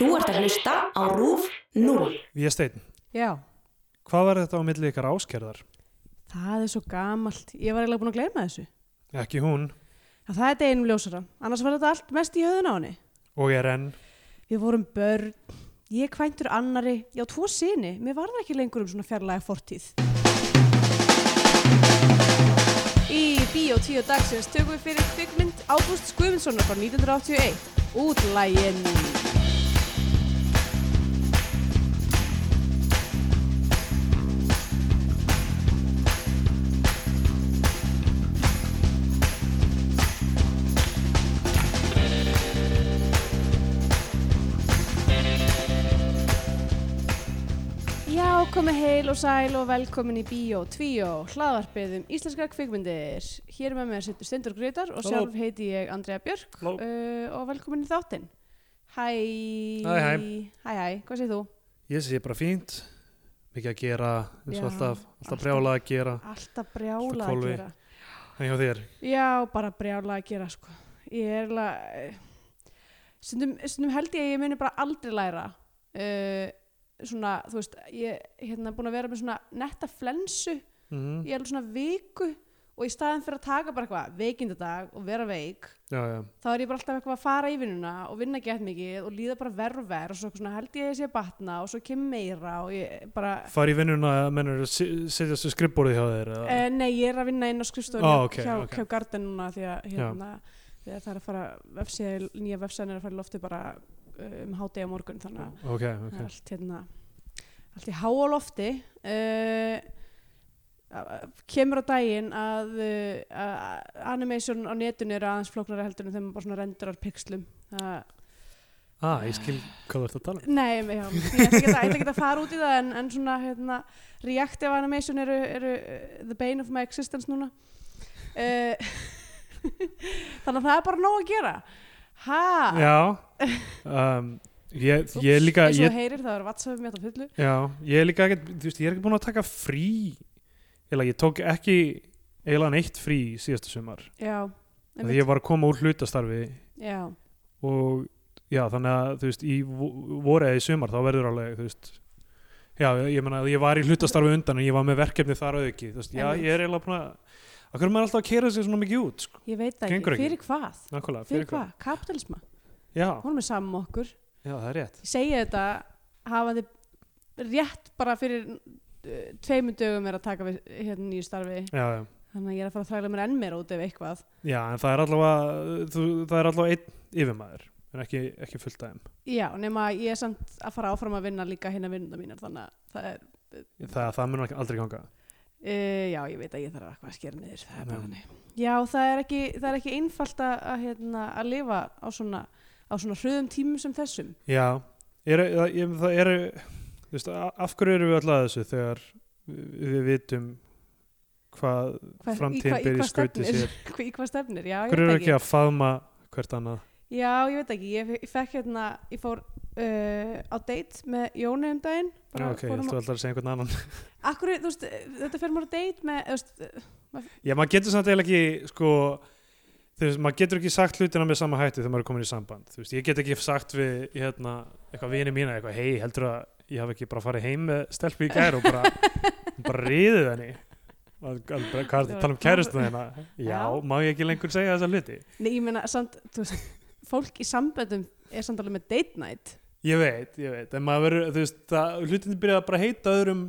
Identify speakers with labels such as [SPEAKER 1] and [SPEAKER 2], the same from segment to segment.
[SPEAKER 1] Þú ert að hlusta á RÚF 0.
[SPEAKER 2] Ég stein,
[SPEAKER 3] Já,
[SPEAKER 2] hvað var þetta á milli ykkar áskerðar?
[SPEAKER 3] það er svo gamalt. Ég var eiginlega búin að gleyma þessu.
[SPEAKER 2] Ekki hún
[SPEAKER 3] En það er deginum ljósara. Annars var þetta allt mest í höðun á henni.
[SPEAKER 2] og ég er enn
[SPEAKER 3] Við vorum börn, ég kvæntur annari, já, tvo sinni. Mér varða ekki lengur um svona fjarlæga fortíð. Í Bíó 10 dagsins tökum við fyrir kvikmynd Ágúst Guðmundssonar frá 1981. Útlægin. Já, komið heil og sæl og velkomin í Bíó 2, hlaðvarpið um íslenskar kvikmyndir. Hér með mér sittur Stendur Grétar og
[SPEAKER 2] Halló.
[SPEAKER 3] sjálf heiti ég Andrea Björk
[SPEAKER 2] Halló.
[SPEAKER 3] uh, og velkomin í þáttinn. Hæ.
[SPEAKER 2] Hæ, hæ.
[SPEAKER 3] Hæ, hæ, hvað segir þú?
[SPEAKER 2] Ég sé bara fínt, mikið að gera eins og
[SPEAKER 3] Já,
[SPEAKER 2] alltaf, alltaf
[SPEAKER 3] alltaf.
[SPEAKER 2] brjála að gera
[SPEAKER 3] Alltaf brjála
[SPEAKER 2] Svona
[SPEAKER 3] að
[SPEAKER 2] hvolfi.
[SPEAKER 3] gera.
[SPEAKER 2] En hjá þér,
[SPEAKER 3] Já, bara brjála að gera sko. Ég er alveg, eh, stundum, stundum held ég að ég muni bara aldrei læra. Uh, svona, þú veist, ég er hérna búin að vera með svona netta flensu
[SPEAKER 2] mm,
[SPEAKER 3] í alveg svona viku og í staðin fyrir að taka bara eitthvað veikindadag og vera veik,
[SPEAKER 2] já, já,
[SPEAKER 3] þá er ég bara alltaf eitthvað að fara í vinnuna og vinna gett mikið og líða bara verð og verð og svo eitthvað svona held ég að ég sé að batna og svo kemur meira og ég bara,
[SPEAKER 2] far í vinnuna að mennur setjast við skrifbórið hjá þér eða?
[SPEAKER 3] Eh, nei, ég er að vinna inn á skrifstofunni
[SPEAKER 2] Ó, ok,
[SPEAKER 3] hjá,
[SPEAKER 2] ok.
[SPEAKER 3] hjá Garden núna því að hérna, við það er að fara vefsíð, nýja vefsæðin er að fara í lofti bara uh, um hádegi á morgun þannig að
[SPEAKER 2] Ok,
[SPEAKER 3] það
[SPEAKER 2] ok,
[SPEAKER 3] er allt hérna allt í háa lofti uh, kemur á daginn að, uh, að animation á netinu eru aðeins flóknara heldur en þegar maður bara svona rendurar pixlum það
[SPEAKER 2] ah, ég skil hvað þú ert að tala um
[SPEAKER 3] Nei, já, ég ætla ekki að, ætla ekki að fara út í það en, en svona hérna, reactive animation eru, eru uh, the bane of my existence núna uh, Þannig að það er bara nóg að gera Ha,
[SPEAKER 2] Já, um, ég, ég líka,
[SPEAKER 3] eins og
[SPEAKER 2] ég,
[SPEAKER 3] þú heyrir það er vatsafið mér þetta fullu
[SPEAKER 2] Já, ég er líka ekkert, þú veist, ég er ekki búin að taka frí eða ég tók ekki eiginlega neitt frí síðasta sumar
[SPEAKER 3] Já,
[SPEAKER 2] af því ég var að koma úr hlutastarfi
[SPEAKER 3] já,
[SPEAKER 2] og já, þannig að þú veist, í vo- voru eða í sumar þá verður alveg, þú veist já, ég meina, ég var í hlutastarfi undan en ég var með verkefni þar að auki, þú veist, já,
[SPEAKER 3] Einmitt.
[SPEAKER 2] ég er eiginlega búin að Akkur er maður alltaf að kera sig svona mikið út, sko,
[SPEAKER 3] ég veit það
[SPEAKER 2] Gengur ekki.
[SPEAKER 3] ekki, fyrir hvað?
[SPEAKER 2] nákvæmlega,
[SPEAKER 3] Fyrir hvað? Kapitalisma,
[SPEAKER 2] Já,
[SPEAKER 3] hún er saman með um okkur
[SPEAKER 2] já, það er rétt.
[SPEAKER 3] Ég segi þetta hafandi rétt bara fyrir uh, tveimur dögum er að taka við hérna nýju starfi
[SPEAKER 2] Já, já.
[SPEAKER 3] þannig að ég er að fara að þræla mér enn meira út ef eitthvað
[SPEAKER 2] Já, en það er allavega, þú, það er allavega einn yfirmaður, en ekki, ekki fullt aðeim.
[SPEAKER 3] Já, nema að ég er samt að fara áfram að vinna líka hérna vinnuna mínar þannig að það er,
[SPEAKER 2] Það, það mun aldrei ganga.
[SPEAKER 3] uh, já ég veit að ég þarf eitthvað að skera niður, það er bara
[SPEAKER 2] Já.
[SPEAKER 3] þannig. Já, það er ekki, það er ekki einfalt að, að, hérna, að lifa á svona, á svona hröðum tímum sem þessum.
[SPEAKER 2] Já, er, það, ég, það er þú veist, a- af hverju erum við alltaf að þessu þegar við, við vitum hvað
[SPEAKER 3] Hvað-
[SPEAKER 2] framtíðin
[SPEAKER 3] hvað-
[SPEAKER 2] ber í
[SPEAKER 3] hvað
[SPEAKER 2] skauti
[SPEAKER 3] stefnir?
[SPEAKER 2] sér.
[SPEAKER 3] Hva- Í hvað stefnir, já,
[SPEAKER 2] Hverju
[SPEAKER 3] ég veit
[SPEAKER 2] erum við
[SPEAKER 3] ekki.
[SPEAKER 2] ekki að faðma hvert annað?
[SPEAKER 3] Já, ég veit ekki, ég, fe- ég fekk hérna, ég fór uh, á date með Jóni um daginn.
[SPEAKER 2] Já, ok, ég ætlum alltaf að segja einhvern annan.
[SPEAKER 3] að... Akkur, þú veist, eh, þetta fer maður á date með, þú veist, eh,
[SPEAKER 2] Já, maður getur samt eiginlega ekki, sko, þú veist, maður getur ekki sagt hlutina með sama hætti þegar maður er komin í samband. Þú veist, ég get ekki sagt við, hérna, eitthvað vini mína, eitthvað, hei, heldur að ég hafi ekki bara farið heim með stelpu í gær og bara, bara riðið henni. Að, að, hvað er þetta að tala um kærustu þeirna? Já,
[SPEAKER 3] Já.
[SPEAKER 2] má ég ekki lengur segja þessa hluti?
[SPEAKER 3] nei, ég meina, samt, þú veist, fólk í samböndum er samt alveg með date night.
[SPEAKER 2] Ég veit, ég veit, en maður verður, þú veist, það, hlutinni byrjaði bara að heita öðrum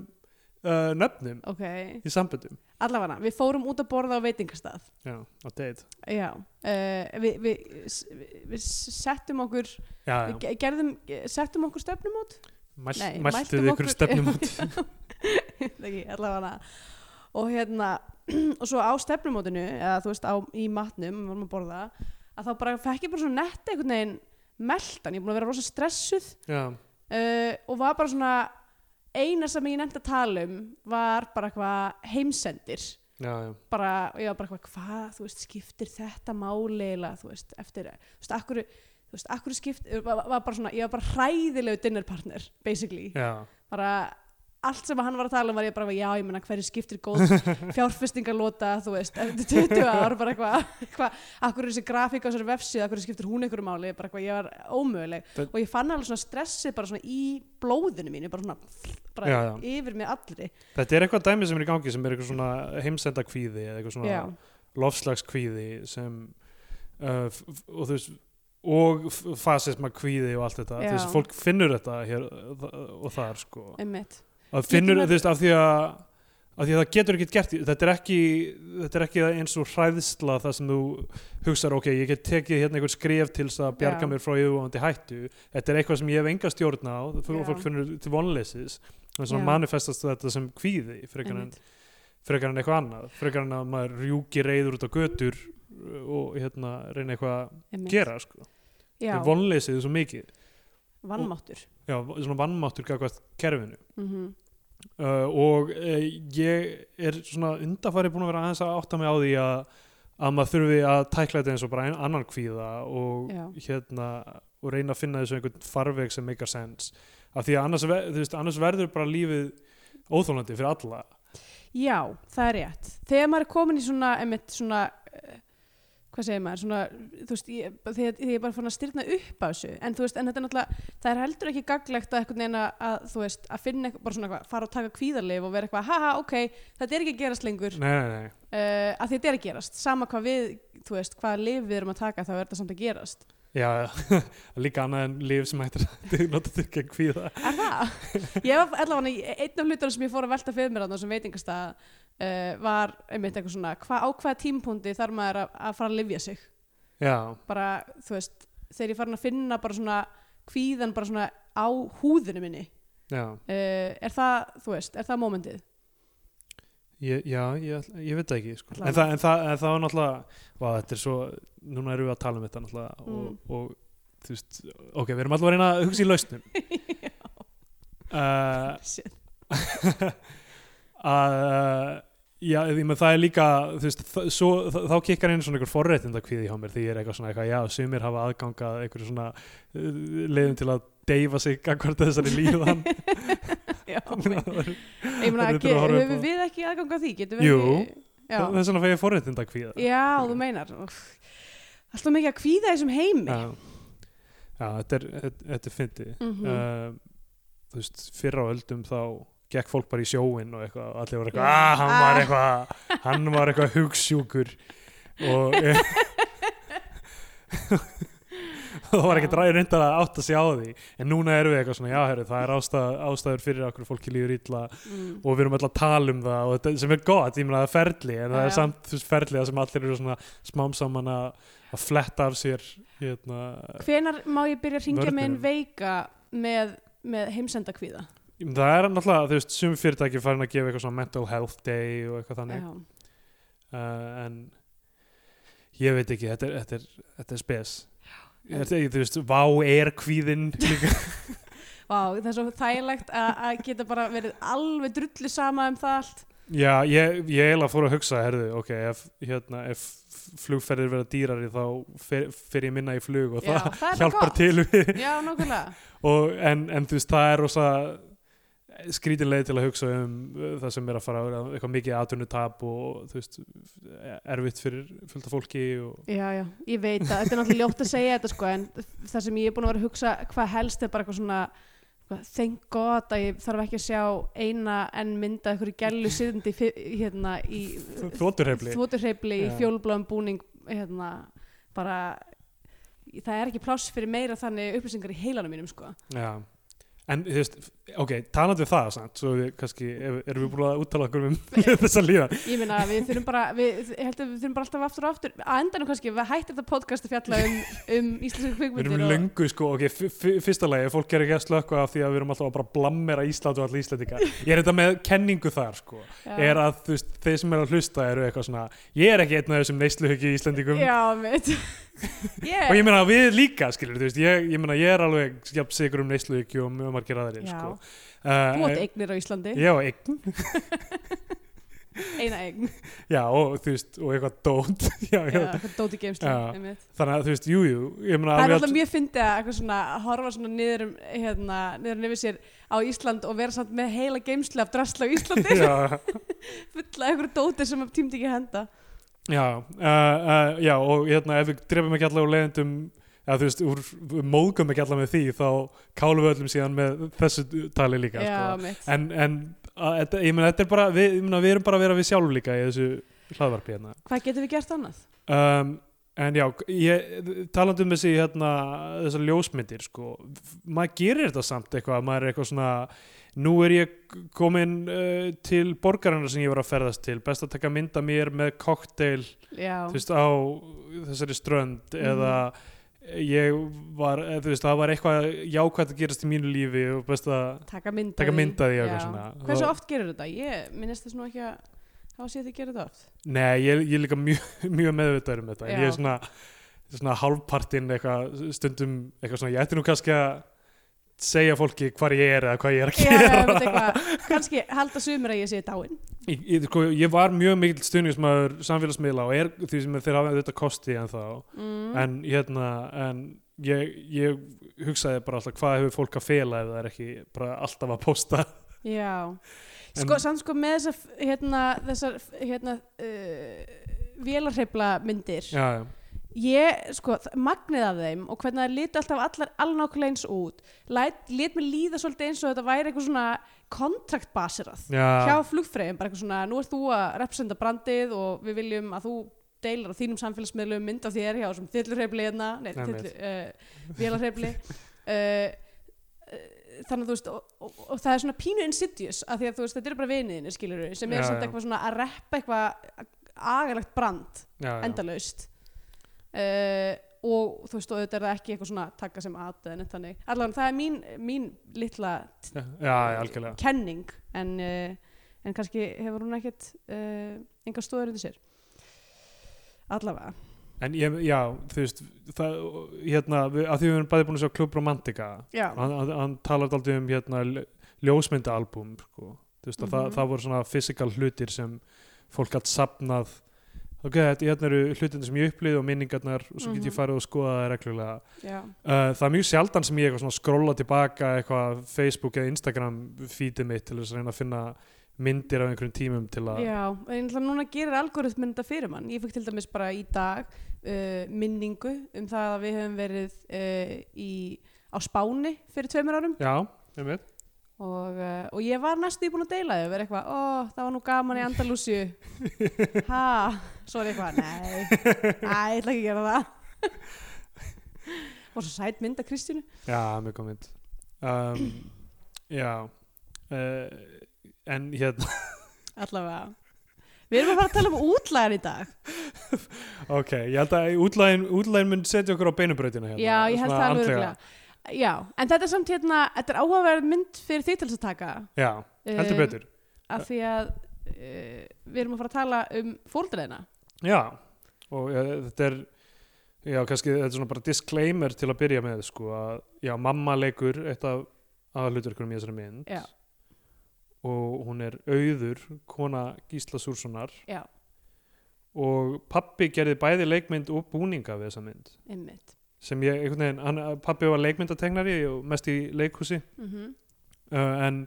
[SPEAKER 2] uh, nöfnum
[SPEAKER 3] Ok,
[SPEAKER 2] í samböndum.
[SPEAKER 3] Allavega, við fórum út að borða á veitingastað.
[SPEAKER 2] Já, á date.
[SPEAKER 3] Já, uh, við, við, við, við settum okkur,
[SPEAKER 2] Já,
[SPEAKER 3] við
[SPEAKER 2] já,
[SPEAKER 3] ge- gerðum, ge- settum okkur stefnumót?
[SPEAKER 2] Mæl,
[SPEAKER 3] Nei,
[SPEAKER 2] mæltuð ykkur stefnum út.
[SPEAKER 3] Ekki, allavega. Og hérna, og svo á stefnumótinu, eða þú veist, á, í matnum, við vorum að borða, að þá bara fekk ég bara svona netta einhvern veginn meldan, ég er búin að vera rosa stressuð
[SPEAKER 2] Já,
[SPEAKER 3] uh, og var bara svona, eina sem ég nefndi að tala um var bara eitthvað heimsendir.
[SPEAKER 2] já, já.
[SPEAKER 3] bara, og ég var bara eitthvað, hvað, þú veist, skiptir þetta máli eiginlega, þú veist, eftir, þú veist, akkur, þú veist, akkur skipt, var, var bara svona, ég var bara hræðilegu dinnerpartner, basically,
[SPEAKER 2] Já,
[SPEAKER 3] bara, allt sem hann var að tala um var ég bara já, ég menna hverju skiptir góð fjárfestingalota, þú veist, eftir 20 ár bara eitthvað, eitthvað, akkur er þessi grafík á þessari vefsíð, akkur skiptir hún einhverju máli bara eitthvað, ég var ómöguleg
[SPEAKER 2] Það-
[SPEAKER 3] og ég fann alveg svona stressi bara svona í blóðinu mínu, bara svona bara
[SPEAKER 2] Já, já.
[SPEAKER 3] yfir mig allri
[SPEAKER 2] Þetta er eitthvað dæmi sem er í gangi sem er eitthvað svona heimsendakvíði eða eitthvað svona
[SPEAKER 3] já,
[SPEAKER 2] lofslagskvíði sem uh, f- f- og þú veist og fasisma kvíði og allt þetta
[SPEAKER 3] Já.
[SPEAKER 2] þú veist, fólk finnur þetta hér uh, og þar sko
[SPEAKER 3] einmitt
[SPEAKER 2] að finnur,
[SPEAKER 3] maður-
[SPEAKER 2] þú veist, af því að af því að það getur ekkert gert, í- þetta er ekki þetta er ekki eins og hræðsla það sem þú hugsar, ok, ég get tekið hérna einhver skrif til þess að bjarga
[SPEAKER 3] Já.
[SPEAKER 2] mér frá yfirvóðandi hættu, þetta er eitthvað sem ég hef enga stjórn á, f-
[SPEAKER 3] Já.
[SPEAKER 2] og fólk finnur til vonleysis, þannig
[SPEAKER 3] Já.
[SPEAKER 2] að manifestast þetta sem kvíði, frekar en,
[SPEAKER 3] einmitt.
[SPEAKER 2] frekar en eitthvað annað, frekar en að maður rjúki reyður út á götur uh, og hérna reyna eitthvað að
[SPEAKER 3] einmitt.
[SPEAKER 2] gera, sko,
[SPEAKER 3] já,
[SPEAKER 2] þetta er vonleysið svo mikið,
[SPEAKER 3] vannmáttur
[SPEAKER 2] já, svona vannmáttur gagvart kerfinu
[SPEAKER 3] mm
[SPEAKER 2] uh, og uh, ég er svona undarfæri búin að vera aðeins að átta mig á því að, að maður þurfi að tækla þetta eins og bara ein, annan kvíða og
[SPEAKER 3] Já.
[SPEAKER 2] hérna og reyna að finna þessu einhvern farveg sem make a sense af því að annars, ve- þú veist, annars verður bara lífið óþólandi fyrir alla
[SPEAKER 3] Já, það er rétt. Þegar maður er komin í svona, einmitt, svona, eh, hvað segir maður, svona, þú veist, ég, þegar, þegar ég er bara fann að styrna upp á þessu, en þú veist, en þetta er náttúrulega, það er heldur ekki gaglegt að einhvern veginn að, að, þú veist, að finna eitthvað, bara svona eitthvað, fara og taka kvíðarleif og vera eitthvað, haha, ok, þetta er ekki að gerast lengur, uh,
[SPEAKER 2] nei, nei, nei,
[SPEAKER 3] að þetta er að gerast, sama hvað við, þú veist, hvað lif við erum að taka, þá er þetta samt að gerast.
[SPEAKER 2] já, líka annað en líf sem hættir að nota þig gegn kvíða
[SPEAKER 3] Er það? Ég var allavega, einn af hlutunum sem ég fór að velta fyrir mér á þessum veitingastað uh, var einmitt eitthvað svona, hva, á hvaða tímpúndi þarf maður að, að fara að lifja sig?
[SPEAKER 2] já,
[SPEAKER 3] Bara, þú veist, þegar ég farin að finna bara svona kvíðan bara svona á húðinu minni,
[SPEAKER 2] já
[SPEAKER 3] uh, er það, þú veist, er það mómentið?
[SPEAKER 2] Ég, já, ég, ætla- ég veit það ekki sko.
[SPEAKER 3] Alla
[SPEAKER 2] en, það, en, það, en það var náttúrulega vá, þetta er svo, núna erum við að tala um þetta náttúrulega
[SPEAKER 3] Mm.
[SPEAKER 2] og, og þú veist ok, við erum allavega að reyna að hugsa í lausnum uh,
[SPEAKER 3] Shit.
[SPEAKER 2] að uh, já, ég með það er líka þú veist, þ- svo, þ- þá kikkar einu svona einhver forréttinda kvíði hjá mér því ég er eitthvað svona eitthvað, já, sumir hafa aðgangað einhverju svona uh, leiðum til að deyfa sig gangvart þessari líðan
[SPEAKER 3] Já,
[SPEAKER 2] þess
[SPEAKER 3] ég
[SPEAKER 2] Þetta
[SPEAKER 3] meina,
[SPEAKER 2] er
[SPEAKER 3] ge-
[SPEAKER 2] að horfa upp á.
[SPEAKER 3] höfum við ekki aðgang að því? Getum við
[SPEAKER 2] Jú.
[SPEAKER 3] ekki? Já,
[SPEAKER 2] vegna fæ ég forréttinda kvíða
[SPEAKER 3] já, þú meinar. Úff. Alltaf mikið að kvíða í þessum heimi.
[SPEAKER 2] já, já þetta er, þetta- þetta er fyndið
[SPEAKER 3] Mhm.
[SPEAKER 2] uh, þú veist, fyrr á öldum þá gekk fólk bara í sjóin og eitthvað og allir voru eitthvað,
[SPEAKER 3] Já.
[SPEAKER 2] ah, hann var
[SPEAKER 3] Ah.
[SPEAKER 2] eitthvað hann var eitthvað hugsjúkur og eh, það var ekki
[SPEAKER 3] Já.
[SPEAKER 2] dræður reyndar að átta sig á því en núna erum við eitthvað svona, já herri, það er ástæð, ástæður fyrir okkur fólki líður illa
[SPEAKER 3] Mm.
[SPEAKER 2] og við erum alltaf að tala um það og þetta, sem er gott, ég meina það er ferli en það
[SPEAKER 3] Já,
[SPEAKER 2] er
[SPEAKER 3] já.
[SPEAKER 2] samt þú veist, ferli það sem allir eru svona smám saman að, að fletta af sér hérna,
[SPEAKER 3] Hvenar má ég byrja að ringja með einn
[SPEAKER 2] Vörnunum.
[SPEAKER 3] veika með, með heimsendakvíða?
[SPEAKER 2] ég meina, það er náttúrulega, þú veist, sum fyrirtæki farin að gefa eitthvað svona mental health day og eitthvað þannig
[SPEAKER 3] Já.
[SPEAKER 2] uh, en ég veit ekki, þetta er, þetta er, þetta er spes þetta er, þú veist, vá er kvíðin líka,
[SPEAKER 3] Vá, það er svo þægilegt að að geta bara verið alveg drullu sama um það allt.
[SPEAKER 2] já, ég, ég eiginlega fór að hugsa, herðu, ok, ef, hérna, ef flugferðir verða dýrari þá fer, fer ég minna í flug og
[SPEAKER 3] Já,
[SPEAKER 2] það,
[SPEAKER 3] það er bara
[SPEAKER 2] hjálpar
[SPEAKER 3] gott.
[SPEAKER 2] til við
[SPEAKER 3] Já, nákvæmlega.
[SPEAKER 2] og, en, en þú veist, það er rosa skrítin leið til að hugsa um uh, það sem er að fara á eitthvað mikið atvinnutap og þú veist erfitt fyrir fullt af fólki og
[SPEAKER 3] Já, já, ég veit að þetta er náttúrulega ljótt að segja þetta sko, en það sem ég er búin að vera að hugsa hvað helst er bara eitthvað svona eitthvað, thank god að ég þarf ekki að sjá eina en mynda einhverju gælu siðandi hérna í
[SPEAKER 2] þótturhefli
[SPEAKER 3] þvoturheifli í
[SPEAKER 2] Já.
[SPEAKER 3] fjólubláum búning hérna bara það er ekki pláss fyrir meira þannig upplýsingar í heilanum mínum sko.
[SPEAKER 2] Já, en þú veist, ok, talandi um það samt, svo við kannski, ef, erum við búin að úttala okkur um þessa líðan?
[SPEAKER 3] Ég meina, við þurfum bara, við, ég held að við þurfum bara alltaf aftur og aftur, að endanum kannski, við hættum þetta podcast að fjalla um, um íslensku
[SPEAKER 2] Við
[SPEAKER 3] kvikmyndir.
[SPEAKER 2] erum löngu, sko, ok, f- f- fyrsta lagi, fólk er ekki að slökka af því að við erum alltaf að bara blammera Ísland og allir Íslandinga. Ég er þetta með kenningu þar, sko,
[SPEAKER 3] Já.
[SPEAKER 2] er að þú veist, þeir sem eru að hlusta eru eitthvað svona, ég er ekki einn af þessum neysluhuggi Íslandingum.
[SPEAKER 3] Já, mitt. yeah.
[SPEAKER 2] Og ég meina við líka, skilur, þú veist, ég, ég meina ég er alveg jafn sigur um neysluhyggju sko. og mjög margir aðrir,
[SPEAKER 3] Já.
[SPEAKER 2] sko.
[SPEAKER 3] Þú átt
[SPEAKER 2] Uh,
[SPEAKER 3] eignir á Íslandi.
[SPEAKER 2] Já, eign
[SPEAKER 3] eina eign
[SPEAKER 2] já, og þú veist, og eitthvað dót já, já.
[SPEAKER 3] Já, eitthvað dóti geimslu
[SPEAKER 2] Já.
[SPEAKER 3] einmitt.
[SPEAKER 2] þannig að þú veist, jú, jú ég meina
[SPEAKER 3] það er
[SPEAKER 2] alveg
[SPEAKER 3] alltaf
[SPEAKER 2] að-
[SPEAKER 3] mjög fyndið að eitthvað svona að horfa svona niður um hérna, niður um yfir sér á Ísland og vera samt með heila geimslu af drasla á Íslandi
[SPEAKER 2] já,
[SPEAKER 3] fulla af einhverju dóti sem tímdi ekki að henda
[SPEAKER 2] já, uh, uh, já, og hérna ef við drefum ekki allavega úr leiðendum eða þú veist, úr, við móðgum ekki allavega með því þá kálum við öllum síðan með þessu tali líka
[SPEAKER 3] já,
[SPEAKER 2] sko.
[SPEAKER 3] mitt
[SPEAKER 2] en, en að, þetta- ég meina, þetta er bara við, ég meina, við erum bara að vera við sjálf líka í þessu hlaðvarpi hérna
[SPEAKER 3] hvað getum við gert annað?
[SPEAKER 2] um, en já, ég, talandi um þessi hérna, þessar ljósmyndir sko, maður gerir þetta samt eitthvað maður er eitthvað svona nú er ég komin uh, til borgarinnar sem ég var að ferðast til best að taka mynda mér með kokteil
[SPEAKER 3] já,
[SPEAKER 2] þú veist, á þessari strönd eða ég var, eða, þú veist, það var eitthvað jákvæmt að gerast í mínu lífi og best að
[SPEAKER 3] taka mynda
[SPEAKER 2] taka mynd af því og eitthvað
[SPEAKER 3] Já.
[SPEAKER 2] svona.
[SPEAKER 3] hversu
[SPEAKER 2] Þá-
[SPEAKER 3] oft gerir þetta? ég minnist þess nú ekki að hafa séð þið gera þetta oft
[SPEAKER 2] Nei, ég, ég er líka mjög, mjög meðvitaður um þetta en
[SPEAKER 3] Já.
[SPEAKER 2] ég er svona, svona hálfpartinn eitthvað stundum eitthvað svona, ég ætti nú kannski að segja fólki hvar ég er eða hvað ég er að
[SPEAKER 3] já, já,
[SPEAKER 2] gera
[SPEAKER 3] veit eitthvað kannski halda sumir að ég sé dáin
[SPEAKER 2] ég, ég, sko, ég var mjög mikill stuðnismæður samfélagsmiðla og er því sem þeir hafa þetta kosti en þá
[SPEAKER 3] mm.
[SPEAKER 2] en hérna en ég, ég hugsaði bara alltaf hvað hefur fólk að fela ef það er ekki bara alltaf að posta
[SPEAKER 3] Já, sko,
[SPEAKER 2] En-
[SPEAKER 3] samt sko með þessar, hérna, þessar, hérna, uh, vélarheifla myndir,
[SPEAKER 2] já, já,
[SPEAKER 3] ég, sko, þ- magnið af þeim og hvernig það liti alltaf allar alnákulega eins út, Læt, lit mér líða svolítið eins og þetta væri eitthvað svona kontraktbaserað hjá
[SPEAKER 2] já,
[SPEAKER 3] flugfreyjum, bara eitthvað svona, nú ert þú að representa brandið og við viljum að þú deilar á þínum samfélagsmiðlum mynd af þér hjá þessum þillurheifli hérna, nei,
[SPEAKER 2] Nei,
[SPEAKER 3] þillu, uh, vélarheifli uh, þannig að þú veist og, og, og það er svona pínu insidious af því að þú veist, þetta eru bara viniðinni, skilur við sem
[SPEAKER 2] Já,
[SPEAKER 3] er samt
[SPEAKER 2] já.
[SPEAKER 3] eitthvað svona að reppa eitthvað agalegt brand,
[SPEAKER 2] já, já.
[SPEAKER 3] endalaust uh, og þú veist, og þetta er það ekki eitthvað svona taka sem at eða neitt þannig, allavega það er mín, mín litla
[SPEAKER 2] já, já algjörlega
[SPEAKER 3] kenning en, uh, en kannski hefur hún ekkert uh, enga stóður undir sér allavega
[SPEAKER 2] En ég, já, þú veist, það, hérna, við, að því við erum bæði búin að sjá Club Romantica,
[SPEAKER 3] já,
[SPEAKER 2] hann, hann, hann talaði aldrei um hérna lj- ljósmyndaalbúm, sko, þú veist, að það,
[SPEAKER 3] Mhm.
[SPEAKER 2] það voru svona physical hlutir sem fólk gætt sapnað, ok, þetta hérna eru hlutin sem ég upplýði og minningarnar og svo get ég
[SPEAKER 3] Mhm.
[SPEAKER 2] farið og skoða það reglulega.
[SPEAKER 3] já,
[SPEAKER 2] Uh, það er mjög sjaldan sem ég eitthvað svona skrolla tilbaka eitthvað Facebook eða Instagram feedið mitt til þess að reyna að finna myndir af einhverjum tímum til að,
[SPEAKER 3] já en ætla, núna gerir algoritminn þetta fyrir mann ég fikk til dæmis bara í dag uh, minningu um það að við höfum verið uh, í, á Spáni fyrir tveimur árum
[SPEAKER 2] já, einmitt,
[SPEAKER 3] og, uh, og ég var næstu búin að deila þau og vera eitthvað, ó, það var nú gaman í Andalusíu ha, svo er ég eitthvað nei, næ, ég ætla ekki að gera það og svo sæt mynd af Kristjánu
[SPEAKER 2] Já, mjög góð mynd um, Já uh, En hérna
[SPEAKER 3] allavega við erum að fara að tala um útlæðar í dag
[SPEAKER 2] Ok, ég held að útlæðin, útlæðin mun setja okkur á beinubrautina hérna
[SPEAKER 3] já, ég held
[SPEAKER 2] svona
[SPEAKER 3] það alveg
[SPEAKER 2] andlega.
[SPEAKER 3] örugglega. já, en þetta er samt hérna þetta er áhugaverð mynd fyrir því til þess að taka
[SPEAKER 2] Já, heldur
[SPEAKER 3] um,
[SPEAKER 2] betur
[SPEAKER 3] af því að uh, við erum að fara að tala um fóldreina
[SPEAKER 2] Já, og uh, þetta er Já, kannski þetta er svona bara disclaimer til að byrja með sko að já, mamma leikur eitt af aðalhlutverkunum í þessari mynd
[SPEAKER 3] Já.
[SPEAKER 2] og hún er auður kona Gísla Súrssonar
[SPEAKER 3] Já.
[SPEAKER 2] og pappi gerði bæði leikmynd og búninga við þessa mynd
[SPEAKER 3] einmitt
[SPEAKER 2] sem ég einhvern veginn, hann, pappi var leikmyndategnari og mest í leikhúsi
[SPEAKER 3] mm
[SPEAKER 2] uh, en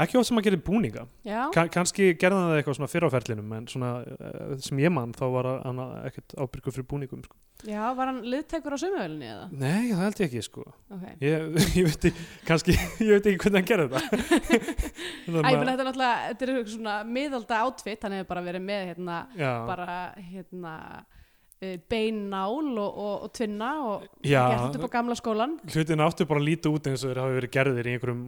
[SPEAKER 2] ekki oft sem hann gerði búninga
[SPEAKER 3] já,
[SPEAKER 2] Ka kannski gerði hann það eitthvað svona fyrr á ferlinum en svona uh, sem ég mann þá var hann ekkert ábyrgur fyrir búningum sko.
[SPEAKER 3] já, var hann liðtekur á sömuvelinni eða?
[SPEAKER 2] nei það held ég ekki sko
[SPEAKER 3] Okay.
[SPEAKER 2] ég, ég veit ekki, kannski, ég veit ekki hvernig hann gerði það Þannig
[SPEAKER 3] Æ,
[SPEAKER 2] að-
[SPEAKER 3] ég meina þetta er náttúrulega, þetta er eitthvað svona miðalda átfitt, hann hefur bara verið með hérna,
[SPEAKER 2] já,
[SPEAKER 3] bara hérna eh, bein nál og, og, og tvinna og
[SPEAKER 2] Já.
[SPEAKER 3] gert þetta upp á gamla skólan.
[SPEAKER 2] hlutin áttu bara að líta út eins og þeir hafi verið gerðir í einhverjum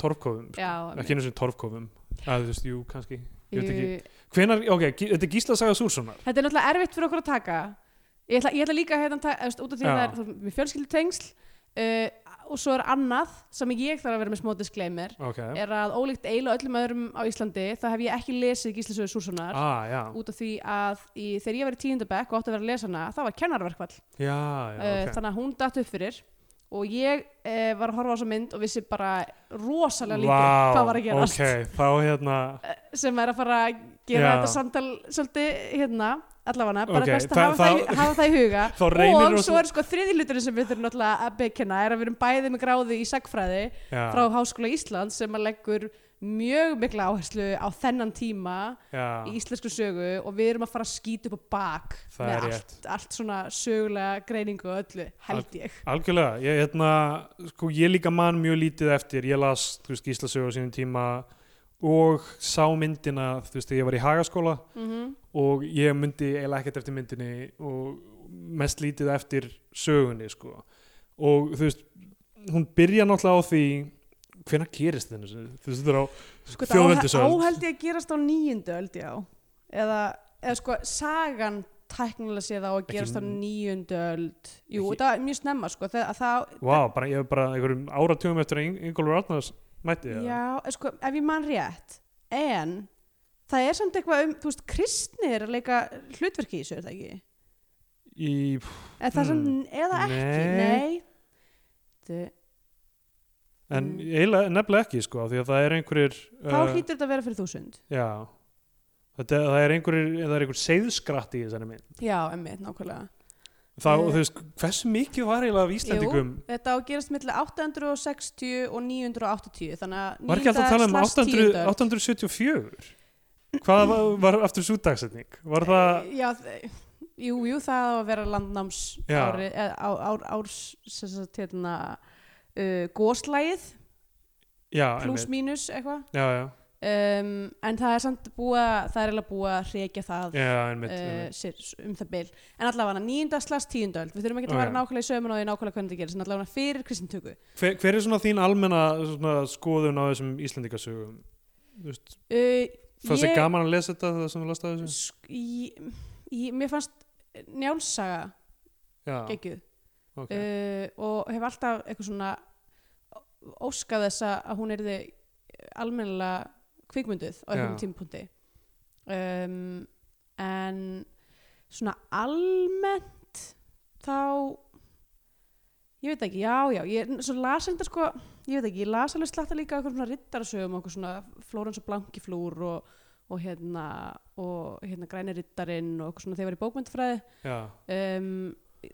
[SPEAKER 2] torfkofum sko.
[SPEAKER 3] Já,
[SPEAKER 2] ekki einu sinni torfkofum að þú veist, jú, kannski ég veit ekki.
[SPEAKER 3] jú.
[SPEAKER 2] Hvenar, ok, gí- þetta er Gísla Saga Súrssonar
[SPEAKER 3] þetta er náttúrulega erfitt fyrir okkur að taka. Ég ætla, ég ætla líka að hérna, ta- þú veist, út af
[SPEAKER 2] Já.
[SPEAKER 3] því að það er þú veist, með fjölskyldutengsl uh, og svo er annað sem ég þarf að vera með smá disclaimer
[SPEAKER 2] ok,
[SPEAKER 3] er að ólíkt eil og öllum öðrum á Íslandi þá hef ég ekki lesið Gíslisöðu Súrssonar
[SPEAKER 2] ah, já,
[SPEAKER 3] út af því að í, þegar ég var í tíundabekk og átti að vera að lesa hana, það var kennarverkvall
[SPEAKER 2] já, já
[SPEAKER 3] uh,
[SPEAKER 2] Eh, ok.
[SPEAKER 3] þannig að hún datt upp fyrir og ég e, var að horfa á svo mynd og vissi bara rosalega lítið
[SPEAKER 2] Vá,
[SPEAKER 3] hvað var að gerast
[SPEAKER 2] ok, þá hérna
[SPEAKER 3] sem er að fara að gera
[SPEAKER 2] Já.
[SPEAKER 3] þetta samtal svolítið hérna allafana, bara
[SPEAKER 2] Ok,
[SPEAKER 3] best að
[SPEAKER 2] það-
[SPEAKER 3] hafa það,
[SPEAKER 2] það-
[SPEAKER 3] í- hafa það í huga
[SPEAKER 2] þá reynir
[SPEAKER 3] og
[SPEAKER 2] rosa-
[SPEAKER 3] svo er sko þriðiluturinn sem við þurfum náttúrulega að bekina er að við erum bæði með gráðu í sagfræði
[SPEAKER 2] já,
[SPEAKER 3] frá Háskóla Íslands sem að leggur mjög mikla áherslu á þennan tíma í
[SPEAKER 2] já,
[SPEAKER 3] íslensku sögu og við erum að fara að skýta upp á bak
[SPEAKER 2] Það er
[SPEAKER 3] með allt,
[SPEAKER 2] rétt.
[SPEAKER 3] allt svona sögulega greiningu og öllu, held ég
[SPEAKER 2] algjörlega ég, hérna, sko, ég líka man mjög lítið eftir ég las þú veist, gíslasögu á sínum tíma og sá myndina þú veist, þegar ég var í hagaskóla
[SPEAKER 3] mm
[SPEAKER 2] og ég myndi eiginlega ekkert eftir myndinni og mest lítið eftir sögunni sko. og þú veist, hún byrja náttúrulega á því hvenær gerist þenni þú veist, þetta er á
[SPEAKER 3] sko,
[SPEAKER 2] Þjóðveldisöld.
[SPEAKER 3] það áhældi að gerast á nýjundu öld já eða, eða sko sagan tæknilega séð á að
[SPEAKER 2] Ekki-
[SPEAKER 3] gerast á nýjundu öld jú,
[SPEAKER 2] Ekki-
[SPEAKER 3] það er mjög snemma sko það, að það,
[SPEAKER 2] wow, bara, ég hef bara einhverjum áratugum eftir að Ingólfur Arnars mætti eða?
[SPEAKER 3] já, eh, sko, ef ég man rétt en það er samt eitthvað um, þú veist, kristnir að leika hlutverki í þessu, er það ekki?
[SPEAKER 2] í,
[SPEAKER 3] Eða, það er samt,
[SPEAKER 2] Hmm.
[SPEAKER 3] eða ekki,
[SPEAKER 2] Nei.
[SPEAKER 3] nei, nei.
[SPEAKER 2] en
[SPEAKER 3] Mm.
[SPEAKER 2] eiginlega nefnilega ekki sko, því að það er einhverjir
[SPEAKER 3] þá
[SPEAKER 2] uh,
[SPEAKER 3] hlýtur þetta að vera fyrir þúsund
[SPEAKER 2] já Þetta, það er einhverjir, það er einhver seiðskratt í þessari mynd.
[SPEAKER 3] já, emmitt, nákvæmlega
[SPEAKER 2] Þá,
[SPEAKER 3] Eh.
[SPEAKER 2] þú veist, hversu mikið var eiginlega af Íslendingum?
[SPEAKER 3] Þetta á að gerast milli 860 og 980 þannig að
[SPEAKER 2] Var ekki alltaf að tala um 800, 874? Hvað var, var aftur svo dagsetning? Var það,
[SPEAKER 3] Já, þ- jú, jú, það á að vera landnáms
[SPEAKER 2] Já.
[SPEAKER 3] ári, eð, á, ár, árs sem sagt, hérna, uh, góslægið
[SPEAKER 2] já, einmitt.
[SPEAKER 3] pluss Eh, mínus eitthvað
[SPEAKER 2] Já, já,
[SPEAKER 3] um, en það er samt búið að- það er eiginlega búið að hrekja það
[SPEAKER 2] já, einmitt,
[SPEAKER 3] uh,
[SPEAKER 2] einmitt.
[SPEAKER 3] sér, um það bil en allavega nýjunda slags tíundöld við þurfum ekki að
[SPEAKER 2] Ok.
[SPEAKER 3] vera nákvæmlega í sömun og því nákvæmlega hvernig það gerist en allavega fyrir kristintöku
[SPEAKER 2] Hver, hver er svona þín almenna svona, skoðun á þessum Íslendingasögum? Þú veist,
[SPEAKER 3] uh,
[SPEAKER 2] fannst
[SPEAKER 3] ég-
[SPEAKER 2] þið gaman að lesa þetta það sem við lasta þessu?
[SPEAKER 3] Sk- í, í, mér fannst njálsaga
[SPEAKER 2] Já,
[SPEAKER 3] geggjuð
[SPEAKER 2] ok.
[SPEAKER 3] uh, og hef alltaf eitthvað svona ó- óskað þess að að hún erði almennilega kvikmynduð á einhverjum
[SPEAKER 2] Já.
[SPEAKER 3] tímapunkti um, en svona almennt þá ég veit ekki, já, já ég svo las þetta sko, ég veit ekki, ég las alveg slatta líka okkur svona riddarasögum, okkur svona Flórens og Blankiflúr og, og hérna, og hérna Græni riddarinn og okkur svona þegar ég var í bókmyndfræði
[SPEAKER 2] já,
[SPEAKER 3] um,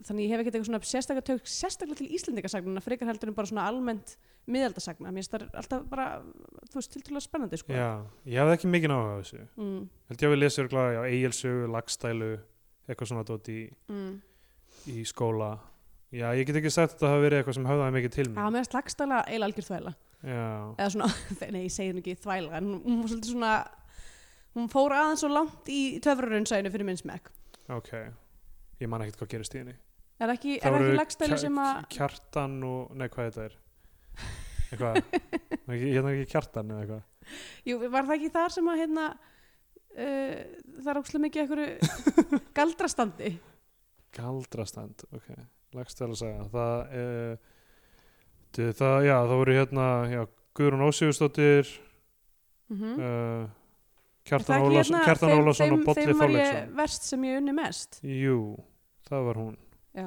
[SPEAKER 3] þannig ég hef ekkert eitthvað svona sérstaklega tök sérstaklega til íslendingasagnana frekar heldur en bara svona almennt miðaldasagna mér finnst það alltaf bara, þú veist, tiltrúlega spennandi sko.
[SPEAKER 2] já, ég hafði ekki mikið náhuga á þessu.
[SPEAKER 3] mm,
[SPEAKER 2] Held ég að við lesið örgulega, já, eigilsögu, lagstælu, eitthvað svona dótt í,
[SPEAKER 3] mm.
[SPEAKER 2] í skóla. Já, ég get ekki sagt að þetta hafi verið eitthvað sem höfðaði mikið til
[SPEAKER 3] að
[SPEAKER 2] mig.
[SPEAKER 3] mér slagstæla eila algjör þvæla
[SPEAKER 2] Já,
[SPEAKER 3] eða svona, nei, ég segi nú ekki þvæla en hún var svolítið svona hún fór aðeins svo langt í töfrarunnsæðinu fyrir minn smekk
[SPEAKER 2] ok. Ég man ekkert hvað gerist í henni.
[SPEAKER 3] er ekki,
[SPEAKER 2] Það
[SPEAKER 3] er ekki
[SPEAKER 2] voru
[SPEAKER 3] lagstæli
[SPEAKER 2] kja-
[SPEAKER 3] sem að
[SPEAKER 2] kjartan og, nei hvað þetta er eitthvað Var ekki- hérna er ekki kjartan eða eitthvað
[SPEAKER 3] jú, var það ekki þar sem að hérna uh, það er ókslega mikið einhverju galdrastandi
[SPEAKER 2] galdrastand, ok, lagstæla saga það uh, það, já, það voru hérna já, Guðrún Ósífustóttir
[SPEAKER 3] mm
[SPEAKER 2] uh,
[SPEAKER 3] Er það
[SPEAKER 2] Kjartan
[SPEAKER 3] ekki
[SPEAKER 2] Ólafsson
[SPEAKER 3] hérna-
[SPEAKER 2] Kjartan
[SPEAKER 3] þeim-
[SPEAKER 2] Ólafsson og
[SPEAKER 3] þeim-
[SPEAKER 2] Bolli
[SPEAKER 3] Þeim var ég
[SPEAKER 2] Þorleiksson
[SPEAKER 3] verst sem ég unni mest.
[SPEAKER 2] jú, það var hún
[SPEAKER 3] Já,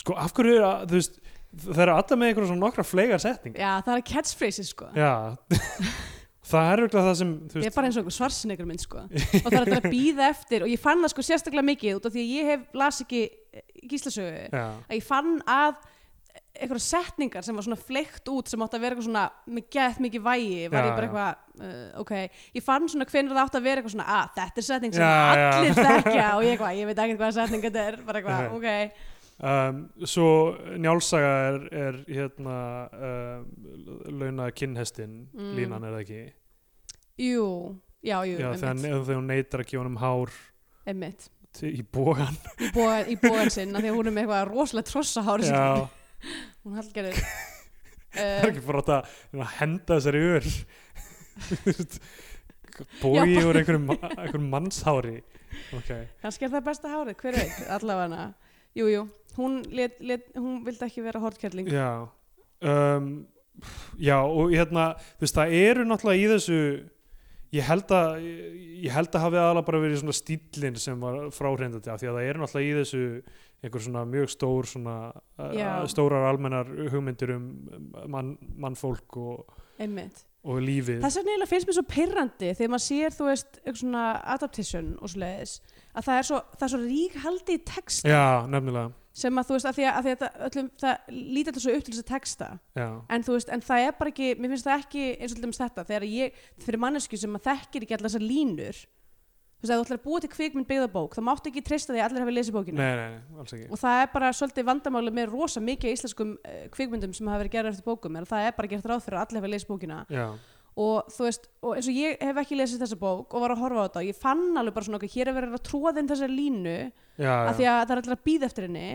[SPEAKER 2] sko, af hverju er að, þú veist það eru alltaf með einhverjum svona nokkra flegar setningar
[SPEAKER 3] já það er catchphrases sko.
[SPEAKER 2] já. það er auðvitað það sem þú
[SPEAKER 3] Ég er
[SPEAKER 2] veist,
[SPEAKER 3] bara eins og einhver svarsinegur minn sko. Og það er alltaf að býða eftir og ég fann það sko sérstaklega mikið út af því að ég hef las ekki eh, gíslasögu.
[SPEAKER 2] já,
[SPEAKER 3] Að ég fann að einhverja setningar sem var svona fleikt út sem átti að vera eitthvað svona með gett mikið
[SPEAKER 2] Já,
[SPEAKER 3] vægi var ég bara
[SPEAKER 2] já.
[SPEAKER 3] eitthvað, uh, ok ég fann svona hvenær það átti að vera eitthvað svona að þetta er setning sem
[SPEAKER 2] Já, já.
[SPEAKER 3] allir þekkja og ég eitthvað, ég veit ekki hvað setning þetta er bara eitthvað,
[SPEAKER 2] Nei.
[SPEAKER 3] ok,
[SPEAKER 2] Um, svo njálsaga er, er hérna um, launa kinnhestin
[SPEAKER 3] Mm.
[SPEAKER 2] línan er það ekki
[SPEAKER 3] jú, já, jú
[SPEAKER 2] Já, þegar,
[SPEAKER 3] einmitt,
[SPEAKER 2] ne- þegar hún neytar að gefa honum hár
[SPEAKER 3] einmitt
[SPEAKER 2] til- í bógan
[SPEAKER 3] í bóðan- í bóðan sinn af því að hún er með eitthvað rosalega trossahári sem
[SPEAKER 2] Já,
[SPEAKER 3] hún hallgerður
[SPEAKER 2] það er
[SPEAKER 3] uh,
[SPEAKER 2] ekki bara átt að að henda þessari ör bógi
[SPEAKER 3] Já, bara-
[SPEAKER 2] úr einhverjum, ma- einhverjum mannshári ok,
[SPEAKER 3] kannski er það besta hárið, hver veit, allavega jú, jú, hún, let, let, hún vildi ekki vera hortkerling
[SPEAKER 2] já um, já og hérna þú veist það eru náttúrulega í þessu ég held að ég, ég held að hafi aðalega bara verið svona stíllinn sem var fráhrindandi af því að það er náttúrulega í þessu einhver svona mjög stór svona
[SPEAKER 3] Já.
[SPEAKER 2] uh, stórar almennar hugmyndir um um mann, mannfólk og,
[SPEAKER 3] einmitt
[SPEAKER 2] og lífið
[SPEAKER 3] Þess vegna eiginlega finnst mér svo pyrrandi þegar maður sér, þú veist, eitthvað svona adaptation og svoleiðis, að það er svo, það er svo rík haldi í texta
[SPEAKER 2] Já, nefnilega
[SPEAKER 3] sem að þú veist, að því að, að, því að það, öllum, það lítið alltaf svo upp til þess að texta
[SPEAKER 2] Já,
[SPEAKER 3] en þú veist, en það er bara ekki, mér finnst það ekki eins og til dæmis þetta, þegar ég, fyrir mannesku sem að þekkir ekki allar þessar línur þú veist, að þú ætlar að búa til kvikmynd byggðabók þá máttu ekki treysta því að allir hafi lesið bókina
[SPEAKER 2] nei, nei, nei, alls ekki
[SPEAKER 3] og það er bara svolítið vandamáli með rosa mikið af íslenskum uh, kvikmyndum sem hafa verið gerðar eftir bókum, en það er bara gert ráð fyrir að allir hafi lesið bókina
[SPEAKER 2] Já,
[SPEAKER 3] og þú veist, og eins og ég hef ekki lesið þessa bók og var að horfa á þetta, og ég fann alveg bara svona okkur, hér er verið að tróða inn þessa línu
[SPEAKER 2] já,
[SPEAKER 3] af því
[SPEAKER 2] já,
[SPEAKER 3] að það er allir að býða eftir henni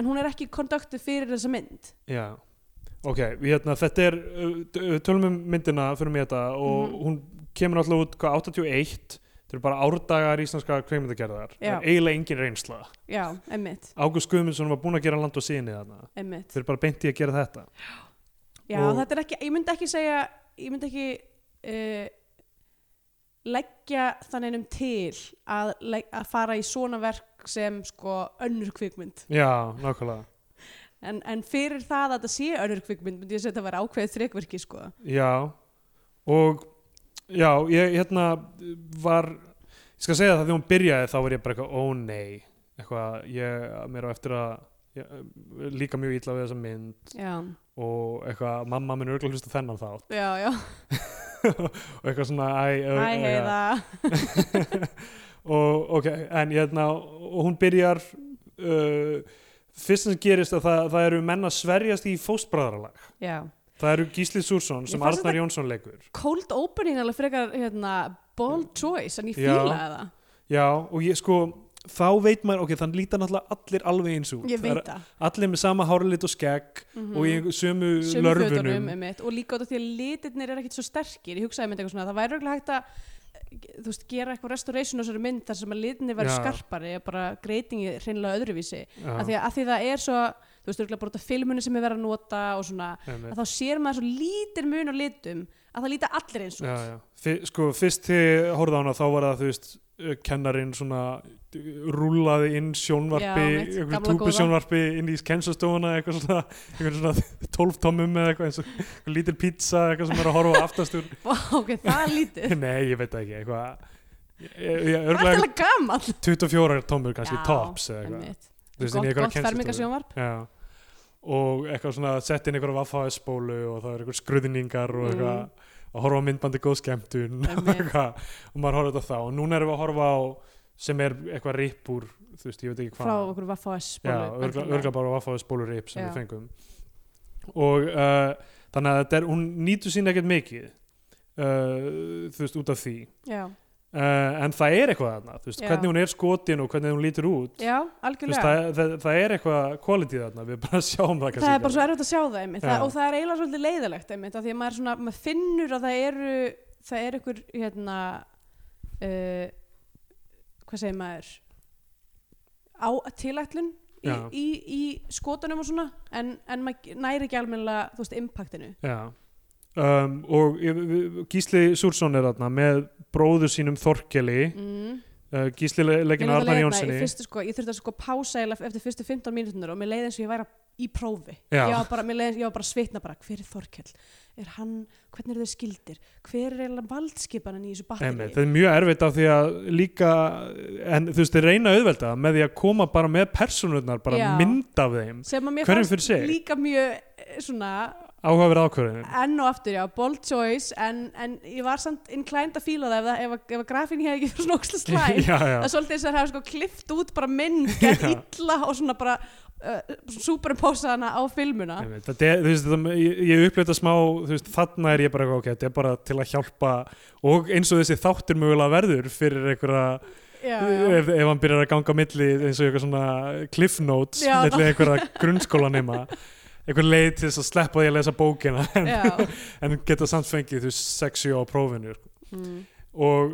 [SPEAKER 3] en hún er ekki konduktið fyrir þessa mynd
[SPEAKER 2] já. Ok, hérna, þetta er uh, t- uh, tölum um myndina fyrir mig þetta og
[SPEAKER 3] Mhm.
[SPEAKER 2] hún kemur alltaf út hvað, 81 þetta eru bara árdagar íslenska kveimyndagerðar það
[SPEAKER 3] Já.
[SPEAKER 2] er eiginlega engin reynsla
[SPEAKER 3] já, emmitt,
[SPEAKER 2] Ágúst Guðmundsson var búinn að gera land og síni þarna
[SPEAKER 3] emmitt
[SPEAKER 2] þeir eru bara beint í að gera þetta
[SPEAKER 3] Já,
[SPEAKER 2] Og-
[SPEAKER 3] þetta er ekki, ég myndi ekki segja, ég myndi ekki uh, leggja þannig um til að, legg- að fara í svona verk sem sko önnur kvikmynd.
[SPEAKER 2] Já, nákvæmlega
[SPEAKER 3] En, en fyrir það að þetta sé önnur kvikmynd myndi ég segja að þetta var ákveðið þrekverki sko.
[SPEAKER 2] Já, og já, ég hérna var, ég skal segja það þegar hún byrjaði þá var ég bara eitthvað, ó nei eitthvað, ég, mér á eftir að ég, eh, líka mjög illa við þessa mynd
[SPEAKER 3] Já,
[SPEAKER 2] og eitthvað, mamma minn örgulega hlusta á þennan þátt
[SPEAKER 3] já, já.
[SPEAKER 2] og eitthvað svona, æ, ö-
[SPEAKER 3] Æ,
[SPEAKER 2] eitthvað.
[SPEAKER 3] heiða.
[SPEAKER 2] og ok, en hérna og hún byrjar uh, fyrst sem gerist að það, það eru menn að sverjast í fóstbræðralag
[SPEAKER 3] Já.
[SPEAKER 2] það eru Gísli Súrsson sem
[SPEAKER 3] Mér fannst
[SPEAKER 2] Arnar Jónsson leikur
[SPEAKER 3] Cold opening alveg frekar, hérna, bold choice, en ég
[SPEAKER 2] Já.
[SPEAKER 3] fílaði það.
[SPEAKER 2] já, og ég sko þá veit maður, ok, þann lítar náttúrulega allir alveg eins út,
[SPEAKER 3] Ég
[SPEAKER 2] Það
[SPEAKER 3] veit
[SPEAKER 2] eru
[SPEAKER 3] það.
[SPEAKER 2] allir með sama hárlit og skegg
[SPEAKER 3] Mhm.
[SPEAKER 2] og í einhver- sömu,
[SPEAKER 3] Sömu fötunum,
[SPEAKER 2] lörfunum
[SPEAKER 3] einmitt, og líka út af því að litirnir er ekkit svo sterkir ég hugsaði mynd eitthvað svona, það væri örugglega hægt að eh, þú veist, gera eitthvað restoration á þessari mynd þar sem að litirnir væri
[SPEAKER 2] Já.
[SPEAKER 3] skarpari og bara greitingi hreinlega öðruvísi
[SPEAKER 2] já,
[SPEAKER 3] af því að, af því að það er svo, þú veist, örugglega bara út af filmunni sem er verið að nota og svona
[SPEAKER 2] einmitt.
[SPEAKER 3] að þá sér maður svo lítir mun á litum að það líta allir eins út
[SPEAKER 2] já, já. Fi- sko, fyrst til horfða á hana þá var það, þú veist, uh, kennarinn svona uh, rúllaði inn sjónvarpi,
[SPEAKER 3] Já, mitt,
[SPEAKER 2] einhverju
[SPEAKER 3] gamla
[SPEAKER 2] túpu sjónvarpi inn í kennslastofuna, eitthvað svona einhverju svona tólftomum eða eitthvað eins og einhver lítil pizza, eitthvað sem er að horfa á aftast úr,
[SPEAKER 3] Vá, ok, það er lítið
[SPEAKER 2] nei, ég veit það ekki eitthvað, ég, ég,
[SPEAKER 3] Það er
[SPEAKER 2] örglega
[SPEAKER 3] alltaf gamall
[SPEAKER 2] 24 tómur kannski,
[SPEAKER 3] Já,
[SPEAKER 2] tops eða eitthvað,
[SPEAKER 3] Einmitt.
[SPEAKER 2] þú veist, inn í
[SPEAKER 3] Gott,
[SPEAKER 2] einhverja
[SPEAKER 3] gott
[SPEAKER 2] kennslastofu
[SPEAKER 3] fermingasjónvarp
[SPEAKER 2] já, og eitthvað svona sett inn einhverja vaffaðspólu og það er einhver skruðningar og eitthvað
[SPEAKER 3] Mm.
[SPEAKER 2] að horfa á myndbandi góð skemmtun og
[SPEAKER 3] Einmitt.
[SPEAKER 2] eitthvað, og maður horfa þetta á þá og núna erum við að horfa á sem er eitthvað rip úr, þú veist, ég veit ekki
[SPEAKER 3] frá
[SPEAKER 2] hvað
[SPEAKER 3] okkur Vaffa S
[SPEAKER 2] já,
[SPEAKER 3] bólu,
[SPEAKER 2] örgla,
[SPEAKER 3] væntanlega.
[SPEAKER 2] örgla bara vaffaðspólu rip sem
[SPEAKER 3] Já.
[SPEAKER 2] við fengum og uh, þannig að þetta er, hún nýtur sín ekkert mikið uh, þú veist, út af því
[SPEAKER 3] Já,
[SPEAKER 2] uh, en það er eitthvað þarna, þú veist,
[SPEAKER 3] Já.
[SPEAKER 2] hvernig hún er skotin og hvernig hún lítur út
[SPEAKER 3] já,
[SPEAKER 2] Þú veist,
[SPEAKER 3] algjörlega
[SPEAKER 2] það, það, það er eitthvað quality þarna, við bara sjáum það kannski
[SPEAKER 3] það er bara
[SPEAKER 2] ekki.
[SPEAKER 3] svo erfitt að sjá það einmitt það,
[SPEAKER 2] Já.
[SPEAKER 3] og það er eiginlega svolítið leiðilegt einmitt af því að maður, svona, maður finnur að það eru það er ykkur hérna uh, hvað segir maður á tilætlun í,
[SPEAKER 2] Já.
[SPEAKER 3] í, í skotunum og svona en, en maður næri ekki almennilega þú veist impactinu
[SPEAKER 2] Já. Um, og ég- Gísli Súrsson er þarna með bróður sínum Þorkeli
[SPEAKER 3] mm.
[SPEAKER 2] uh, Gísli le- leikinn
[SPEAKER 3] Mér
[SPEAKER 2] af Arnar
[SPEAKER 3] leið þarna í
[SPEAKER 2] Jónssoni
[SPEAKER 3] fyrstu, sko, ég þurfti að sko pása eiginlega eftir fyrstu 15 mínútur og mér leiði eins og ég væri að- í prófi
[SPEAKER 2] Já.
[SPEAKER 3] ég var bara, mér leiði, ég var bara að svitna bara hver er Þorkell, er hann, hvernig eru þau skildir hver er eiginlega valdskipanin í þessu
[SPEAKER 2] Einmitt,
[SPEAKER 3] batteri
[SPEAKER 2] þetta er mjög erfitt af því að líka en þú veist, þeir reyna að auðvelda það með því að koma bara með persónurnar bara
[SPEAKER 3] Já.
[SPEAKER 2] mynd af þeim
[SPEAKER 3] sem að mér
[SPEAKER 2] Hverjum fyrir
[SPEAKER 3] fannst
[SPEAKER 2] sig?
[SPEAKER 3] líka mjög eh, svona
[SPEAKER 2] áhugaverð ákvörðinu
[SPEAKER 3] enn og aftur, já, bold choice en, en ég var samt inclined að fíla það ef, það- ef, að- ef að grafín hefði ekki fyrir svona óksla
[SPEAKER 2] já,
[SPEAKER 3] slæm
[SPEAKER 2] já,
[SPEAKER 3] það er svolítið þess að hafa sko klift út bara mynd gett
[SPEAKER 2] Já.
[SPEAKER 3] illa og svona bara uh, superimposa hana á filmuna
[SPEAKER 2] Einmitt, þetta er, þú veist, þetta, ég, ég upplýði þetta smá þú veist, þarna er ég bara, ok, þetta er bara til að hjálpa og eins og þessi þáttur mögulega verður fyrir einhverja
[SPEAKER 3] já, já.
[SPEAKER 2] ef, ef hann byrjar að ganga á milli eins og eitthvað svona cliff notes
[SPEAKER 3] Já,
[SPEAKER 2] milli einhverja grunnskólanema einhver leið til þess að sleppa því að lesa bókina en,
[SPEAKER 3] Já.
[SPEAKER 2] en geta samt fengið þú sexu á prófinu sko.
[SPEAKER 3] Mm.
[SPEAKER 2] og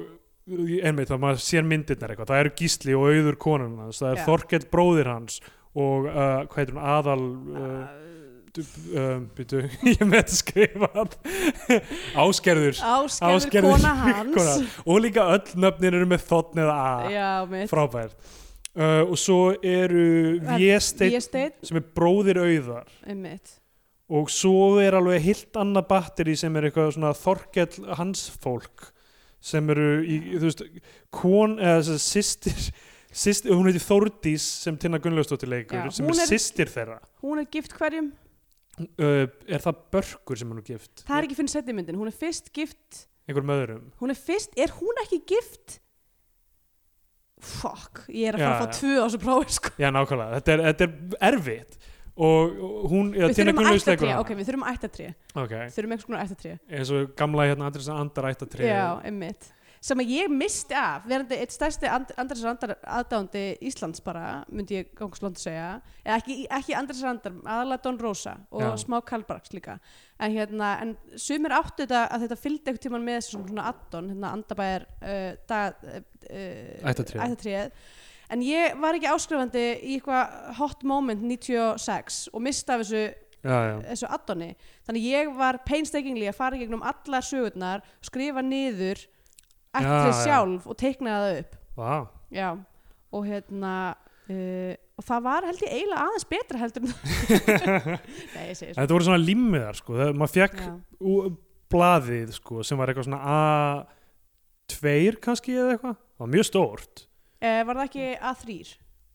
[SPEAKER 2] einmitt það maður sér myndirnar eitthvað, það eru Gísli og auður konan hans, það er
[SPEAKER 3] Já.
[SPEAKER 2] Þorkell bróðir hans og uh, hvað heitir hún, aðal uh,
[SPEAKER 3] Uh,
[SPEAKER 2] um, býtu, ég er með þetta skrifað Áskerður
[SPEAKER 3] Áskerður,
[SPEAKER 2] Ásgerður
[SPEAKER 3] kona hans
[SPEAKER 2] kona. og líka öll nöfnin eru með þotn eða a
[SPEAKER 3] Já, mitt
[SPEAKER 2] frábært uh, og svo eru
[SPEAKER 3] Það-
[SPEAKER 2] Viesteinn
[SPEAKER 3] Vésteinn,
[SPEAKER 2] sem er bróðir auðar
[SPEAKER 3] mitt
[SPEAKER 2] og svo er alveg hilt annað batteri sem er eitthvað svona Þorkell hans fólk sem eru í, þú veist, kon eða þess að sýstir Sýst, hún heitir Þórdís sem Tinna Gunnlaustóttir leikur
[SPEAKER 3] Já,
[SPEAKER 2] sem
[SPEAKER 3] hún
[SPEAKER 2] er,
[SPEAKER 3] er-
[SPEAKER 2] er sýstir þeirra
[SPEAKER 3] Hún er gift hverjum
[SPEAKER 2] uh, er það börkur sem hún er gift
[SPEAKER 3] Það er ekki fyrir setni myndin, hún er fyrst gift
[SPEAKER 2] einhverjum öðrum
[SPEAKER 3] Hún er fyrst, er hún ekki gift? Fuck, ég er að fara
[SPEAKER 2] Já,
[SPEAKER 3] að fá
[SPEAKER 2] já.
[SPEAKER 3] tvö á þessu prófi sko.
[SPEAKER 2] já nákvæmlega, þetta er, þetta er erfitt og og hún, eða
[SPEAKER 3] Við
[SPEAKER 2] Tinna
[SPEAKER 3] þurfum
[SPEAKER 2] Gunnlaust leikur
[SPEAKER 3] ættatré, ok,
[SPEAKER 2] hana
[SPEAKER 3] við þurfum ættatré
[SPEAKER 2] okay.
[SPEAKER 3] Þurfum einhvers konar ættatré
[SPEAKER 2] eins og gamla hérna Andrés Andar ættatrið
[SPEAKER 3] Já, einmitt sem að ég misti af, verandi eitt stærsti And Andrés Randar aðdándi Íslands bara, myndi ég gangsland segja eða ekki, ekki Andrés Randar, aðalega Don Rosa og
[SPEAKER 2] Já.
[SPEAKER 3] smá Kalbarks líka en hérna, en sumir áttu þetta að þetta fylgdi eitthvað tíman með þessum svona addon, hérna Andabæjar uh, dag, uh, uh,
[SPEAKER 2] Ættartréð.
[SPEAKER 3] ættatréð en ég var ekki áskrifandi í eitthvað hot moment 96 og misti af þessu
[SPEAKER 2] já, já.
[SPEAKER 3] þessu addoni þannig ég var painstakingli að fara í gegnum allar sögurnar skrifa niður ætli
[SPEAKER 2] Já, já.
[SPEAKER 3] sjálf og teikna það upp
[SPEAKER 2] Vá.
[SPEAKER 3] já, og hérna uh, og það var held ég eiginlega aðeins betra heldur en það nei, ég segir
[SPEAKER 2] þetta voru svona limmiðar sko. það, maður fekk
[SPEAKER 3] já,
[SPEAKER 2] ú- blaðið sko, sem var eitthvað svona A2 kannski eða eitthvað það var mjög stórt
[SPEAKER 3] uh, var það ekki A3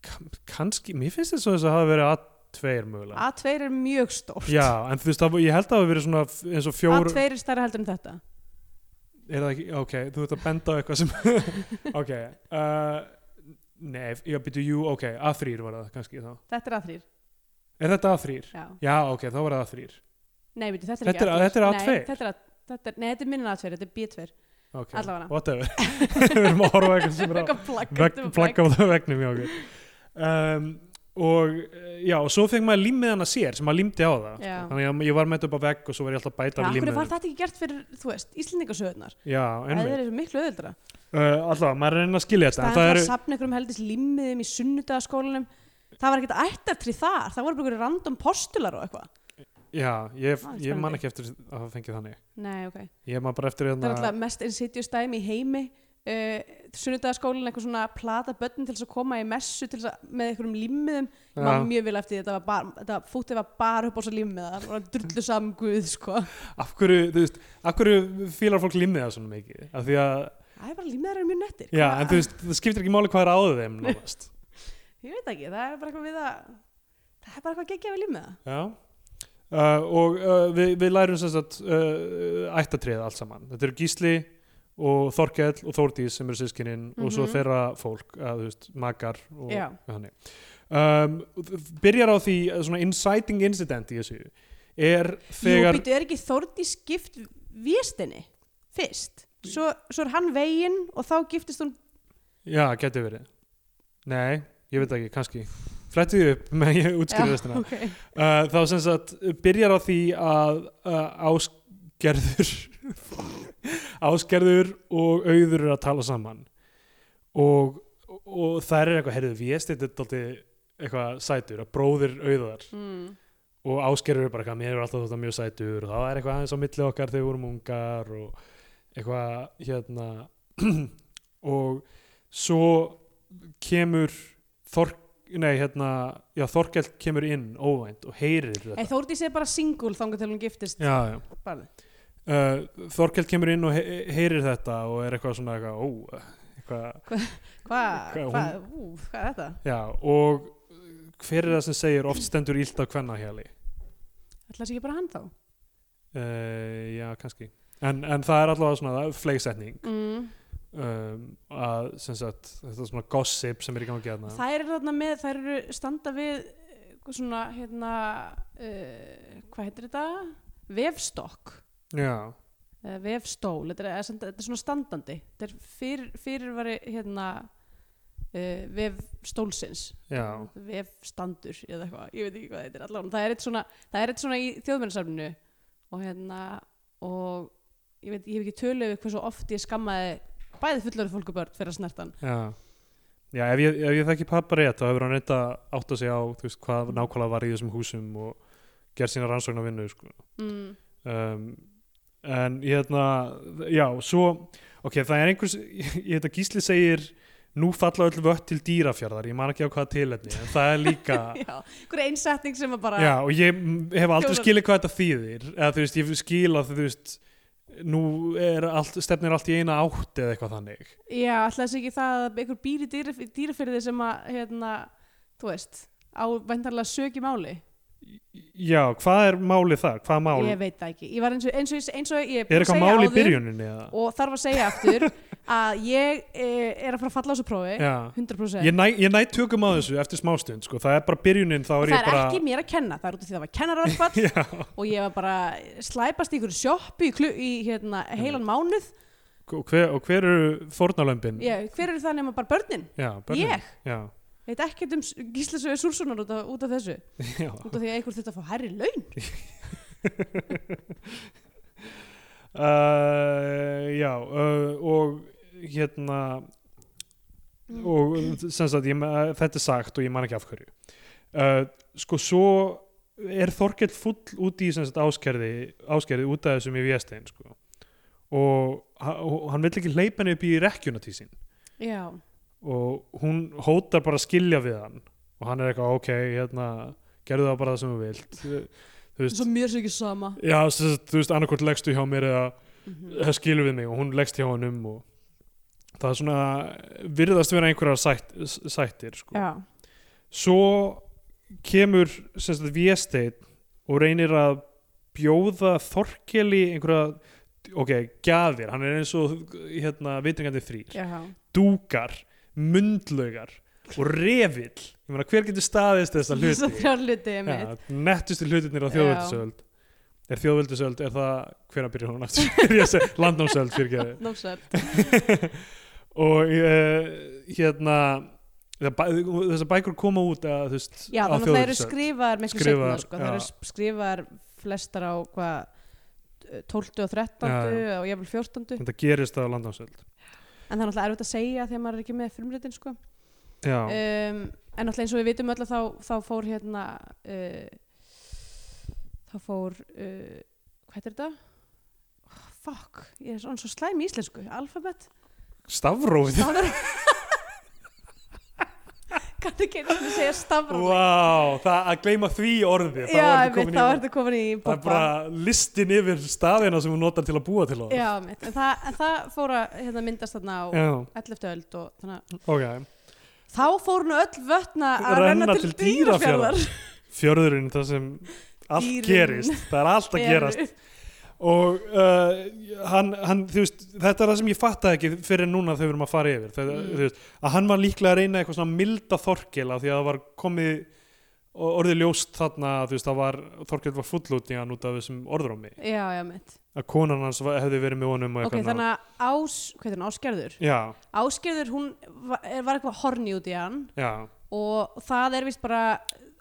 [SPEAKER 2] Kann- kannski, mér finnst þetta svo þess að það hafa verið A2 mögulega
[SPEAKER 3] A2 er mjög stórt
[SPEAKER 2] já, en þú veist, það, ég held að það hafa verið svona f- eins og fjóru
[SPEAKER 3] A2 er stærra heldur en þetta
[SPEAKER 2] er það ekki, ok, þú ert að benda á eitthvað sem ok uh, nei, já, byrju, jú, ok A3 var það kannski þá
[SPEAKER 3] þetta er A3
[SPEAKER 2] er þetta A3?
[SPEAKER 3] já.
[SPEAKER 2] já, ok, þá var það A3
[SPEAKER 3] nei, veitu, þetta er
[SPEAKER 2] Þetta er-
[SPEAKER 3] ekki
[SPEAKER 2] þetta er
[SPEAKER 3] Nei,
[SPEAKER 2] A2.
[SPEAKER 3] þetta er A- þetta er- nei, þetta er minna A2, þetta er B2
[SPEAKER 2] ok,
[SPEAKER 3] Allavega.
[SPEAKER 2] whatever við erum að horfa á eitthvað sem er að
[SPEAKER 3] Eitthvað plagg,
[SPEAKER 2] vegg,
[SPEAKER 3] þetta er plagg.
[SPEAKER 2] flagga á það vegnum hjá okkur um, og eh, já, og svo fekk maður límið hana sér sem maður límdi á það
[SPEAKER 3] Já.
[SPEAKER 2] sko. þannig að ég var með þetta upp á vegg og svo var ég alltaf að bæta
[SPEAKER 3] Já,
[SPEAKER 2] við
[SPEAKER 3] Akkur
[SPEAKER 2] límið
[SPEAKER 3] var þetta ekki gert fyrir, þú veist, Íslendingasöðunar
[SPEAKER 2] já,
[SPEAKER 3] Það
[SPEAKER 2] einmitt,
[SPEAKER 3] er miklu auðvöldra
[SPEAKER 2] uh, allavega, maður er að reyna að skilja þetta en
[SPEAKER 3] Það er
[SPEAKER 2] það
[SPEAKER 3] það
[SPEAKER 2] eru,
[SPEAKER 3] að safna ykkur um heldis limmiðum í sunnudagaskólanum Það var ekkert ættartri þar Það voru bara ykkur random postular og eitthvað
[SPEAKER 2] já, ég,
[SPEAKER 3] Ah,
[SPEAKER 2] ég man
[SPEAKER 3] spennandi.
[SPEAKER 2] ekki eftir að það fengið þannig
[SPEAKER 3] Nei, ok
[SPEAKER 2] ég man bara eftir
[SPEAKER 3] Það er
[SPEAKER 2] hérna
[SPEAKER 3] alltaf mest insidious dæmi í heimi uh, Sunnudagaskólan, eitthvað svona plata börnin til þess að koma í messu til þess að með einhverjum limmiðum Ég
[SPEAKER 2] Já.
[SPEAKER 3] Man mjög vel eftir því, þetta var bara, þetta fútið var bara upp á svo limmiða Það var drullu saman guð, sko
[SPEAKER 2] af hverju, þú veist, af hverju fílar fólk límið það svona mikið af því að,
[SPEAKER 3] Það er bara limmiðar eru mjög nettir
[SPEAKER 2] já, en þú veist, það skiptir ekki máli hvað er á þeim nánast
[SPEAKER 3] Ég veit ekki, það er bara eitthvað við að Það er bara eitthvað geggja við limmiða
[SPEAKER 2] Já. Uh, og uh, við, við lærum sem sagt uh, ættatriða allt saman. Þetta eru Gísli og Þorkell og Þórdís sem eru sískininn og svo
[SPEAKER 3] Mhm.
[SPEAKER 2] þeirra fólk, uh, þú veist, makar og
[SPEAKER 3] Já.
[SPEAKER 2] þannig. Um, byrjar á því, uh, svona inciting incident í þessu, er
[SPEAKER 3] Þegar...
[SPEAKER 2] þegar...
[SPEAKER 3] Jú, býtu, er ekki Þórdís gift Vésteini fyrst? Svo, svo er hann veginn og þá giftist hún
[SPEAKER 2] Já, getur verið. Nei, ég veit ekki, kannski. Flettið upp, menn ég útskýrði þess
[SPEAKER 3] Já, okay.
[SPEAKER 2] uh, þá sem sagt byrjar á því að uh, áskerður áskerður og auður eru að tala saman og, og það er eitthvað heyrðu, Vésteinn er dálítið eitthvað sætur, að bróðir auðar
[SPEAKER 3] mm.
[SPEAKER 2] og áskerður er bara eitthvað, mér er alltaf þetta mjög sætur og það er eitthvað aðeins á milli okkar þegar við vorum ungar og eitthvað hérna og svo kemur Þork, nei hérna já, Þorkell kemur inn óvænt og heyrir þetta
[SPEAKER 3] Ei, Þórdís er bara single þangar til hún giftist
[SPEAKER 2] já, já.
[SPEAKER 3] barni.
[SPEAKER 2] Uh, Þorkell kemur inn og he heyrir þetta og er eitthvað svona eitthvað, ó, eitthvað
[SPEAKER 3] Hvað,
[SPEAKER 2] Hvað,
[SPEAKER 3] hvað, ú, hvað er þetta?
[SPEAKER 2] já, og hver er það sem segir oft stendur ílt á kvennahjali
[SPEAKER 3] Ætla þessi ekki bara hann þá?
[SPEAKER 2] uh, já, kannski en, en það er allavega svona fleiksetning
[SPEAKER 3] Mm.
[SPEAKER 2] um, að sem sagt, þetta er svona gossip sem er í gangi aðna
[SPEAKER 3] Þær eru þarna með, þær eru standa við eh, svona, hérna uh, hvað heitir þetta? Vefstokk
[SPEAKER 2] já,
[SPEAKER 3] eða vefstól, þetta er, eða samt- þetta er svona standandi þetta er fyrir, fyrirvari hérna uh, vefstólsins
[SPEAKER 2] Já.
[SPEAKER 3] vefstandur eða eitthvað, ég veit ekki hvað þetta er allavega það er eitt svona, það er eitt svona í þjóðmennasafninu og hérna og ég veit, ég hef ekki tölu yfir hversu oft ég skammaði bæði fullari fólk og börn fyrir að snerta hann
[SPEAKER 2] já já, ef ég, ef ég þekki pappa rétt þá hefur hann reynda átt að segja á þú veist, hvað nákvæmlega var í þessum húsum og gert sína rannsókn á vinnu sko.
[SPEAKER 3] mm.
[SPEAKER 2] um, en ég hérna já, svo, ok, það er einhvers ég ég hérna Gísli segir nú falla öll vött til dýrafjörðar ég man ekki á hvaða tilefni, en það er líka
[SPEAKER 3] Já, einhver einsetning sem að bara
[SPEAKER 2] já, og ég mm, hef aldrei
[SPEAKER 3] Þjóðar-
[SPEAKER 2] skilið hvað þetta þýðir eða þú veist, ég skil að þú veist nú er allt, stefnir allt í eina átt eða eitthvað þannig
[SPEAKER 3] Já, ætla þess ekki það að einhver býr í dýraf, dýrafyrði sem að hérna, þú veist, á vendarlega sög í máli
[SPEAKER 2] já, hvað er málið þar, hvað mál
[SPEAKER 3] Ég veit það ekki, ég var eins og, eins og, eins og ég
[SPEAKER 2] er
[SPEAKER 3] búin að
[SPEAKER 2] eitthvað
[SPEAKER 3] segja
[SPEAKER 2] mál í
[SPEAKER 3] áður
[SPEAKER 2] byrjuninni eða?
[SPEAKER 3] Og þarf að segja aftur að ég e, er að fara að falla á þessu prófi
[SPEAKER 2] Já.
[SPEAKER 3] 100%
[SPEAKER 2] Ég næ, ég næ tökum á þessu eftir smástund sko. það er bara byrjunin þá
[SPEAKER 3] Og
[SPEAKER 2] er
[SPEAKER 3] það
[SPEAKER 2] ég
[SPEAKER 3] er
[SPEAKER 2] bara
[SPEAKER 3] ekki mér að kenna, það er út af því að það var kennararfall
[SPEAKER 2] Já,
[SPEAKER 3] og ég var bara slæpast í ykkur sjoppu í, klu- í hérna, heilan mánuð
[SPEAKER 2] og hver, og hver eru fórnalömbin?
[SPEAKER 3] ég, hver eru það nema bara börnin?
[SPEAKER 2] Já, börnin.
[SPEAKER 3] Ég?
[SPEAKER 2] Já,
[SPEAKER 3] veit ekkert um gíslasöðu Súlssonar út, af- út af þessu
[SPEAKER 2] já.
[SPEAKER 3] út af því að einhver þetta fá hærri laun
[SPEAKER 2] Uh, já uh, og hérna og
[SPEAKER 3] Mm.
[SPEAKER 2] sem sagt ég, ma- þetta er sagt og ég man ekki af hverju uh, sko svo er Þorkell full út í sem sagt áskerði áskerði út af þessum í Viestein sko og, ha- og hann vill ekki hleypa henni upp í rekkjuna til sín
[SPEAKER 3] já,
[SPEAKER 2] og hún hótar bara að skilja við hann og hann er eitthvað ok, hérna gerðu það bara það sem þú vilt þú veist,
[SPEAKER 3] svo mér sé ekki sama
[SPEAKER 2] já, sem sagt, þú veist annarkvort leggstu hjá mér eða
[SPEAKER 3] Mhm.
[SPEAKER 2] það skilur við mig og hún leggst hjá hann um og það er svona virðast vera einhverjar sætt, sættir sko.
[SPEAKER 3] já,
[SPEAKER 2] svo kemur sem sagt Viesteinn og reynir að bjóða Þorkeli einhverja ok, gjafir, hann er eins og hérna, vitringandi þrýr
[SPEAKER 3] já,
[SPEAKER 2] dúkar, mundlaugar og revill ég meina hver getur staðist þessa
[SPEAKER 3] þess að
[SPEAKER 2] hluti
[SPEAKER 3] þrjá hluti ég
[SPEAKER 2] ja, nettustu hlutinir á þjóðveldisöld er þjóðveldisöld, er það hvenær byrjar hún aftur, landnámsöld fyrir geði
[SPEAKER 3] mitt
[SPEAKER 2] og uh, hérna það bæ- þessar bækur koma út að, þú veist,
[SPEAKER 3] já,
[SPEAKER 2] á
[SPEAKER 3] þannig að það eru
[SPEAKER 2] þjóðveldisöld.
[SPEAKER 3] skrifaðar miklu
[SPEAKER 2] Skrifaðar,
[SPEAKER 3] skrifaðar, sko. það
[SPEAKER 2] já.
[SPEAKER 3] eru sp- skrifaðar flestar á hvað 12 og 13
[SPEAKER 2] Já,
[SPEAKER 3] og jafnvel 14 en
[SPEAKER 2] þetta gerist á landnámsöld
[SPEAKER 3] það er náttúrulega erfitt að segja þegar maður er ekki með frumritin sko.
[SPEAKER 2] já,
[SPEAKER 3] um, en alltaf eins og við vitum öll að þá, þá fór hérna uh, þá fór uh, hvað er þetta? Oh, fuck, ég er svona svo slæm í íslensku alfabet
[SPEAKER 2] stafrófið
[SPEAKER 3] stafur kannu ekki einu sinni segja stafur
[SPEAKER 2] Vá, það að gleyma því orði
[SPEAKER 3] já,
[SPEAKER 2] það,
[SPEAKER 3] ég veit, þá ertu komin í
[SPEAKER 2] það er
[SPEAKER 3] bobba.
[SPEAKER 2] bara listin yfir staðina sem hún notar til að búa til orð
[SPEAKER 3] já, mitt, en það, en það fór að hérna, myndast þarna á
[SPEAKER 2] já
[SPEAKER 3] 11. öld og þannig að
[SPEAKER 2] ok,
[SPEAKER 3] þá fór nú öll vötna að
[SPEAKER 2] Renna
[SPEAKER 3] renna til,
[SPEAKER 2] til
[SPEAKER 3] dýrafjörðar
[SPEAKER 2] fjörðurinn það sem allt
[SPEAKER 3] Dýrin.
[SPEAKER 2] gerist það er allt að gerast og uh, hann, hann, þú veist, þetta er það sem ég fattaði ekki fyrir núna þegar við erum að fara yfir þetta,
[SPEAKER 3] Mm.
[SPEAKER 2] þú veist, að hann var líklega að reyna eitthvað svona milda Þorkel af því að það var komið og orðið ljóst þarna þú veist, það var, Þorkel var fullúti hann út af þessum orðrómi
[SPEAKER 3] já, já, mitt
[SPEAKER 2] að konan hans var- hefði verið með honum og
[SPEAKER 3] ok,
[SPEAKER 2] eitthvað
[SPEAKER 3] þannig að ás, hvað er hann, áskerður
[SPEAKER 2] Já,
[SPEAKER 3] Áskerður, hún var, var eitthvað horni út í hann
[SPEAKER 2] já,
[SPEAKER 3] og það er vist bara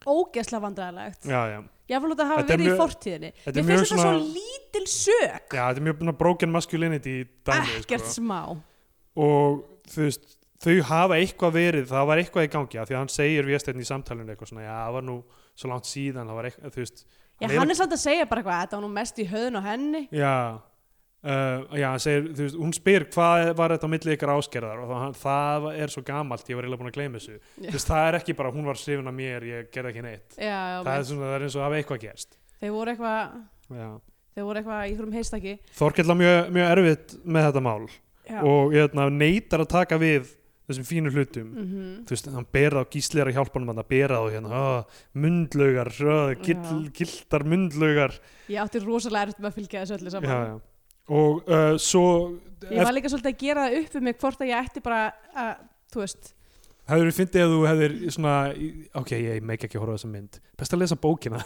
[SPEAKER 3] ógeðslega vandræðilegt.
[SPEAKER 2] já, já
[SPEAKER 3] Ég fór að hafa
[SPEAKER 2] Mm. Þetta er
[SPEAKER 3] verið
[SPEAKER 2] mjög-
[SPEAKER 3] í fortíðinni.
[SPEAKER 2] þetta er
[SPEAKER 3] Mér
[SPEAKER 2] mjög
[SPEAKER 3] finnst þetta
[SPEAKER 2] svona-
[SPEAKER 3] svo lítil sök.
[SPEAKER 2] Já, þetta er mjög svona broken masculinity í dæmi, sko.
[SPEAKER 3] Ekkert smá.
[SPEAKER 2] og þú veist þau hafa eitthvað verið, það var eitthvað í gangi af því að hann segir Vésteinn í samtalinu eitthvað svona, já, það var nú svo langt síðan það var eitthvað, þú veist
[SPEAKER 3] Já,
[SPEAKER 2] hann er-
[SPEAKER 3] hann er samt að segja bara eitthvað, þetta var nú mest í höðun á henni.
[SPEAKER 2] Já, uh, já hann segir, þú veist, hún spyr hvað var þetta á milli ykkar áskerðar og það, það er svo gamalt, ég var eiginlega búin að gleyma þessu
[SPEAKER 3] Já.
[SPEAKER 2] þú veist, það er ekki bara hún var srifin af mér, ég gerði ekki neitt
[SPEAKER 3] Já, já,
[SPEAKER 2] það er,
[SPEAKER 3] menn,
[SPEAKER 2] svona, það er eins og hafa eitthvað gerst
[SPEAKER 3] þeir voru eitthvað,
[SPEAKER 2] já.
[SPEAKER 3] þeir voru eitthvað í hverjum heistaki.
[SPEAKER 2] Þorkell var mjög, mjög erfitt með þetta mál
[SPEAKER 3] Já.
[SPEAKER 2] og ég hefna, neytar að taka við þessum fínu hlutum
[SPEAKER 3] Mhm.
[SPEAKER 2] þú veist, hann berða á gísleira hjálpanum hann að berða á hérna, ó, mundlaugar ó, gill,
[SPEAKER 3] Já.
[SPEAKER 2] gildar mundlaugar
[SPEAKER 3] Ég átti rosalega erfitt með að fylgja þessu öllu
[SPEAKER 2] já,
[SPEAKER 3] saman.
[SPEAKER 2] já. og uh, svo
[SPEAKER 3] Ég var líka svolítið að gera það upp um mig hvort að ég ætti bara að, þú veist,
[SPEAKER 2] Hefur þið fyndið að þú hefðir svona, í- ok, ég meik ekki að horfa á þessa mynd. Best að lesa bókina.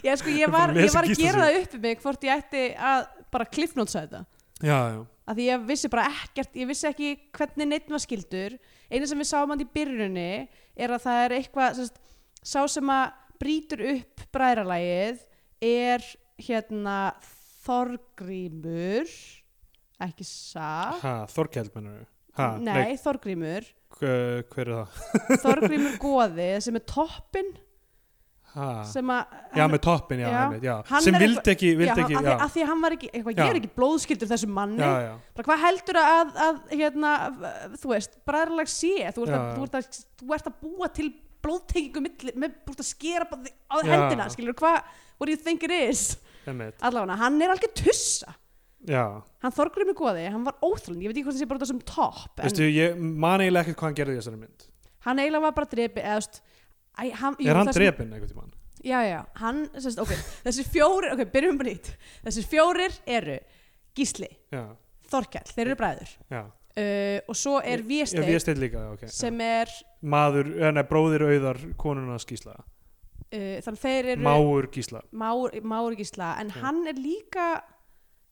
[SPEAKER 3] ég, sko, ég,
[SPEAKER 2] Bara
[SPEAKER 3] var, ég
[SPEAKER 2] lesa
[SPEAKER 3] var að
[SPEAKER 2] Gísla
[SPEAKER 3] gera
[SPEAKER 2] sögu.
[SPEAKER 3] það upp um mig hvort ég ætti að bara kliffnótsa þetta.
[SPEAKER 2] já, já.
[SPEAKER 3] að því ég vissi bara ekkert, ég vissi ekki hvernig neitt var skildur eina sem við sáum hann í byrjunni er að það er eitthvað sérst, sá sem að brýtur upp bræðralægið er hérna Þorgrímur ekki sá
[SPEAKER 2] Ha, Þorkell mennur við. Ha,
[SPEAKER 3] nei, Þorgrímur
[SPEAKER 2] hver, hver er það?
[SPEAKER 3] Þorgrímur goði sem er toppin
[SPEAKER 2] ha.
[SPEAKER 3] sem að
[SPEAKER 2] já með toppin, já,
[SPEAKER 3] Já.
[SPEAKER 2] einmitt, já.
[SPEAKER 3] Hann
[SPEAKER 2] sem
[SPEAKER 3] er
[SPEAKER 2] vildi
[SPEAKER 3] eitthvað-
[SPEAKER 2] ekki, vildi ekki
[SPEAKER 3] að,
[SPEAKER 2] já,
[SPEAKER 3] því, að því að hann var ekki, eitthvað, ég
[SPEAKER 2] Já.
[SPEAKER 3] er ekki blóðskildur þessum manni,
[SPEAKER 2] já, já,
[SPEAKER 3] bara hvað heldur að, að hérna, þú veist, bræðarlag sé þú ert,
[SPEAKER 2] Já,
[SPEAKER 3] að,
[SPEAKER 2] já.
[SPEAKER 3] þú, ert að, þú ert að búa til blóðtengingu milli, með, þú ert að skera bara þig á
[SPEAKER 2] Já.
[SPEAKER 3] hendina, skilur, hvað what do you think it is,
[SPEAKER 2] einmitt,
[SPEAKER 3] allavega hann er alveg tussa,
[SPEAKER 2] já
[SPEAKER 3] hann þorgur um í goði, hann var óþrlun, ég veit ekki hvort það sé bara út af sem topp, en
[SPEAKER 2] veistu, ég man eiginlega ekkert hvað hann gerði í þessari mynd
[SPEAKER 3] hann eiginlega var bara drepi, eða þú veist Æ, hann, jú,
[SPEAKER 2] er hann
[SPEAKER 3] það sem-
[SPEAKER 2] drepinn einhvern tímann?
[SPEAKER 3] Já, já, hann, sérst, ok, þessir fjórir, ok, byrjum bara nýtt. Þessir fjórir eru Gísli,
[SPEAKER 2] já,
[SPEAKER 3] Þorkell, þeir eru bræður.
[SPEAKER 2] já,
[SPEAKER 3] Uh, og svo er
[SPEAKER 2] ég
[SPEAKER 3] Viesteinn
[SPEAKER 2] veist þetta líka já, ok, já.
[SPEAKER 3] sem er,
[SPEAKER 2] maður, eh, nei, bróðir auðar konunars gísla,
[SPEAKER 3] uh, þannig að þeir eru
[SPEAKER 2] máur gísla
[SPEAKER 3] Már, Már Gísla, en
[SPEAKER 2] Já.
[SPEAKER 3] hann er líka,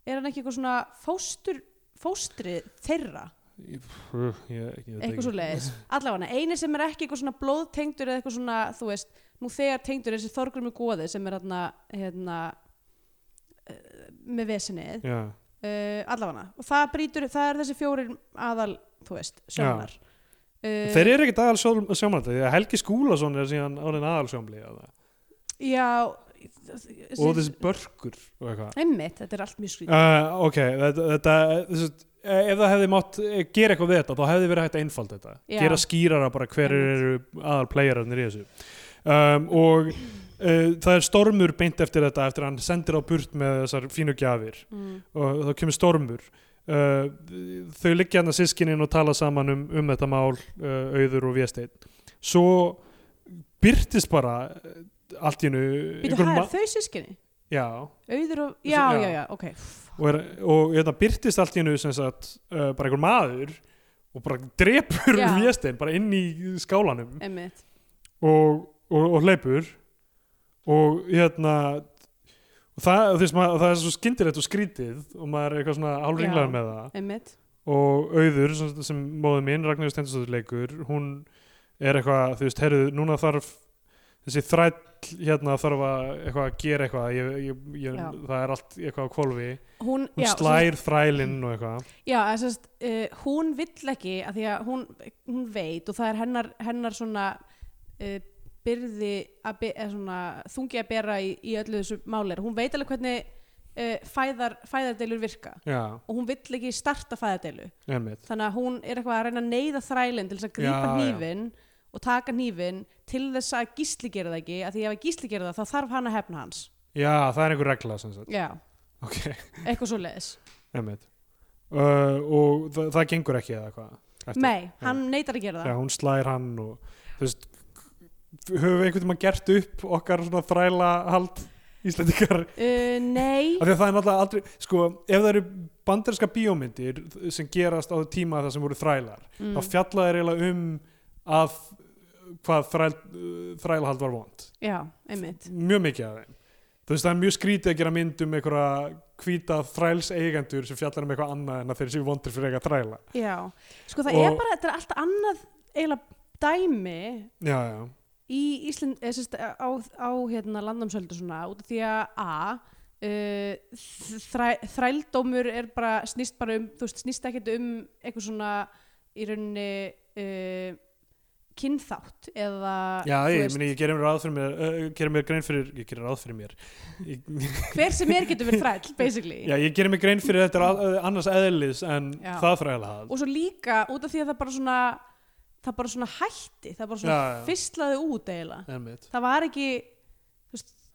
[SPEAKER 3] er hann ekki eitthvað svona fóstur, fóstri þeirra,
[SPEAKER 2] ég, ég, ég, ég, veit ekki.
[SPEAKER 3] eitthvað svo leiðis. Allavega, eini sem er ekki eitthvað svona blóðtengdur eða eitthvað svona, þú veist, nú þegar tengdur er þessi Þorgur með góði sem er hérna, hérna, uh, með vesinið.
[SPEAKER 2] já,
[SPEAKER 3] uh, allafana og það brýtur, það er þessi fjórir aðal, þú veist, sjónar uh,
[SPEAKER 2] Þeir eru ekkert aðal sjómlandi, því að Helgi Skúlason er síðan orðin aðal sjómlandi
[SPEAKER 3] já
[SPEAKER 2] og þessi börkur og eitthvað.
[SPEAKER 3] einmitt, þetta er allt mjög skrítið
[SPEAKER 2] Uh, ok, þetta, þetta þessi, ef það hefði mátt eh, gera eitthvað við þetta þá hefði verið hægt að einfalda þetta
[SPEAKER 3] Já.
[SPEAKER 2] gera skýrara bara hverjir eru aðal playerarnir í þessu um, og uh, það er stormur beint eftir þetta eftir að hann sendir á burt með þessar fínu gjafir
[SPEAKER 3] mm.
[SPEAKER 2] og þá kemur stormur uh, þau liggja hann að sískinin og tala saman um, um þetta mál uh, auður og vésteinn svo byrtist bara uh, allt í hennu
[SPEAKER 3] býtu, það er þau sískinni,
[SPEAKER 2] já,
[SPEAKER 3] auður og
[SPEAKER 2] Þessi-
[SPEAKER 3] já,
[SPEAKER 2] já.
[SPEAKER 3] já, já, ok
[SPEAKER 2] og, er, og þetta byrtist allt í hennu sem sagt uh, bara einhver maður og bara drepur
[SPEAKER 3] Já.
[SPEAKER 2] vésteinn bara inn í skálanum
[SPEAKER 3] einmitt,
[SPEAKER 2] og, og, og hleypur og hérna og það, og þess, maður, það er svo skyndilegt og skrítið og maður er eitthvað svona hálfringlaður
[SPEAKER 3] Já.
[SPEAKER 2] með það
[SPEAKER 3] einmitt
[SPEAKER 2] og auður sem, sem móðu mín, Ragnhjóð Stendurstofur leikur hún er eitthvað, þú veist, heyrðu, núna þarf þessi þræll hérna þarf að eitthvað að gera eitthvað ég, ég, ég,
[SPEAKER 3] Já.
[SPEAKER 2] það er allt eitthvað á kvolfi
[SPEAKER 3] hún,
[SPEAKER 2] hún
[SPEAKER 3] já,
[SPEAKER 2] slær þrælinn og eitthvað
[SPEAKER 3] sem- já, sem sagt, uh, hún vill ekki að því að hún, hún veit og það er hennar, hennar svona uh, byrði að be, eða svona, þungi að bera í, í öllu þessu málir hún veit alveg hvernig uh, fæðar, fæðardeilur virka
[SPEAKER 2] já,
[SPEAKER 3] og hún vill ekki starta fæðadeilu
[SPEAKER 2] einmitt
[SPEAKER 3] þannig að hún er eitthvað að reyna að neyða þrælinn til þess að
[SPEAKER 2] Já,
[SPEAKER 3] grípa
[SPEAKER 2] já.
[SPEAKER 3] hnífin og taka hnífin til þess að gísli gera það ekki að því ef að gísli gera það þá þarf hann að hefna hans
[SPEAKER 2] já, það er einhver regla sem sagt
[SPEAKER 3] já,
[SPEAKER 2] ok,
[SPEAKER 3] eitthvað svo leiðis
[SPEAKER 2] einmitt uh, og það, það gengur ekki eða hvað eftir.
[SPEAKER 3] nei, hann neytar að gera
[SPEAKER 2] já,
[SPEAKER 3] það
[SPEAKER 2] hún slær hann og þú veist höfum við einhvern tímann gert upp okkar svona þræla hald Íslendingar
[SPEAKER 3] uh, nei,
[SPEAKER 2] af því að það er náttúrulega aldrei sko, ef það eru banderska bíómyndir sem gerast á tíma það sem voru þrælar
[SPEAKER 3] mm,
[SPEAKER 2] þá fjalla þeir eiginlega um að hvað þræl, þrælahald var vond
[SPEAKER 3] já, einmitt
[SPEAKER 2] mjög mikið af þeim þú veist það er mjög skrítið að gera mynd um einhverja hvíta þræls eigendur sem fjallar um eitthvað annað en að þeir séu vondir fyrir eitthvað þræla
[SPEAKER 3] já, sko það
[SPEAKER 2] Og-
[SPEAKER 3] er bara þetta er allt annað eiginlega dæmi
[SPEAKER 2] já, já,
[SPEAKER 3] í Ísland eða, sérst, á, á hérna, landnámsöldu svona út af því að a uh, þræ, þrældómur er bara snýst bara um þú veist snýst ekkert um eitthvað svona í rauninni uh, kynþátt eða
[SPEAKER 2] já
[SPEAKER 3] þú
[SPEAKER 2] ég,
[SPEAKER 3] veist,
[SPEAKER 2] meni, ég gerir mér ráð fyrir mér, uh, gerir mér grein fyrir ég gerir ráð fyrir mér ég,
[SPEAKER 3] hver sem er getur verið þræll basically
[SPEAKER 2] já, ég gerir mér grein fyrir þetta er al- uh, annars eðlis en
[SPEAKER 3] Já.
[SPEAKER 2] það þrælahald
[SPEAKER 3] og svo líka út af því að það bara svona það bara svona hætti það bara svona
[SPEAKER 2] Já, já.
[SPEAKER 3] fyrstlaði út eiginlega
[SPEAKER 2] Einmitt.
[SPEAKER 3] það var ekki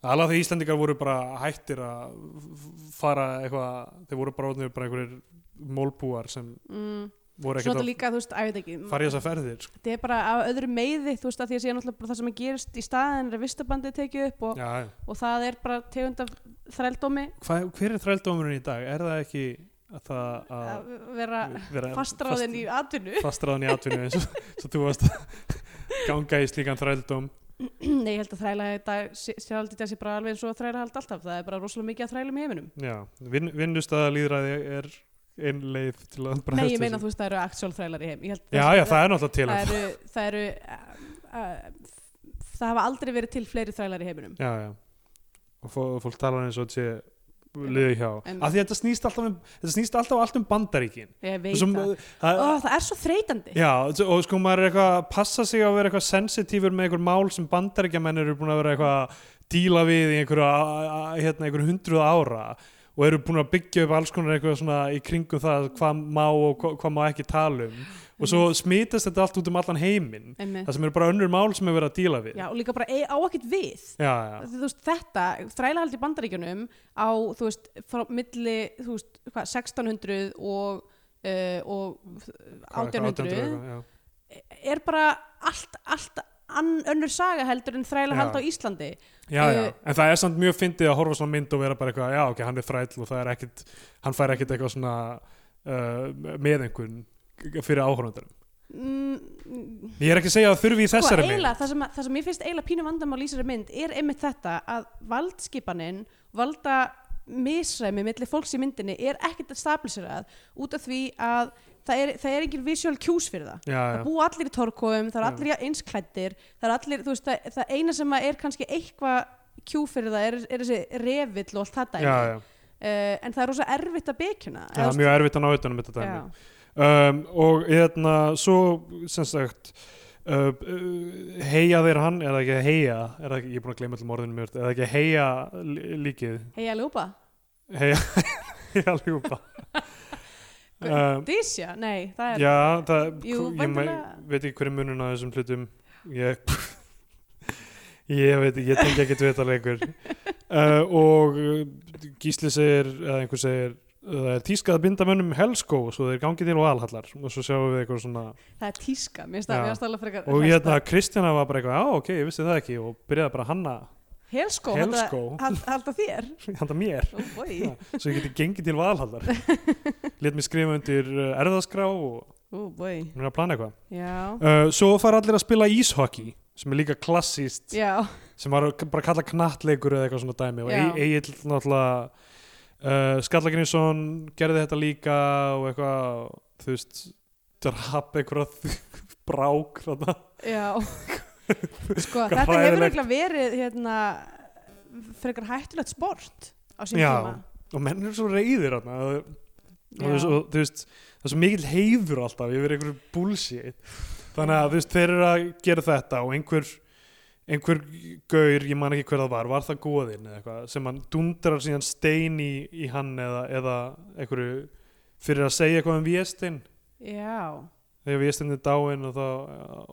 [SPEAKER 2] alveg því Íslandingar voru bara hættir að f- fara eitthvað þeir voru bara orðnir bara einhverjir mólbúar sem
[SPEAKER 3] mm,
[SPEAKER 2] voru
[SPEAKER 3] svona
[SPEAKER 2] ekkert
[SPEAKER 3] þetta líka þú veist að ég veit ekki
[SPEAKER 2] að fara í þessa ferðir sko.
[SPEAKER 3] þetta er bara af öðru meiði þú veist að því að sé náttúrulega bara það sem að gerist í staðin er að vistabandið tekið upp og,
[SPEAKER 2] já, já.
[SPEAKER 3] og það er bara tegund af þrældómi
[SPEAKER 2] Hva, hver er þrældómurinn í dag? Er það ekki að það að
[SPEAKER 3] að vera
[SPEAKER 2] vera
[SPEAKER 3] fastráðin í atvinnu
[SPEAKER 2] fastráðin í atvinnu eins og svo þú varst að ganga í slíkan þrældóm
[SPEAKER 3] Nei, ég held að þræla þetta sjálf þetta sé bara alveg eins og að þræla hald alltaf það er bara rosalega mikið að þræla í heiminum
[SPEAKER 2] já, vin, vinnust að líðræði er einn leið til að
[SPEAKER 3] Nei,
[SPEAKER 2] bregðast
[SPEAKER 3] ég meina
[SPEAKER 2] þessu.
[SPEAKER 3] þú veist það eru actual þrælar í heim Ég held að
[SPEAKER 2] já, já, það er náttúrulega til
[SPEAKER 3] það
[SPEAKER 2] að-
[SPEAKER 3] eru, það eru uh, uh, það hafa aldrei verið til fleiri þrælar í heiminum
[SPEAKER 2] já, já og fó, fólk talar eins og þetta sé liðu hjá
[SPEAKER 3] En-
[SPEAKER 2] af því að þetta snýst alltaf, um, þetta snýst alltaf allt um bandaríkin
[SPEAKER 3] ég veit
[SPEAKER 2] Svo sem,
[SPEAKER 3] það
[SPEAKER 2] það,
[SPEAKER 3] Ó, það er svo þreytandi
[SPEAKER 2] eh, já, svo- og sko maður er eitthvað að passa sig á að vera eitthvað sensitífur með einhver mál sem bandaríkjamenn eru búin að vera eitthvað að díla við í einhverju a- a- hérna, einhver hundruð ára og eru búin að byggja upp alls konar eitthvað svona í kringum það hvað má og hvað, hvað má ekki tala um og svo smitast þetta allt út um allan heiminn
[SPEAKER 3] Einmitt.
[SPEAKER 2] það sem eru bara önnur mál sem er verið að díla við
[SPEAKER 3] já, og líka bara ei- á ekkert við
[SPEAKER 2] já, já.
[SPEAKER 3] þú veist, þetta, þrælahaldi í bandaríkjunum á, þú veist, frá milli þú veist, hvað, 1600 og, uh, og 1800
[SPEAKER 2] já.
[SPEAKER 3] er bara allt, allt ann, önnur saga heldur en þrælahald
[SPEAKER 2] Já.
[SPEAKER 3] á Íslandi
[SPEAKER 2] Já, já,
[SPEAKER 3] Eh,
[SPEAKER 2] en það er samt mjög fyndið að horfa á svona mynd og vera bara eitthvað, já, ok, hann er þræll og það er ekkit, hann fær ekkit eitthvað svona uh, með einhvern fyrir áhörundarum.
[SPEAKER 3] mm,
[SPEAKER 2] Ég er ekki að segja að þurfi í
[SPEAKER 3] sko,
[SPEAKER 2] þessari mynd.
[SPEAKER 3] eiginlega, það, sem, að- það sem ég finnst eiginlega pínu vandamál í þessari mynd er einmitt þetta að valdskipanin valda misræmi millir fólks í myndinni er ekkert að stabiliserað út af því að það er, það er engin visual cues fyrir það
[SPEAKER 2] Já,
[SPEAKER 3] það
[SPEAKER 2] já,
[SPEAKER 3] búa allir í torkofum, það er
[SPEAKER 2] Já.
[SPEAKER 3] allir í einsklættir það er allir, þú veist, það, það eina sem að er kannski eitthvað kjú fyrir það er, er þessi revill og allt þetta
[SPEAKER 2] já, já,
[SPEAKER 3] en það er rosa erfitt að bekjuna
[SPEAKER 2] það er mjög erfitt að ná utan um þetta dæmi. Um, og hérna, svo, sem sagt, uh, uh, heia þeir hann, er það ekki að heia, er það ekki, ég er búin að gleyma allum orðinu mér, er það ekki að heia lí- líkið,
[SPEAKER 3] hei að ljópa,
[SPEAKER 2] heia, heia ljúpa. Um,
[SPEAKER 3] dísja, nei það er,
[SPEAKER 2] Já, það,
[SPEAKER 3] Jú,
[SPEAKER 2] Jú, ég mæ,
[SPEAKER 3] væntanlega.
[SPEAKER 2] veit ekki hverju munun á þessum hlutum ég, ég veit ekki, ég tengi ekki þetta leikur uh, og uh, Gísli segir, eða einhver segir "Uh, það er tískað að binda mönnum helskó svo þeir gangi til og alhallar og svo sjáum við eitthvað svona
[SPEAKER 3] það er tíska mér finnst það,
[SPEAKER 2] Já.
[SPEAKER 3] mér finnst það alveg frekar
[SPEAKER 2] og hérna Kristjana var bara eitthvað, á ok, ég vissi það ekki og byrjaði bara að hanna,
[SPEAKER 3] helskó,
[SPEAKER 2] Helskó.
[SPEAKER 3] halda þér
[SPEAKER 2] handa mér
[SPEAKER 3] oh boy,
[SPEAKER 2] Já. svo ég geti gengið til valhallar let mér skrifa undir uh, erðaskrá og
[SPEAKER 3] oh boy
[SPEAKER 2] hún er að plana eitthvað
[SPEAKER 3] já,
[SPEAKER 2] uh, svo fara allir að spila íshockey sem er líka klassíst
[SPEAKER 3] já,
[SPEAKER 2] sem var bara kallað knattleikur eða eitthvað svona dæmi og
[SPEAKER 3] Já.
[SPEAKER 2] Ey- Egill náttúrulega uh, Skallagrinsson gerði þetta líka og eitthvað þú veist, drap eitthvað brák þarna
[SPEAKER 3] já sko,
[SPEAKER 2] Hvað
[SPEAKER 3] þetta hefur
[SPEAKER 2] hræðilegt.
[SPEAKER 3] eiginlega verið hérna frekar hættulegt sport á sín
[SPEAKER 2] Já.
[SPEAKER 3] tíma
[SPEAKER 2] og menn eru svo reyðir þarna og, og, þú
[SPEAKER 3] Já.
[SPEAKER 2] veist, og þú veist, það er svo mikill heiður alltaf yfir einhverju bullshit þannig að þú veist, þeir eru að gera þetta og einhver einhver gaur, ég man ekki hver það var var það góðinn eða eitthvað sem hann dundrar síðan stein í, í hann eða, eða einhverju fyrir að segja eitthvað um Véstein
[SPEAKER 3] Já,
[SPEAKER 2] þegar Véstein er dáinn og þá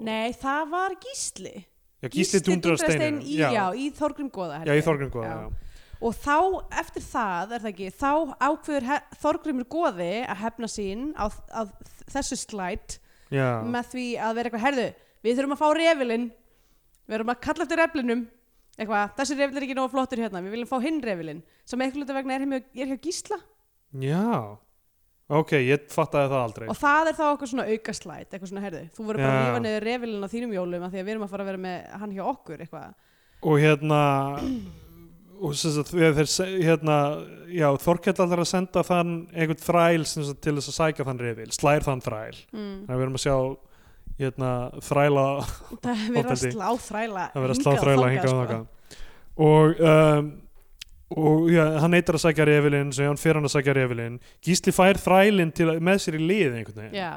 [SPEAKER 3] nei það var Gísli
[SPEAKER 2] já, Gísli dundrar steinin
[SPEAKER 3] í, já. í Þorgrim Góða held
[SPEAKER 2] já, í
[SPEAKER 3] ég.
[SPEAKER 2] Þorgrinn góða
[SPEAKER 3] Já.
[SPEAKER 2] já.
[SPEAKER 3] Og þá, eftir það, er það ekki þá ákveður he- Þorgrimur Góði að hefna sín á, á þessu slætt
[SPEAKER 2] Já.
[SPEAKER 3] með því að vera eitthvað, herðu, við þurfum að fá refilinn við erum að kalla eftir reflinum eitthvað, þessi refil er ekki nógu flottur hérna við viljum fá hinn refilinn sem eitthvað hluta vegna er, hjá, er hjá Gísla
[SPEAKER 2] já ok, ég fattaði það aldrei
[SPEAKER 3] og það er þá eitthvað svona auka slætt eitthvað svona, herðu, þú verður bara
[SPEAKER 2] Já.
[SPEAKER 3] að lífa neður refilinn á þínum jólum af því að við erum að fara að vera með hann hjá okkur eitthvað
[SPEAKER 2] og hérna og sem sagt þegar þeir se- hérna, já, Þorkell allar að senda þann einhvern þræl sem sagt, til þess að sækja þann reyðil, slær þann þræl
[SPEAKER 3] mm.
[SPEAKER 2] þannig að við erum að sjá hérna, þræla,
[SPEAKER 3] Það er verið að
[SPEAKER 2] Ofbeldi.
[SPEAKER 3] slá þræla
[SPEAKER 2] að vera að slá þræla hingað
[SPEAKER 3] sko.
[SPEAKER 2] og þangað og um, og já, hann neytar að sækja reyðilinn sem hann fyrir hann að sækja reyðilinn Gísli fær þrælinn til, að- með sér í liðin einhvern veginn
[SPEAKER 3] Já,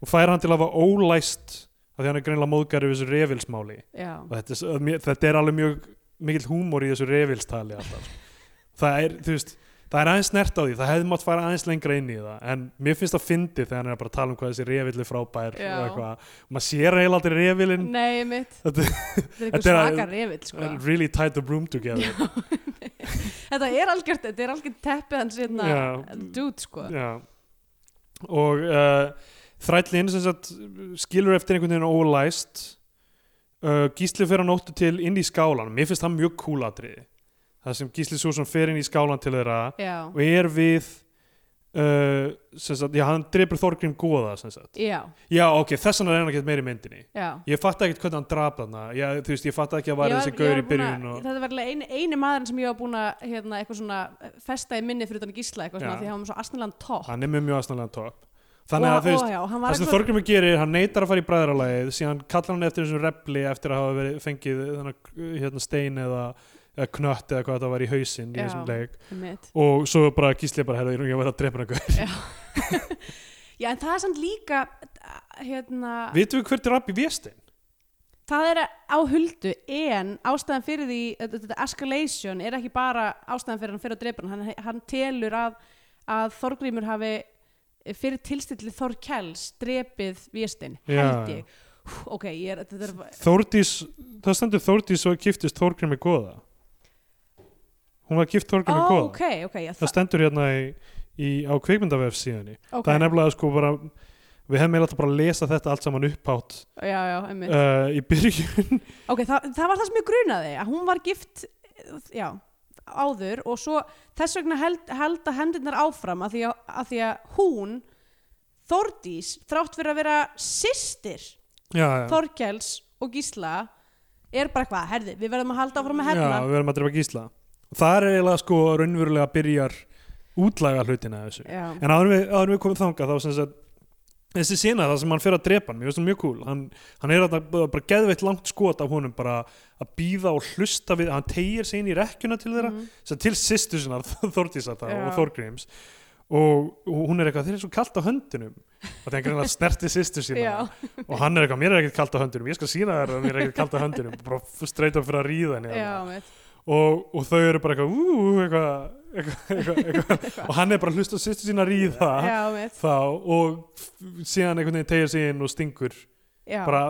[SPEAKER 2] og fær hann til að hafa ólæst af því hann er greinilega móðgæri við þessu reyðilsmáli
[SPEAKER 3] já,
[SPEAKER 2] og þetta er, s- mér- þetta er alveg mjög mikill húmor í þessu revilstali alltaf það er, þú veist það er aðeins snert á því, það hefði mátt fara aðeins lengra inn í það en mér finnst það fyndi þegar hann er bara að tala um hvað þessi revill er frábær
[SPEAKER 3] Já.
[SPEAKER 2] og eitthvað, og maður sér eiginlega aldrei revilinn
[SPEAKER 3] nei mitt
[SPEAKER 2] Þetta-
[SPEAKER 3] Þetta er eitthvað
[SPEAKER 2] Þetta er-
[SPEAKER 3] svaka revill sko.
[SPEAKER 2] and really tied the broom together
[SPEAKER 3] Þetta er algjört, þetta er algjört teppið hans hérna
[SPEAKER 2] Já.
[SPEAKER 3] dude sko
[SPEAKER 2] Já. og uh, þrællin sem sagt skilur eftir einhvern veginn ólæst uh, Gísli fer að nóttu til inn í skálan, mér finnst það mjög kúlatriði það sem Gísli Sússon fer inn í skálan til þeirra
[SPEAKER 3] Já,
[SPEAKER 2] og er við uh, sem sagt, já, hann drepur Þorgrím góða sem sagt.
[SPEAKER 3] já,
[SPEAKER 2] já, ok, þess vegna er hann ekkert meiri í myndinni
[SPEAKER 3] já
[SPEAKER 2] ég fatt ekki hvernig hann drap þarna já, þú veist, ég fatt ekki að
[SPEAKER 3] Ég
[SPEAKER 2] væri
[SPEAKER 3] var-
[SPEAKER 2] þessi
[SPEAKER 3] ég
[SPEAKER 2] gaur
[SPEAKER 3] var
[SPEAKER 2] í
[SPEAKER 3] búin að-
[SPEAKER 2] byrjun og...
[SPEAKER 3] Þetta var alveg eini, eini maðurinn sem ég var búin að hérna, eitthvað svona eh, festa í minni fyrir utan gísla eitthvað svona
[SPEAKER 2] Já.
[SPEAKER 3] því hann var með svo asnilegan topp
[SPEAKER 2] hann er með mjög aðstæðlega topp þannig að
[SPEAKER 3] Og-
[SPEAKER 2] þú
[SPEAKER 3] og
[SPEAKER 2] veist,
[SPEAKER 3] já, hann var
[SPEAKER 2] það sem
[SPEAKER 3] eitthvað-
[SPEAKER 2] Þorgrím gerir hann neytar að fara í bræðralagið síðan kallar hann eftir þessum repli eftir að hafa verið, fengið þennan, hérna stein eða eða knött eða hvað það var í hausinn í
[SPEAKER 3] Já.
[SPEAKER 2] þessum leik
[SPEAKER 3] Einmitt.
[SPEAKER 2] og svo bara gísli bara herra, ég var að drepa hann eitthvað
[SPEAKER 3] Já, en það er samt líka hérna,
[SPEAKER 2] vitum við hvert er Abbi Véstein?
[SPEAKER 3] það er á huldu en ástæðan fyrir því þetta þetta escalation er ekki bara ástæðan fyrir hann fyrir að drepa hann, hann, hann telur að, að Þorgrímur hafi fyrir tilstilli Þorkels drepið Véstein,
[SPEAKER 2] Já.
[SPEAKER 3] held ég Hú, ok, ég er, þetta er
[SPEAKER 2] Þórdís, það stendur Þórdís og giftist Þorgrími Góða hún var gift Þorgrími
[SPEAKER 3] Ó,
[SPEAKER 2] Góða
[SPEAKER 3] ok, ok, já,
[SPEAKER 2] það stendur hérna í, í, á kveikmyndavef síðan
[SPEAKER 3] ok.
[SPEAKER 2] það er nefnilega sko bara við hefum eiginlega átt að bara lesa þetta allt saman upphátt
[SPEAKER 3] já, já, einmitt
[SPEAKER 2] uh, í byrjun
[SPEAKER 3] Ok, það, það var það sem ég grunaði að hún var gift já, áður og svo þess vegna held, held að hendinnar áfram að því að, að, því að hún Þórdís, þrátt fyrir að vera systir
[SPEAKER 2] já, já.
[SPEAKER 3] Þorkels og Gísla er bara hvað, herði, við verðum að halda áfram að
[SPEAKER 2] já,
[SPEAKER 3] herna
[SPEAKER 2] við erum að drepa gísla það er eiginlega sko raunverulega byrjar útlaga hlutina af þessu
[SPEAKER 3] Já,
[SPEAKER 2] en áður en við, áður en við komum þangað þá sem sagt þessi sína það sem hann fer að drepa hann, mér finnst það mjög cool hann, hann er að bara geðveitt langt skot af honum bara að býða og hlusta við hann tegir sig inn í rekkjuna til þeirra
[SPEAKER 3] Mhm.
[SPEAKER 2] sem til sýstu sinnar Þordísar það
[SPEAKER 3] Já.
[SPEAKER 2] og Þorgríms og, og hún er eitthvað, þeir eru svo kalt á höndunum og það er einhvern veginn að snerti sýstu sína
[SPEAKER 3] já,
[SPEAKER 2] og hann er eitthvað, mér er ekkert kalt á höndunum ég skal sína þér að mér er ekkert kalt á höndunum bara streyta fyrir að ríða henni
[SPEAKER 3] já,
[SPEAKER 2] þarna.
[SPEAKER 3] mitt
[SPEAKER 2] og, og þau eru bara eitthvað, ú, eitthvað, eitthvað, eitthvað, eitthvað. og hann er bara að hlusta á sýstu sína að ríða
[SPEAKER 3] Já, mitt,
[SPEAKER 2] þá og f- síðan einhvern veginn tegir sig inn og stingur
[SPEAKER 3] já
[SPEAKER 2] bara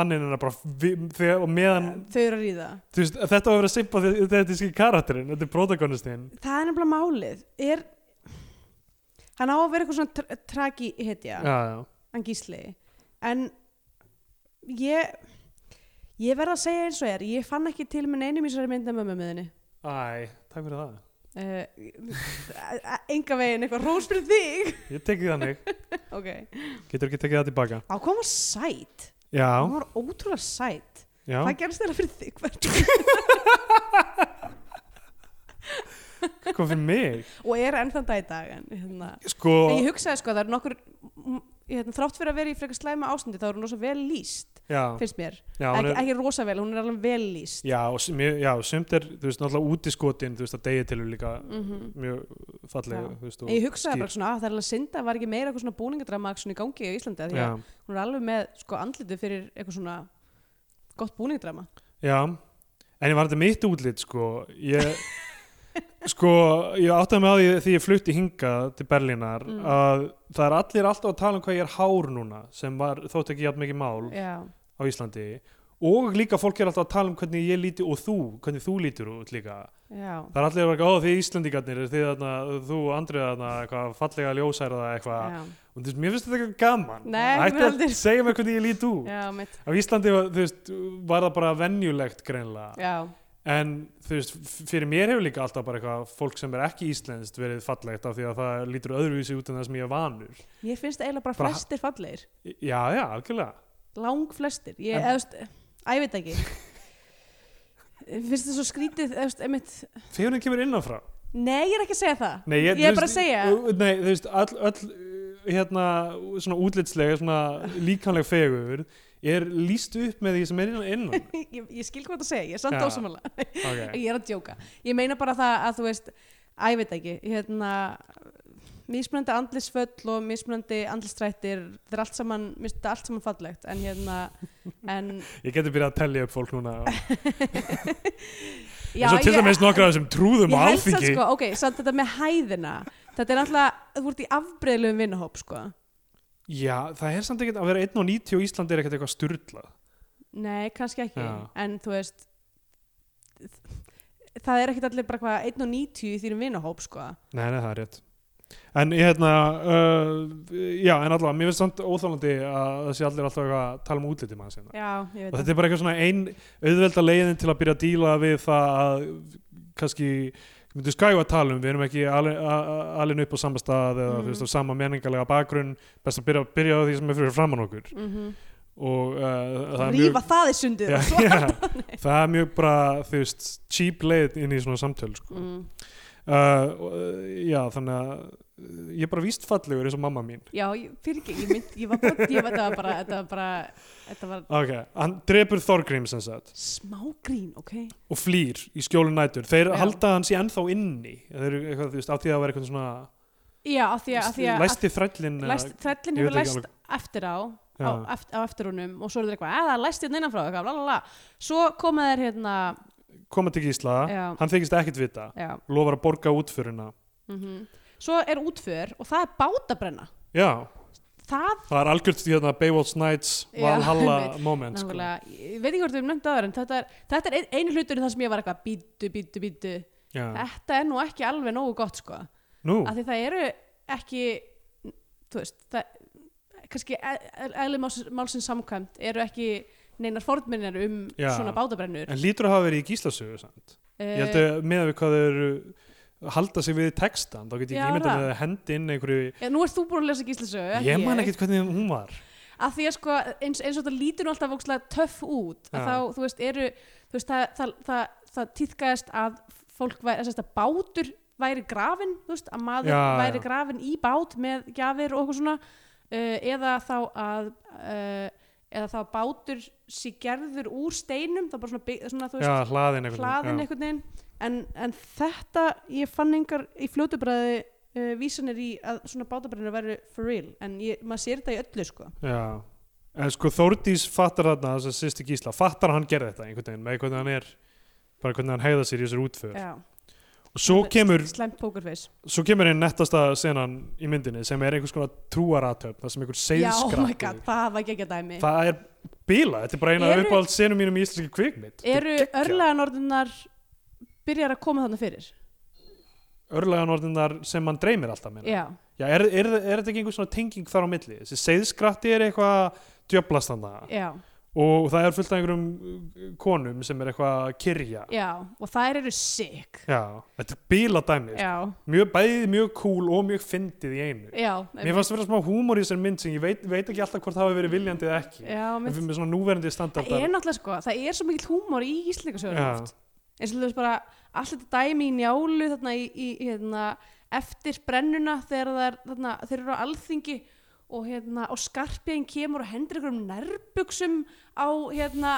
[SPEAKER 2] mannin hennar bara vi- þegar, og meðan
[SPEAKER 3] Þau eru að ríða
[SPEAKER 2] þú veist, þetta á að vera simpa þetta er ekki karakterinn, þetta er protagonistinn
[SPEAKER 3] Það er nefnilega málið er, Hann á að vera eitthvað svona tra tragi hetja
[SPEAKER 2] já, já,
[SPEAKER 3] hann gísli en ég ég verð að segja eins og er ég fann ekki til með neinum í sér mynda mömmu miðinni
[SPEAKER 2] æ, takk fyrir það
[SPEAKER 3] uh, Eh, enga veginn eitthvað rós fyrir þig
[SPEAKER 2] ég tekið þannig,
[SPEAKER 3] ok,
[SPEAKER 2] getur ekki tekið það tilbaka
[SPEAKER 3] á koma sæt
[SPEAKER 2] já,
[SPEAKER 3] hún var ótrúlega sæt
[SPEAKER 2] já,
[SPEAKER 3] hvað gerst þér fyrir þig Hvert-
[SPEAKER 2] kom sko, fyrir mig
[SPEAKER 3] og er enn þann dag í dag en, hérna.
[SPEAKER 2] sko,
[SPEAKER 3] en ég hugsaði sko að það er nokkur m- hérna, þrátt fyrir að vera í frekar slæma ástandi þá er hún rosa vel lýst
[SPEAKER 2] já,
[SPEAKER 3] finnst mér,
[SPEAKER 2] já, hún
[SPEAKER 3] ekki,
[SPEAKER 2] er
[SPEAKER 3] ekki rosa vel hún er alveg vel lýst
[SPEAKER 2] já, og sum- mjög- já, sumt er, þú veist, náttúrulega útiskotin þú veist, að degi til líka
[SPEAKER 3] Mhm.
[SPEAKER 2] mjög falleg,
[SPEAKER 3] Já.
[SPEAKER 2] þú veist,
[SPEAKER 3] En ég hugsaði bara
[SPEAKER 2] skýr.
[SPEAKER 3] svona að það er alveg synda var ekki meira eitthvað svona búningadrama action í gangi á Íslandi af því
[SPEAKER 2] já,
[SPEAKER 3] að hún er alveg með sko andlitið fyrir eitthvað svona gott búningadrama
[SPEAKER 2] já en ég var þetta mitt útlit, sko ég sko, ég áttaði mig á því því ég flutti hingað til Berlínar
[SPEAKER 3] Mm.
[SPEAKER 2] að það er allir alltaf að tala um hvað ég er hár núna sem var, þótt ekki jafn mikið mál
[SPEAKER 3] já,
[SPEAKER 2] á Íslandi og líka fólk er alltaf að tala um hvernig ég líti og þú, hvernig þú lítur út líka
[SPEAKER 3] já,
[SPEAKER 2] það er allir að vera eitthvað, ó þið Íslandingarnir þið þarna, þú og Andrið þarna eitthvað fallega ljósærða eitthvað
[SPEAKER 3] já,
[SPEAKER 2] og þú veist, mér finnst þetta eitthvað gaman
[SPEAKER 3] Nei,
[SPEAKER 2] hætti
[SPEAKER 3] mér
[SPEAKER 2] að
[SPEAKER 3] heldur.
[SPEAKER 2] segja mér hvernig ég lít út
[SPEAKER 3] já, mitt
[SPEAKER 2] á Íslandi var, þú veist, var það bara venjulegt greinlega
[SPEAKER 3] já,
[SPEAKER 2] en þú veist, f- fyrir mér hefur líka alltaf bara eitthvað fólk sem er ekki íslenskt verið fallegt af því að það lítur öðruvísi út en það sem ég er vanur
[SPEAKER 3] ég finnst eiginlega bara
[SPEAKER 2] Bara-
[SPEAKER 3] flestir fallegir
[SPEAKER 2] já, já, algjörlega
[SPEAKER 3] lang flestir, ég,
[SPEAKER 2] En-
[SPEAKER 3] eða þú veist að ég veit ekki finnst það svo skrítið, eða þú veist, einmitt
[SPEAKER 2] þegar hún kemur innanfrá
[SPEAKER 3] nei, ég er ekki að segja það
[SPEAKER 2] Nei,
[SPEAKER 3] ég,
[SPEAKER 2] þú
[SPEAKER 3] er bara að
[SPEAKER 2] veist,
[SPEAKER 3] segja
[SPEAKER 2] uh, Nei, þú veist, all, all hérna, svona útlitslega svona líkanleg fegur er líst upp með því sem er innan, innan.
[SPEAKER 3] ég, ég skil hvað það segja, ég er samt
[SPEAKER 2] Já.
[SPEAKER 3] ósamála
[SPEAKER 2] Okay.
[SPEAKER 3] ég er að djóka ég meina bara það að þú veist að ég veit ekki hérna, mismunandi andlisföll og mismunandi andlistrættir það er allt saman, mér finnst þetta allt saman fallegt en hérna en,
[SPEAKER 2] Ég geti byrjað að tellja upp fólk núna eins
[SPEAKER 3] já,
[SPEAKER 2] og til
[SPEAKER 3] ég-
[SPEAKER 2] dæmis um nokkra af þessum trúðum
[SPEAKER 3] ég
[SPEAKER 2] á
[SPEAKER 3] held samt
[SPEAKER 2] alþingi
[SPEAKER 3] sko, ok, samt þetta með hæðina þetta er náttúrulega, þú ert í afbreyðlum vinnahóp sko,
[SPEAKER 2] Já, það er samt ekkert að vera 1.90 og Íslandi er ekkert eitthvað styrlað
[SPEAKER 3] nei, kannski ekki
[SPEAKER 2] Já.
[SPEAKER 3] en þú veist það er ekkert allir bara hvað 1.90 í þínum vinnahóp sko
[SPEAKER 2] Nei, nei, það er rétt En ég hérna, uh, já, en allavega mér finnst samt óþálandi að það sé allir alltaf eitthvað að tala um útliti mann sinna
[SPEAKER 3] já, ég veit
[SPEAKER 2] og þetta er bara eitthvað svona ein auðvelda leiðin til að byrja að díla við það að kannski myndu skæfa að tala um, við erum ekki alveg upp á sama stað eða
[SPEAKER 3] Mhm.
[SPEAKER 2] þú veist á sama menningalega bakgrunn, best að byrja, byrja á því sem er fyrir framann okkur
[SPEAKER 3] mm
[SPEAKER 2] og uh, það er
[SPEAKER 3] rífa
[SPEAKER 2] mjög
[SPEAKER 3] það í sundið
[SPEAKER 2] já, já, það er mjög bara þú veist,
[SPEAKER 3] Mhm.
[SPEAKER 2] cheap leið inn í svona samtöl sko.
[SPEAKER 3] Mm.
[SPEAKER 2] uh, og, uh, já, þannig að uh, ég er bara víst fallegur eins og mamma mín
[SPEAKER 3] Já, fyrir ekki, ég mynd, ég var bara, ég var, þetta var bara, þetta var bara, þetta var
[SPEAKER 2] ok, hann drepur Þorgrím sem sagt
[SPEAKER 3] smágrín, ok?
[SPEAKER 2] og flýr í skjólu nætur þeir
[SPEAKER 3] Já.
[SPEAKER 2] halda hann sér ennþá inni þeir eru eitthvað, þú veist, á því að það var eitthvað svona
[SPEAKER 3] Já, af því að, af því að, læst,
[SPEAKER 2] læsti uh, þrællin eða-
[SPEAKER 3] læst,
[SPEAKER 2] ég
[SPEAKER 3] þrællin
[SPEAKER 2] veit
[SPEAKER 3] hefur
[SPEAKER 2] ekki
[SPEAKER 3] læst eftir á, á,
[SPEAKER 2] Já.
[SPEAKER 3] eft, á eftir honum og svo eru þeir eitthvað, að það er læst hérna innanfrá, eitthvað, lalala. Svo koma þeir hérna,
[SPEAKER 2] koma til Gísla,
[SPEAKER 3] Já.
[SPEAKER 2] hann þykist ekkert vita
[SPEAKER 3] já,
[SPEAKER 2] lofar að borga útföruna
[SPEAKER 3] mhm. Svo er útför og það er bátabrenna.
[SPEAKER 2] já,
[SPEAKER 3] Það
[SPEAKER 2] það er algjört því hérna Baywatch Nights
[SPEAKER 3] Já,
[SPEAKER 2] Valhalla
[SPEAKER 3] einmitt.
[SPEAKER 2] moment sko.
[SPEAKER 3] Nákvæmlega, ég veit ekki hvort við erum nefnt aður en þetta er, þetta er ein- einu hluturinn þar sem ég var eitthvað bítu, bítu, bítu
[SPEAKER 2] Já.
[SPEAKER 3] þetta er nú ekki alveg nógu gott sko af
[SPEAKER 2] nú,
[SPEAKER 3] því það eru ekki þú veist, það kannski e- e- eðli máls- málsins samkvæmt eru ekki neinar fordminnar um
[SPEAKER 2] Já.
[SPEAKER 3] svona bátabrennur
[SPEAKER 2] en lítur að hafa verið í Gíslasögu samt Ég held
[SPEAKER 3] Eh,
[SPEAKER 2] að með við hvað þau eru halda sig við textan, þá get ég
[SPEAKER 3] Já,
[SPEAKER 2] ekki ímyndað
[SPEAKER 3] það.
[SPEAKER 2] með að hendi inn einhverju,
[SPEAKER 3] eh, Nú ert þú búin að lesa gíslisögu
[SPEAKER 2] ég man ekkert hvernig hún var
[SPEAKER 3] að því að sko eins, eins og þetta lítur nú alltaf vókslega töff út að
[SPEAKER 2] Já.
[SPEAKER 3] þá, þú veist, eru þú veist, það, það, það, það týðkaðist að fólk væri, þess að bátur væri grafin, þú veist, að maður
[SPEAKER 2] Já,
[SPEAKER 3] væri
[SPEAKER 2] já.
[SPEAKER 3] grafin í bát með gjafir og eitthvað svona uh, eða þá að uh, eða þá að bátur sé gerður úr steinum, það er bara svona, bygg- svona þú
[SPEAKER 2] já,
[SPEAKER 3] veist,
[SPEAKER 2] hlaðin einhvern
[SPEAKER 3] hlaðin
[SPEAKER 2] já.
[SPEAKER 3] einhvern veginn en, en þetta, ég fann engar í fljótubræði uh, vísanir í að svona bátabrænir væri for real en ég, maður sér þetta í öllu, sko
[SPEAKER 2] Já. en sko Þórdís fattar þarna þess að sýsti Gísla, fattar að hann gerði þetta einhvern veginn, með hvernig hann er bara hvernig hann hegða sér í þessar útför
[SPEAKER 3] Já,
[SPEAKER 2] og svo kemur,
[SPEAKER 3] slæmt pókerfeis
[SPEAKER 2] svo kemur einn nettasta senan í myndinni sem er einhvers konar trúaratöfn, það sem einhver
[SPEAKER 3] Já, oh my
[SPEAKER 2] seiðskrati
[SPEAKER 3] god, það var ekki dæmi
[SPEAKER 2] það er bíla, þetta er bara eina
[SPEAKER 3] Eru-
[SPEAKER 2] uppáhald senum mínum í íslenski kvikmynd
[SPEAKER 3] Eru örlaðanorðunar byrjar að koma þarna fyrir?
[SPEAKER 2] örlaganordinnar sem mann dreymir alltaf meina.
[SPEAKER 3] Já,
[SPEAKER 2] Já, er, er, er þetta ekki einhver svona tenging þar á milli? Þessi seiðskratti er eitthvað djöblast hann
[SPEAKER 3] já,
[SPEAKER 2] og það er fullt af einhverjum uh, konum sem er eitthvað að kyrja.
[SPEAKER 3] já og þær eru sick
[SPEAKER 2] Já, þetta er bíla dæmi.
[SPEAKER 3] Já,
[SPEAKER 2] Mjög, bæði mjög cool og mjög fyndið í einu.
[SPEAKER 3] já
[SPEAKER 2] Mér fannst vera smá húmor í þessari mynd sem ég veit, veit ekki alltaf hvort það hafi verið viljandi eða ekki.
[SPEAKER 3] Já,
[SPEAKER 2] En
[SPEAKER 3] mér
[SPEAKER 2] fyrir með svona núverandi
[SPEAKER 3] Það
[SPEAKER 2] standardar.
[SPEAKER 3] er náttúrulega sko, það er svo mikill húmor í íslengasögur
[SPEAKER 2] Já.
[SPEAKER 3] oft eins og þú veist bara allt þetta dæmi í njálu þarna í, í hérna, eftir brennuna þegar það er, þarna, þeir eru á alþingi og, hérna, og skarpiðin kemur og hendur einhverjum nærbuksum á hérna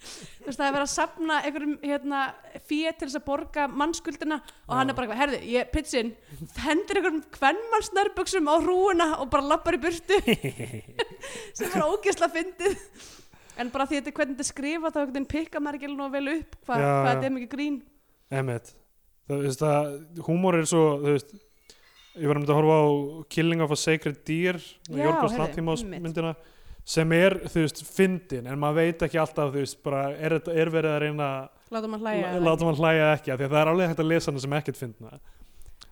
[SPEAKER 3] þú veist það er verið að safna einhverjum hérna, fíð til þess að borga mannskuldina og
[SPEAKER 2] Já.
[SPEAKER 3] hann er bara eitthvað, herði, ég pitsin hendur einhverjum kvennmanns nærbuksum á hrúuna og bara lappar í burtu sem var ógeðslega fyndið en bara því þetta er hvernig þetta er skrifað þá einhvern veginn pikka maður ekki alveg nógu vel upp hva,
[SPEAKER 2] Já,
[SPEAKER 3] hvað
[SPEAKER 2] já.
[SPEAKER 3] þetta er mikið grín
[SPEAKER 2] Emmett, það, veist, það, húmor er svo, þú veist, ég var um að horfa á Killing of a Sacred Deer,
[SPEAKER 3] Já,
[SPEAKER 2] Jórglas
[SPEAKER 3] heyrðu,
[SPEAKER 2] Lantimás
[SPEAKER 3] einmitt.
[SPEAKER 2] myndina, sem er, þú veist, fyndin, en maður veit ekki alltaf, þú veist, bara er, þetta- er verið að reyna
[SPEAKER 3] láta maður hlæja
[SPEAKER 2] að
[SPEAKER 3] eða
[SPEAKER 2] láta mann hlæja eða ekki, af því að það er alveg hægt að lesa hana sem ekkert fyndna.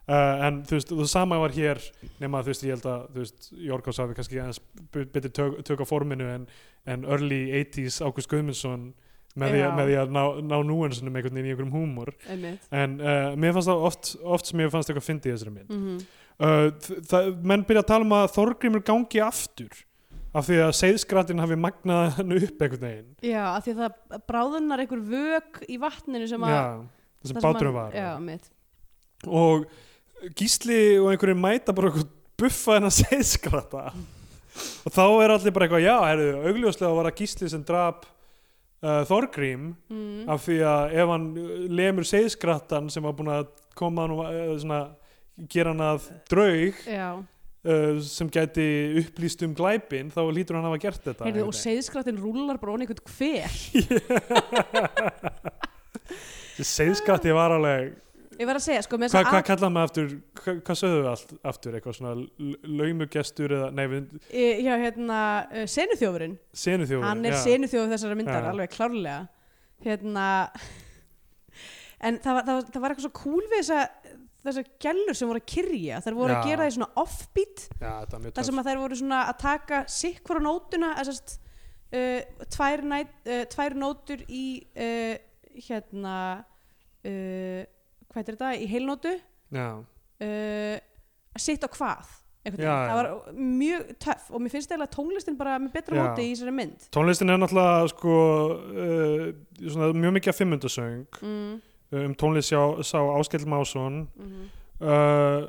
[SPEAKER 2] Uh, en þú veist, þú sama var hér nema þú veist, ég held að, þú veist, Jórgás hafi kannski aðeins b- betri tök, tök á forminu en, en early 80s Ágúst Guðmundsson með því,
[SPEAKER 3] Já.
[SPEAKER 2] að- með því að ná, ná núensunum einhvern veginn í einhverjum húmor
[SPEAKER 3] ekki. Einmitt.
[SPEAKER 2] en uh, mér fannst það oft, oft sem ég fannst eitthvað fyndið í þessari mynd
[SPEAKER 3] Mhm.
[SPEAKER 2] uh, þ- það, menn byrja að tala um að Þorgrimur gangi aftur af því að seiðskratinn hafi magnað hann upp einhvern veginn
[SPEAKER 3] já, af því að það bráðunar einhver vök í vatninu sem að
[SPEAKER 2] já, það sem báturum var
[SPEAKER 3] já, mitt
[SPEAKER 2] og Gísli og einhverjir mæta bara eitthvað buffa hennar seiðskratta og þá er allir bara eitthvað já, herðu, augljóslega var það Gísli sem drap uh, Þorgrím
[SPEAKER 3] mm.
[SPEAKER 2] af því að ef hann uh, lemur seiðskrattan sem var búin að koma hann og uh, svona, gera hann að draug
[SPEAKER 3] já,
[SPEAKER 2] uh, sem gæti upplýst um glæpin þá lítur hann að hafa gert þetta
[SPEAKER 3] heyrðu og
[SPEAKER 2] einhvern
[SPEAKER 3] seiðskrattin rúlar bara onni einhvern hver
[SPEAKER 2] veginn. seiðskratti var alveg
[SPEAKER 3] ég var að segja, sko, með
[SPEAKER 2] hvað
[SPEAKER 3] þess
[SPEAKER 2] hva kallaði maður aftur hvað hva sögðu við allt, aftur eitthvað svona l- laumugestur eða nei við
[SPEAKER 3] að já, hérna, uh, senuþjófurinn
[SPEAKER 2] senuþjóður
[SPEAKER 3] hann er
[SPEAKER 2] já.
[SPEAKER 3] senuþjóð þessara myndar,
[SPEAKER 2] Já.
[SPEAKER 3] alveg klárlega hérna en það var, það, var, það var eitthvað svo cool við þessa þessar gellur sem voru að kyrja þær voru að
[SPEAKER 2] Já.
[SPEAKER 3] gera því svona offbeat
[SPEAKER 2] já, þetta er mjög
[SPEAKER 3] þar
[SPEAKER 2] töff
[SPEAKER 3] sem að þær voru svona að taka sikkur á nótuna þessast uh, tvær, næt, uh, tvær nótur í uh, hérna uh, hvað er þetta, í heilnótu
[SPEAKER 2] já,
[SPEAKER 3] uh, að sitt á hvað einhvern
[SPEAKER 2] Já,
[SPEAKER 3] veginn. það
[SPEAKER 2] já.
[SPEAKER 3] var mjög töff og mér finnst eiginlega tónlistin bara með betra
[SPEAKER 2] Já.
[SPEAKER 3] móti í þessari mynd
[SPEAKER 2] tónlistin er náttúrulega sko uh, svona mjög mikið af fimmundasöng eh,
[SPEAKER 3] mm, mhm.
[SPEAKER 2] um tónlist sá, sá Áskell Másson
[SPEAKER 3] mm
[SPEAKER 2] uh,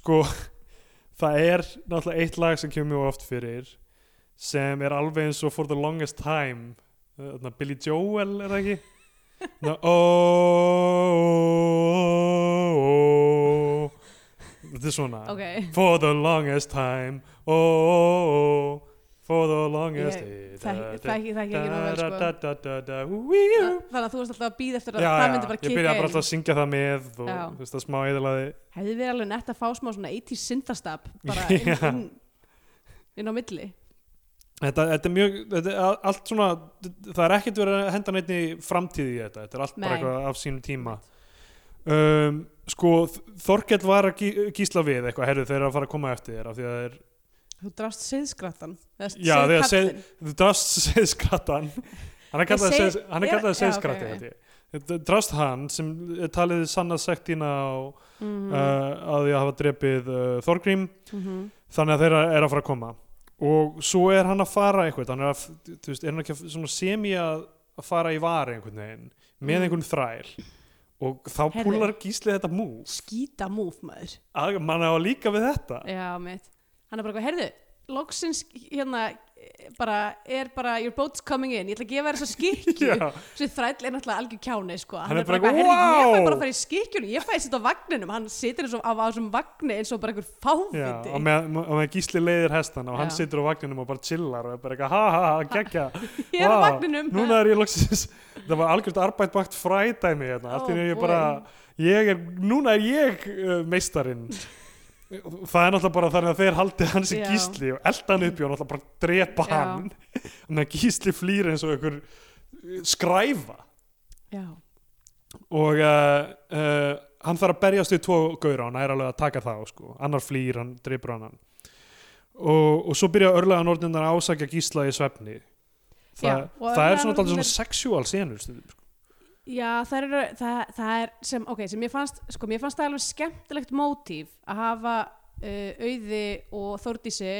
[SPEAKER 2] sko það er náttúrulega eitt lag sem kemur mjög oft fyrir sem er alveg eins og For the Longest Time Eh, Þarna Billy Joel er það ekki Þarna, "Oh, ó, ó, ó, ó. oh, Þetta er svona
[SPEAKER 3] ok,
[SPEAKER 2] For the longest time oh, oh, oh, For the longest
[SPEAKER 3] Ég- það það ekki það ekki nóg vel sko
[SPEAKER 2] Þannig
[SPEAKER 3] þannig að þú varst alltaf að býða eftir að það myndi bara
[SPEAKER 2] Ég byrjaði bara
[SPEAKER 3] kika
[SPEAKER 2] alltaf að syngja það með og
[SPEAKER 3] Já.
[SPEAKER 2] þú veist það smá eðalaði
[SPEAKER 3] hefði verið alveg nett að fá smá svona 80 syndastab bara inn,
[SPEAKER 2] Já.
[SPEAKER 3] inn, inn á milli
[SPEAKER 2] þetta, þetta er mjög, þetta er a- allt svona það er ekkert verið að henda neitt í framtíði í þetta, þetta er allt bara
[SPEAKER 3] Nei.
[SPEAKER 2] eitthvað af sínum tíma um, sko Þorkell var að gí- gísla við eitthvað, herðu þeir eru að fara að koma eftir þér af því að það er
[SPEAKER 3] þú drást siðskrattan
[SPEAKER 2] Já, þegar The Dust Seiðskrattan hann er
[SPEAKER 3] Ég
[SPEAKER 2] kallað
[SPEAKER 3] segi-
[SPEAKER 2] seið- hann er
[SPEAKER 3] er-
[SPEAKER 2] kallaði
[SPEAKER 3] já,
[SPEAKER 2] Seiðskratti
[SPEAKER 3] ok, ok.
[SPEAKER 2] okay, okay. Drast hann sem er talið sanna sektina á
[SPEAKER 3] mm
[SPEAKER 2] uh, að því að hafa drepið uh, Þorgrím
[SPEAKER 3] Mhm.
[SPEAKER 2] þannig að þeirra er að fara að koma og svo er hann að fara eitthvað hann er, að, þú veist, er hann ekki að- svona semi að, að fara í vari einhvern veginn með
[SPEAKER 3] Mm.
[SPEAKER 2] einhvern þræl og þá
[SPEAKER 3] Heyrðu.
[SPEAKER 2] púlar gíslið þetta mú
[SPEAKER 3] skýta múf maður
[SPEAKER 2] að mann á líka við þetta
[SPEAKER 3] já, mitt hann er bara eitthvað, heyrðu, loksins hérna, eh, bara, er bara your boat's coming in, ég ætla að gefa þér þessa skikju
[SPEAKER 2] Já.
[SPEAKER 3] svo þræll er náttúrulega algjör kjáni sko.
[SPEAKER 2] Hann er bara
[SPEAKER 3] eitthvað,
[SPEAKER 2] eitthvað,
[SPEAKER 3] heyrðu, ég fæ
[SPEAKER 2] "Wow!"
[SPEAKER 3] bara að fara í skikjunum ég fæ að sitja á vagninum, hann situr eins og á, á þessum vagni eins og bara einhver fáviti
[SPEAKER 2] Já, og með, og með gísli leiðir hestana og hann
[SPEAKER 3] Já.
[SPEAKER 2] situr á vagninum og bara chillar og er bara eitthvað ha ha ha, kekja
[SPEAKER 3] ég er á
[SPEAKER 2] Vá,
[SPEAKER 3] vagninum
[SPEAKER 2] núna er ég loksins það var algjört arbætbakt frædæmi hérna. allt í
[SPEAKER 3] Ó,
[SPEAKER 2] einu er ég
[SPEAKER 3] boy.
[SPEAKER 2] bara ég er, núna er ég uh, meistarinn það er náttúrulega bara þannig að þeir haldi hans í
[SPEAKER 3] Já.
[SPEAKER 2] gísli og elda hann upp í og náttúrulega bara drepa
[SPEAKER 3] Já.
[SPEAKER 2] hann þannig að gísli flýr eins og einhver uh, skræfa
[SPEAKER 3] já,
[SPEAKER 2] og uh, uh, hann þarf að berjast við tvo gaur og hann er alveg að taka það sko. annar flýr, hann dreipur annan og, og svo byrja örlegan orðin að ásækja gísla í svefni Þa,
[SPEAKER 3] Já, og
[SPEAKER 2] það er
[SPEAKER 3] örlaganornirnar-
[SPEAKER 2] svona, dálítið svona sexual senur stundum, sko.
[SPEAKER 3] já það, er, það, það er sem, ok, sem mér fannst sko, mér fannst það alveg skemmtilegt mótíf að hafa uh, auði og þórdísi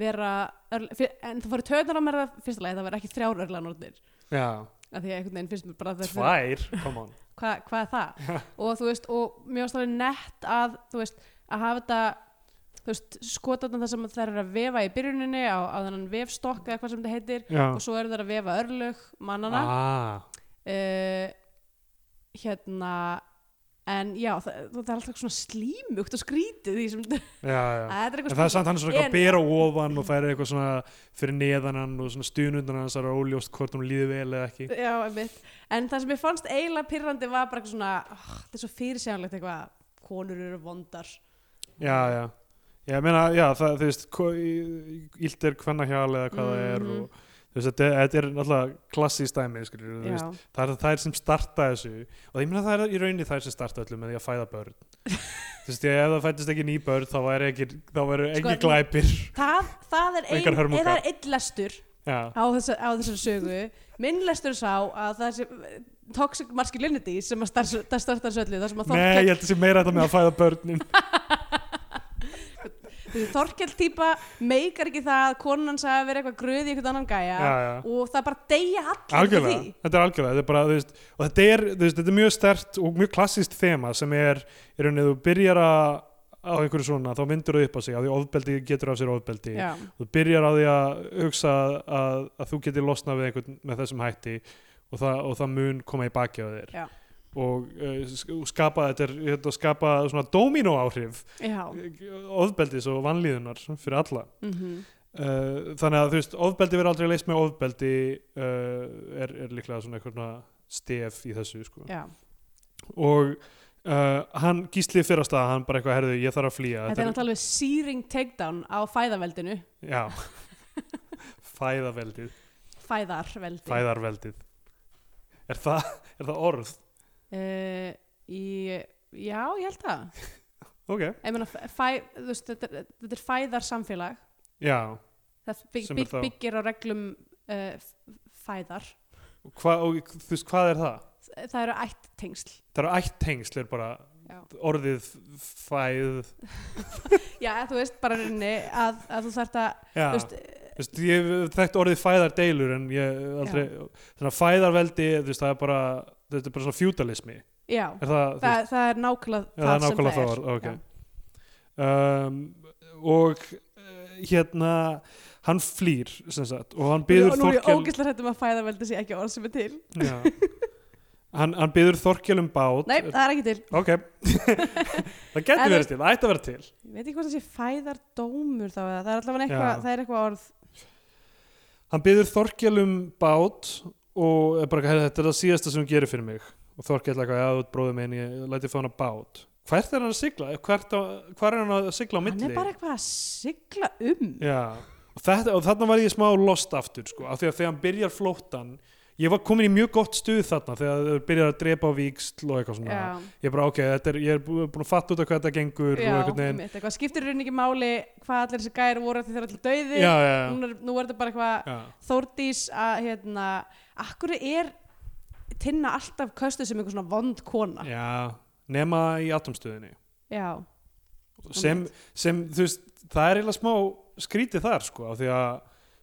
[SPEAKER 3] vera örl, fyr, en það fóru töðnar á mér að fyrsta lagi, það var ekki þrjár örlanornir
[SPEAKER 2] já,
[SPEAKER 3] af því að einhvern veginn finnst mér bara að þær þurfa-
[SPEAKER 2] tvær come on.
[SPEAKER 3] hva, hvað er það og þú veist, og mér varst alveg nett að þú veist, að hafa þetta þú veist, skotarna það sem þær eru að vefa í byrjuninni á, á þennan vefstokk eða hvað sem þetta heitir
[SPEAKER 2] já,
[SPEAKER 3] og svo eru þær að vefa örlög mannana ah.
[SPEAKER 2] ah,
[SPEAKER 3] Eh, hérna en já, það, það er alltaf svona slímugt og skrítið því sem
[SPEAKER 2] já, já
[SPEAKER 3] það er
[SPEAKER 2] En
[SPEAKER 3] eitthvað
[SPEAKER 2] það er samt hann er svona eitthvað að
[SPEAKER 3] En-
[SPEAKER 2] bera ofan og það er eitthvað svona fyrir neðan hann og svona stuðnundan hans það er óljóst hvort hún líði vel eða ekki.
[SPEAKER 3] Já, einmitt. En það sem ég fannst eiginlega pyrrandi var bara eitthvað svona, oh, þetta er svo fyrirsjánlegt eitthvað, konur eru vondar.
[SPEAKER 2] já, já ég meina, já, það, þú veist ko- í- illt er kvennahjál eða hvað það er
[SPEAKER 3] Mhm.
[SPEAKER 2] og, þú veist, þetta, er- þetta er náttúrulega klassískt dæmi, skilur, þú veist það er það er sem starta þessu og ég meina það er í rauninni það er sem starta öllu með því að fæða börn þú veist, ef það fættist ekki ný börn þá væri ekki, þá væri
[SPEAKER 3] Sko,
[SPEAKER 2] ekki glæpir
[SPEAKER 3] það, það er ein,
[SPEAKER 2] Engar hörmungar.
[SPEAKER 3] eða er einn lestur
[SPEAKER 2] já,
[SPEAKER 3] á, þessa, á þessar sögu minn lestur er sá að það sem toxic masculinity sem að starf, það startar þessu öllu það sem að
[SPEAKER 2] nei, ég
[SPEAKER 3] Þorkell,
[SPEAKER 2] held þessi meira þetta með að fæða börnin
[SPEAKER 3] yeah. Þorkell típa meikar ekki það að konan hans hafi verið eitthvað gröð í eitthvað annan gæja
[SPEAKER 2] já, já
[SPEAKER 3] og það bara deyja allir út af
[SPEAKER 2] algjörlega, þetta er algjörlega þetta er bara, þú veist, og þetta er, þú veist, þetta er mjög stert og mjög klassist þema sem er í rauninni þú byrjar að á einhverju svona, þá vindur þú upp á sig af því ofbeldi getur af sér ofbeldi
[SPEAKER 3] Já,
[SPEAKER 2] þú byrjar á því að hugsa að, að þú getur losnað við einhvern með þessum hætti og það, og það mun koma í baki á þér
[SPEAKER 3] Já.
[SPEAKER 2] og uh, sk- og skapa þetta er, þetta skapa svona domino áhrif
[SPEAKER 3] já,
[SPEAKER 2] ofbeldis og vanlíðunar fyrir alla
[SPEAKER 3] mhm
[SPEAKER 2] Uh, þannig að þú veist, ofbeldi verður aldrei leist með ofbeldi uh, er, er líklega svona eitthvað svona stef í þessu sko.
[SPEAKER 3] já.
[SPEAKER 2] og uh, hann gísli fyrir að staða hann bara eitthvað herðu, ég þarf að flýja
[SPEAKER 3] Þetta er náttúrulega searing takedown á fæðaveldinu
[SPEAKER 2] náttúrulega já, fæðaveldið,
[SPEAKER 3] fæðarveldi
[SPEAKER 2] fæðarveldið er það, er það orð?
[SPEAKER 3] Eh, í, Já, ég held það
[SPEAKER 2] ok,
[SPEAKER 3] Ég meina, fæ, þú veist, þetta, er- þetta er fæðarsamfélag
[SPEAKER 2] já
[SPEAKER 3] það bygg,
[SPEAKER 2] Sem er
[SPEAKER 3] bygg,
[SPEAKER 2] þá-
[SPEAKER 3] byggir á reglum uh, fæðar
[SPEAKER 2] Og Hva, og þú veist, hvað er það?
[SPEAKER 3] það eru ætt tengsl
[SPEAKER 2] það eru ætt tengsl er bara
[SPEAKER 3] Já.
[SPEAKER 2] orðið fæð
[SPEAKER 3] já, þú veist bara reyni að, að þú þarft að
[SPEAKER 2] já,
[SPEAKER 3] þú veist,
[SPEAKER 2] Þú veist, ég hef þekkt orðið fæðardeilur en ég hef aldrei, þannig að fæðarveldi þú veist, það er bara, þetta er bara svona feudalismi
[SPEAKER 3] já,
[SPEAKER 2] er það,
[SPEAKER 3] það, það er nákvæmlega
[SPEAKER 2] það er nákvæmlega
[SPEAKER 3] sem
[SPEAKER 2] það orð, ok.
[SPEAKER 3] Já.
[SPEAKER 2] það er. Um, og eh, hérna hann flýr sem sagt og hann
[SPEAKER 3] Nú
[SPEAKER 2] byður
[SPEAKER 3] er ég
[SPEAKER 2] Þorkel
[SPEAKER 3] ógeðslega hrætt um að fæðaveldi sé ekki orð sem er til.
[SPEAKER 2] Já. hann, hann byður Þorkel um bát
[SPEAKER 3] Nei, það er ekki til.
[SPEAKER 2] ok það getur
[SPEAKER 3] En-
[SPEAKER 2] verið til, það ætti að vera til
[SPEAKER 3] Ég veit ekki hvort það sé fæðardómur þá eða það er allavega
[SPEAKER 2] Já.
[SPEAKER 3] eitthvað, það er eitthvað orð.
[SPEAKER 2] hann byður Þorkel um bát og er bara, "Heyrðu, þetta er það síðasta sem hún gerir fyrir mig og Þorkel er eitthvað, já, þú ert bróðið minn ég læti fá hann að bát hvert er hann að sigla? Hvert á, hvar er hann að sigla á milli?
[SPEAKER 3] Hann er bara eitthvað að sigla um.
[SPEAKER 2] Já, og, þetta, og þarna var ég smá lost aftur sko, af því að þegar hann byrjar flóttan ég var komin í mjög gott stuð þarna þegar þau byrjar að drepa á víksl og eitthvað svona
[SPEAKER 3] Já,
[SPEAKER 2] ég er bara ok, þetta er, ég er bú- búin að fatta út af hvað þetta gengur
[SPEAKER 3] já,
[SPEAKER 2] og einhvern veginn
[SPEAKER 3] mitt, eitthvað skiptir í rauninni ekki máli hvað allir þessi gæri voru þegar þeir eru allir dauðir.
[SPEAKER 2] já, já,
[SPEAKER 3] Nú er, nú er þetta bara eitthvað
[SPEAKER 2] já.
[SPEAKER 3] Þórdís að hérna, akkur er tinna alltaf köstu sem einhver svona vond kona
[SPEAKER 2] já, nema í atomstöðinni
[SPEAKER 3] já,
[SPEAKER 2] sem, sem þú veist, það er eiginlega smá skrítið þar sko, af því að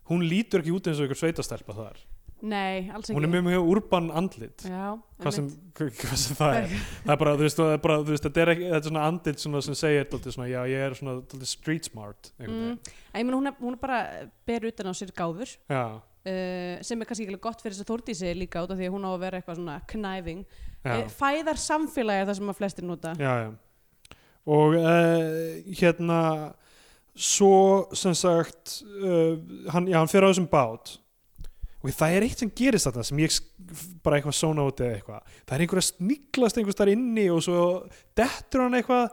[SPEAKER 2] hún lítur ekki út eins og einhver sveitastelpa þar
[SPEAKER 3] nei, alls ekki
[SPEAKER 2] hún er mjög mjög urban andlit
[SPEAKER 3] já,
[SPEAKER 2] hvað sem,
[SPEAKER 3] einmitt.
[SPEAKER 2] hvað sem það er það er bara, þú veist, það er bara, þú veist þetta er, ekki, þetta er svona andil svona sem segir dálítið svona, já, ég er svona dálítið street smart
[SPEAKER 3] mm,
[SPEAKER 2] mm.
[SPEAKER 3] en ég meina hún, er- hún er bara ber utan á sér gáfur
[SPEAKER 2] já,
[SPEAKER 3] uh, sem er kannski ekki alveg gott fyrir þess að Þórdísi líka út af því að hún á að vera eitthvað svona knæfing
[SPEAKER 2] já,
[SPEAKER 3] Eh, fæðar samfélagi er það sem að flestir nota
[SPEAKER 2] já, já og uh, hérna svo sem sagt uh, hann, já, hann fer á þessum bát og það er eitt sem gerist þarna sem ég sk- bara eitthvað svona út eða eitthvað það er einhver að sniglast einhvers þar inni og svo dettur hann eitthvað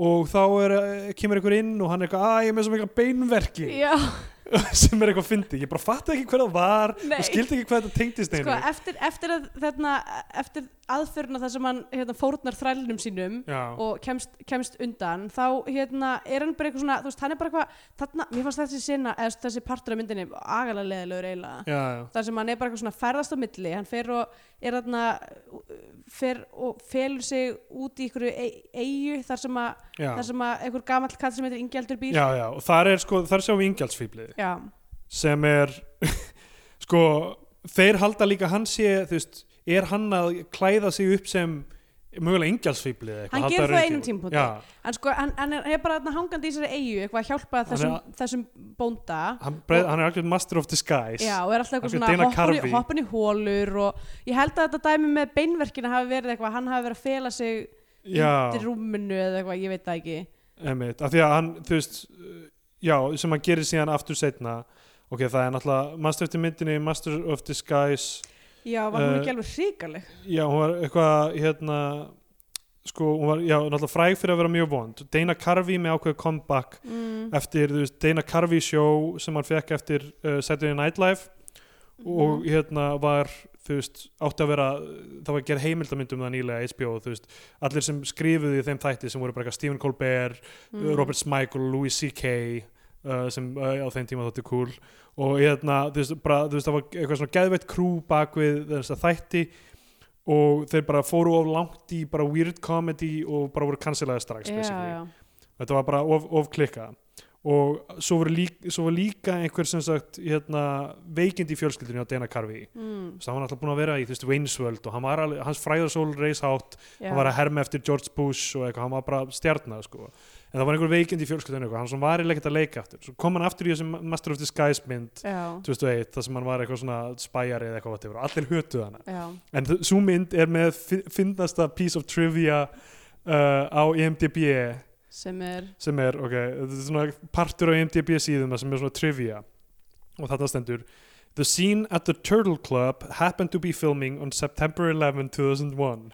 [SPEAKER 2] og þá er, eh, kemur einhver inn og hann er eitthvað, að ég er með svo mikla beinverki
[SPEAKER 3] já,
[SPEAKER 2] sem er eitthvað fyndi, ég bara fatta ekki hver það var
[SPEAKER 3] Nei.
[SPEAKER 2] og skildi ekki hvað þetta tengdist einu
[SPEAKER 3] sko, eftir, eftir, að, þarna, eftir aðförna þar sem hann hérna, fórnar þrælnum sínum
[SPEAKER 2] já,
[SPEAKER 3] og kemst, kemst undan þá hérna, er hann bara eitthvað svona þú veist, hann er bara eitthvað, þarna, mér fannst þessi sena eða þessi partur af myndinni agalega leðilegur eiginlega
[SPEAKER 2] já, já,
[SPEAKER 3] þar sem hann er bara eitthvað svona ferðast á milli hann fer og er þarna uh, fer og felur sig út í einhverju ei- eyju þar sem að,
[SPEAKER 2] já.
[SPEAKER 3] þar sem að einhver gamall katt sem heitir Ingjaldur býr
[SPEAKER 2] já, já, og þar er sko, þar sjáum við ingjaldsfýblið
[SPEAKER 3] Já.
[SPEAKER 2] sem er sko, þeir halda líka hann sé, þú veist, er hann að klæða sig upp sem mögulega ingjaldsfýblið
[SPEAKER 3] Hann gerir það á einum tímapunkti.
[SPEAKER 2] já,
[SPEAKER 3] en sko hann, hann er, er bara þarna hangandi í þessari eyju eitthvað að
[SPEAKER 2] Hann
[SPEAKER 3] hjálpa
[SPEAKER 2] er
[SPEAKER 3] þessum, þessum bónda
[SPEAKER 2] hann, breið, hann er allir master of disguise
[SPEAKER 3] Já, og er alltaf eitthvað
[SPEAKER 2] Algjör
[SPEAKER 3] svona
[SPEAKER 2] Dana
[SPEAKER 3] hoppar í,
[SPEAKER 2] Carvey.
[SPEAKER 3] hoppin í hólur og ég held að þetta dæmi með beinverkina hafi verið eitthvað, hann hafi verið að fela sig undir
[SPEAKER 2] já
[SPEAKER 3] rúminu eða eitthvað, ég veit það ekki.
[SPEAKER 2] einmitt, af því að hann, þú veist já, sem hann gerir síðan aftur setna ok, það er náttúrulega master eftir myndinni, master of disguise
[SPEAKER 3] Já, var hún
[SPEAKER 2] Eh,
[SPEAKER 3] ekki alveg hrikaleg?
[SPEAKER 2] Já, hún var eitthvað hérna sko, hún var, já, náttúrulega fræg fyrir að vera mjög vond Dana Carvey með ákveð comeback
[SPEAKER 3] Mm.
[SPEAKER 2] eftir, þú veist, Dana Carvey show sem hann fekk eftir uh, Saturday Night Live
[SPEAKER 3] Mhm.
[SPEAKER 2] og hérna var, þú veist, átti að vera það var að gera heimildamynd um það nýlega HBO, þú veist, allir sem skrifuðu í þeim þætti sem voru bara eitthvað Stephen Colbert
[SPEAKER 3] Mhm.
[SPEAKER 2] uh, Robert Smigel, Louis C.K. Uh, sem uh, á þeim tíma þótti cool og hérna, þú veist, bara, þú veist það var eitthvað svona geðveitt krú bak við þess að þætti og þeir bara fóru of langt í bara weird comedy og bara voru cancelaði strax
[SPEAKER 3] Já,
[SPEAKER 2] basically.
[SPEAKER 3] já.
[SPEAKER 2] þetta var bara of, of klikka og svo voru, lík, svo voru líka einhver sem sagt hérna, veikindi í fjölskyldinu á Dana Carvey Þú
[SPEAKER 3] Mm,
[SPEAKER 2] veist, hann var alltaf búin að vera í þú veist, Wainsworld og hann var alveg, hans fræðarsól reis hátt
[SPEAKER 3] já.
[SPEAKER 2] hann var að herma eftir George Bush og eitthvað, hann var bara stjarnar sko. en það var einhver veikind í fjölskyldunni eitthvað, hann svona var eiginlega ekkert að leika aftur svo kom hann aftur í þessum Master of Disguise mynd
[SPEAKER 3] Já,
[SPEAKER 2] 2001, þar sem hann var eitthvað svona spæjari eða eitthvað whatever, og allir hötuð hana
[SPEAKER 3] já.
[SPEAKER 2] en þ- sú mynd er með fi- fyndnasta piece of trivia uh, á IMDb
[SPEAKER 3] Sem er,
[SPEAKER 2] sem er, ok, þetta er svona partur á IMDb síðum sem er svona trivia og þetta stendur The scene at the Turtle Club happened to be filming on September 11, 2001.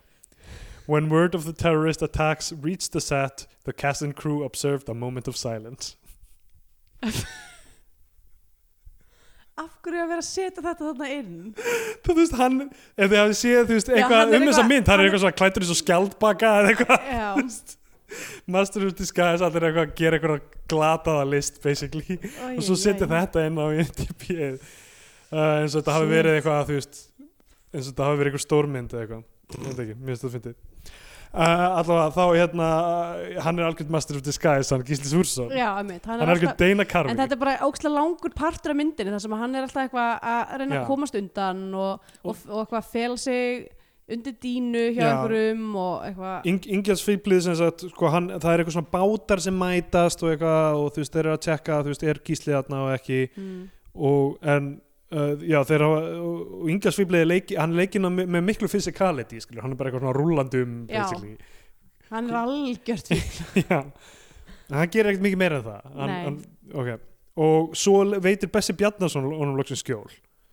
[SPEAKER 2] When word of the terrorist attacks reached the set, the cast and crew observed a moment of silence.
[SPEAKER 3] af hverju að vera að setja þetta þarna inn?
[SPEAKER 2] Þú veist, hann, ef þið hafið séð, þú veist,
[SPEAKER 3] hann
[SPEAKER 2] eitthvað
[SPEAKER 3] er
[SPEAKER 2] um þessa
[SPEAKER 3] eitthvað-
[SPEAKER 2] mynd, hann er
[SPEAKER 3] hann er-
[SPEAKER 2] eitthvað svona klættur eins og skjaldbaka eða eitthvað,
[SPEAKER 3] Já,
[SPEAKER 2] master of disguise, allir eitthvað að gera eitthvað glataða list, basically. og svo setja þetta inn á IMDb uh, eins og þetta hafi verið eitthvað þú veist, eins og þetta hafi verið eitthvað stórmynd eða eitthvað, ég veit ekki, mér finnst þetta fyndið uh, allavega þá hérna uh, hann er algjörn master of disguise hann Gísli Súrsson,
[SPEAKER 3] Já, einmitt,
[SPEAKER 2] hann er
[SPEAKER 3] hann er alltaf...
[SPEAKER 2] algjörn Dana
[SPEAKER 3] En
[SPEAKER 2] Carvey
[SPEAKER 3] þetta er bara ókslega langur partur af myndinni þar sem að hann er alltaf eitthvað að reyna
[SPEAKER 2] Já.
[SPEAKER 3] að komast undan og, og, og eitthvað að fela sig undir dínu hjá
[SPEAKER 2] Já.
[SPEAKER 3] einhverjum og eitthvað
[SPEAKER 2] Ing, Ingjalds fýblið sem sagt sko, hann, það er eitthvað svona bátar sem mætast og eitthvað og þú veist, þeir eru að tjekka þú veist, er gíslið þarna og ekki
[SPEAKER 3] mm.
[SPEAKER 2] og en uh, já, þeir hafa og, og Ingjalds fýblið, leik, hann leikina með, með miklu physicality, skilur, hann er bara eitthvað svona rúlandum,
[SPEAKER 3] Já.
[SPEAKER 2] basically
[SPEAKER 3] hann er algjört fíkl
[SPEAKER 2] já, En hann gerir ekkert mikið meira en það hann,
[SPEAKER 3] Nei.
[SPEAKER 2] hann, ok og svo le- veitir Bessi Bjarnason honum loksins skjól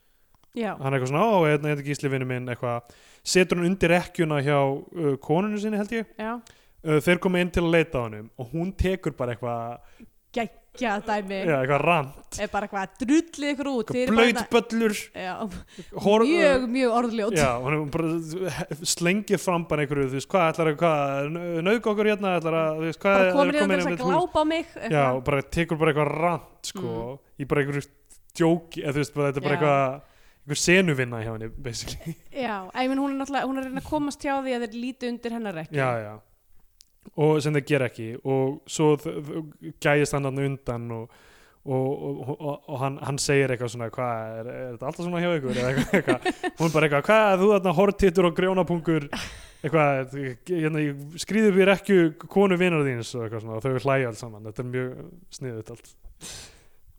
[SPEAKER 3] já,
[SPEAKER 2] hann er eitthvað svona, á, hérna, hérna gísli vinnu minn eitthvað, setur hann undir ekkjuna hjá uh, konunni sinni held ég
[SPEAKER 3] já,
[SPEAKER 2] uh, þeir koma inn til að leita á hannum og hún tekur bara eitthvað,
[SPEAKER 3] geggja dæmi
[SPEAKER 2] já, eitthvað rann
[SPEAKER 3] er bara eitthvað drullið ykkur út þið eruð bara hérna-
[SPEAKER 2] blöytböllur
[SPEAKER 3] já,
[SPEAKER 2] hor-
[SPEAKER 3] mjög, mjög orðljót
[SPEAKER 2] Já, og hún bara slengir fram bara einhverju, þú veist, hvað ætlar að, hvað, nauðg okkur hérna, ætlar að, þú veist, hvað hérna
[SPEAKER 3] bara
[SPEAKER 2] ætlarðu
[SPEAKER 3] komin
[SPEAKER 2] koma
[SPEAKER 3] í þess
[SPEAKER 2] inn
[SPEAKER 3] að
[SPEAKER 2] með hús?
[SPEAKER 3] glápa á mig
[SPEAKER 2] Já,
[SPEAKER 3] eitthvað. Mm.
[SPEAKER 2] og bara tekur bara eitthvað rant, sko, í bara einhverju djóki, eða þú veist, bara, þetta er bara
[SPEAKER 3] Já.
[SPEAKER 2] eitthvað, einhver senuvinna hjá henni, basically.
[SPEAKER 3] já, ég minn hún er náttúrulega hún er að reyna að komast hjá því að þeir líti undir hennar ekki
[SPEAKER 2] Já, já. Og sem þeir gera ekki, og svo þ- þ- gæjist hann hann undan og, og, og, og, og hann, hann segir eitthvað svona, hvað, er, er þetta alltaf svona hjá ykkur, eða eitthvað, eitthvað, hún bara eitthvað, hvað, þú þarna hortittur og grjónapungur, eitthvað, hérna, ég skrýði upp í rekju konu vinar þíns og eitthvað svona, og þau hlæja alls saman, þetta er mjög sniðut allt.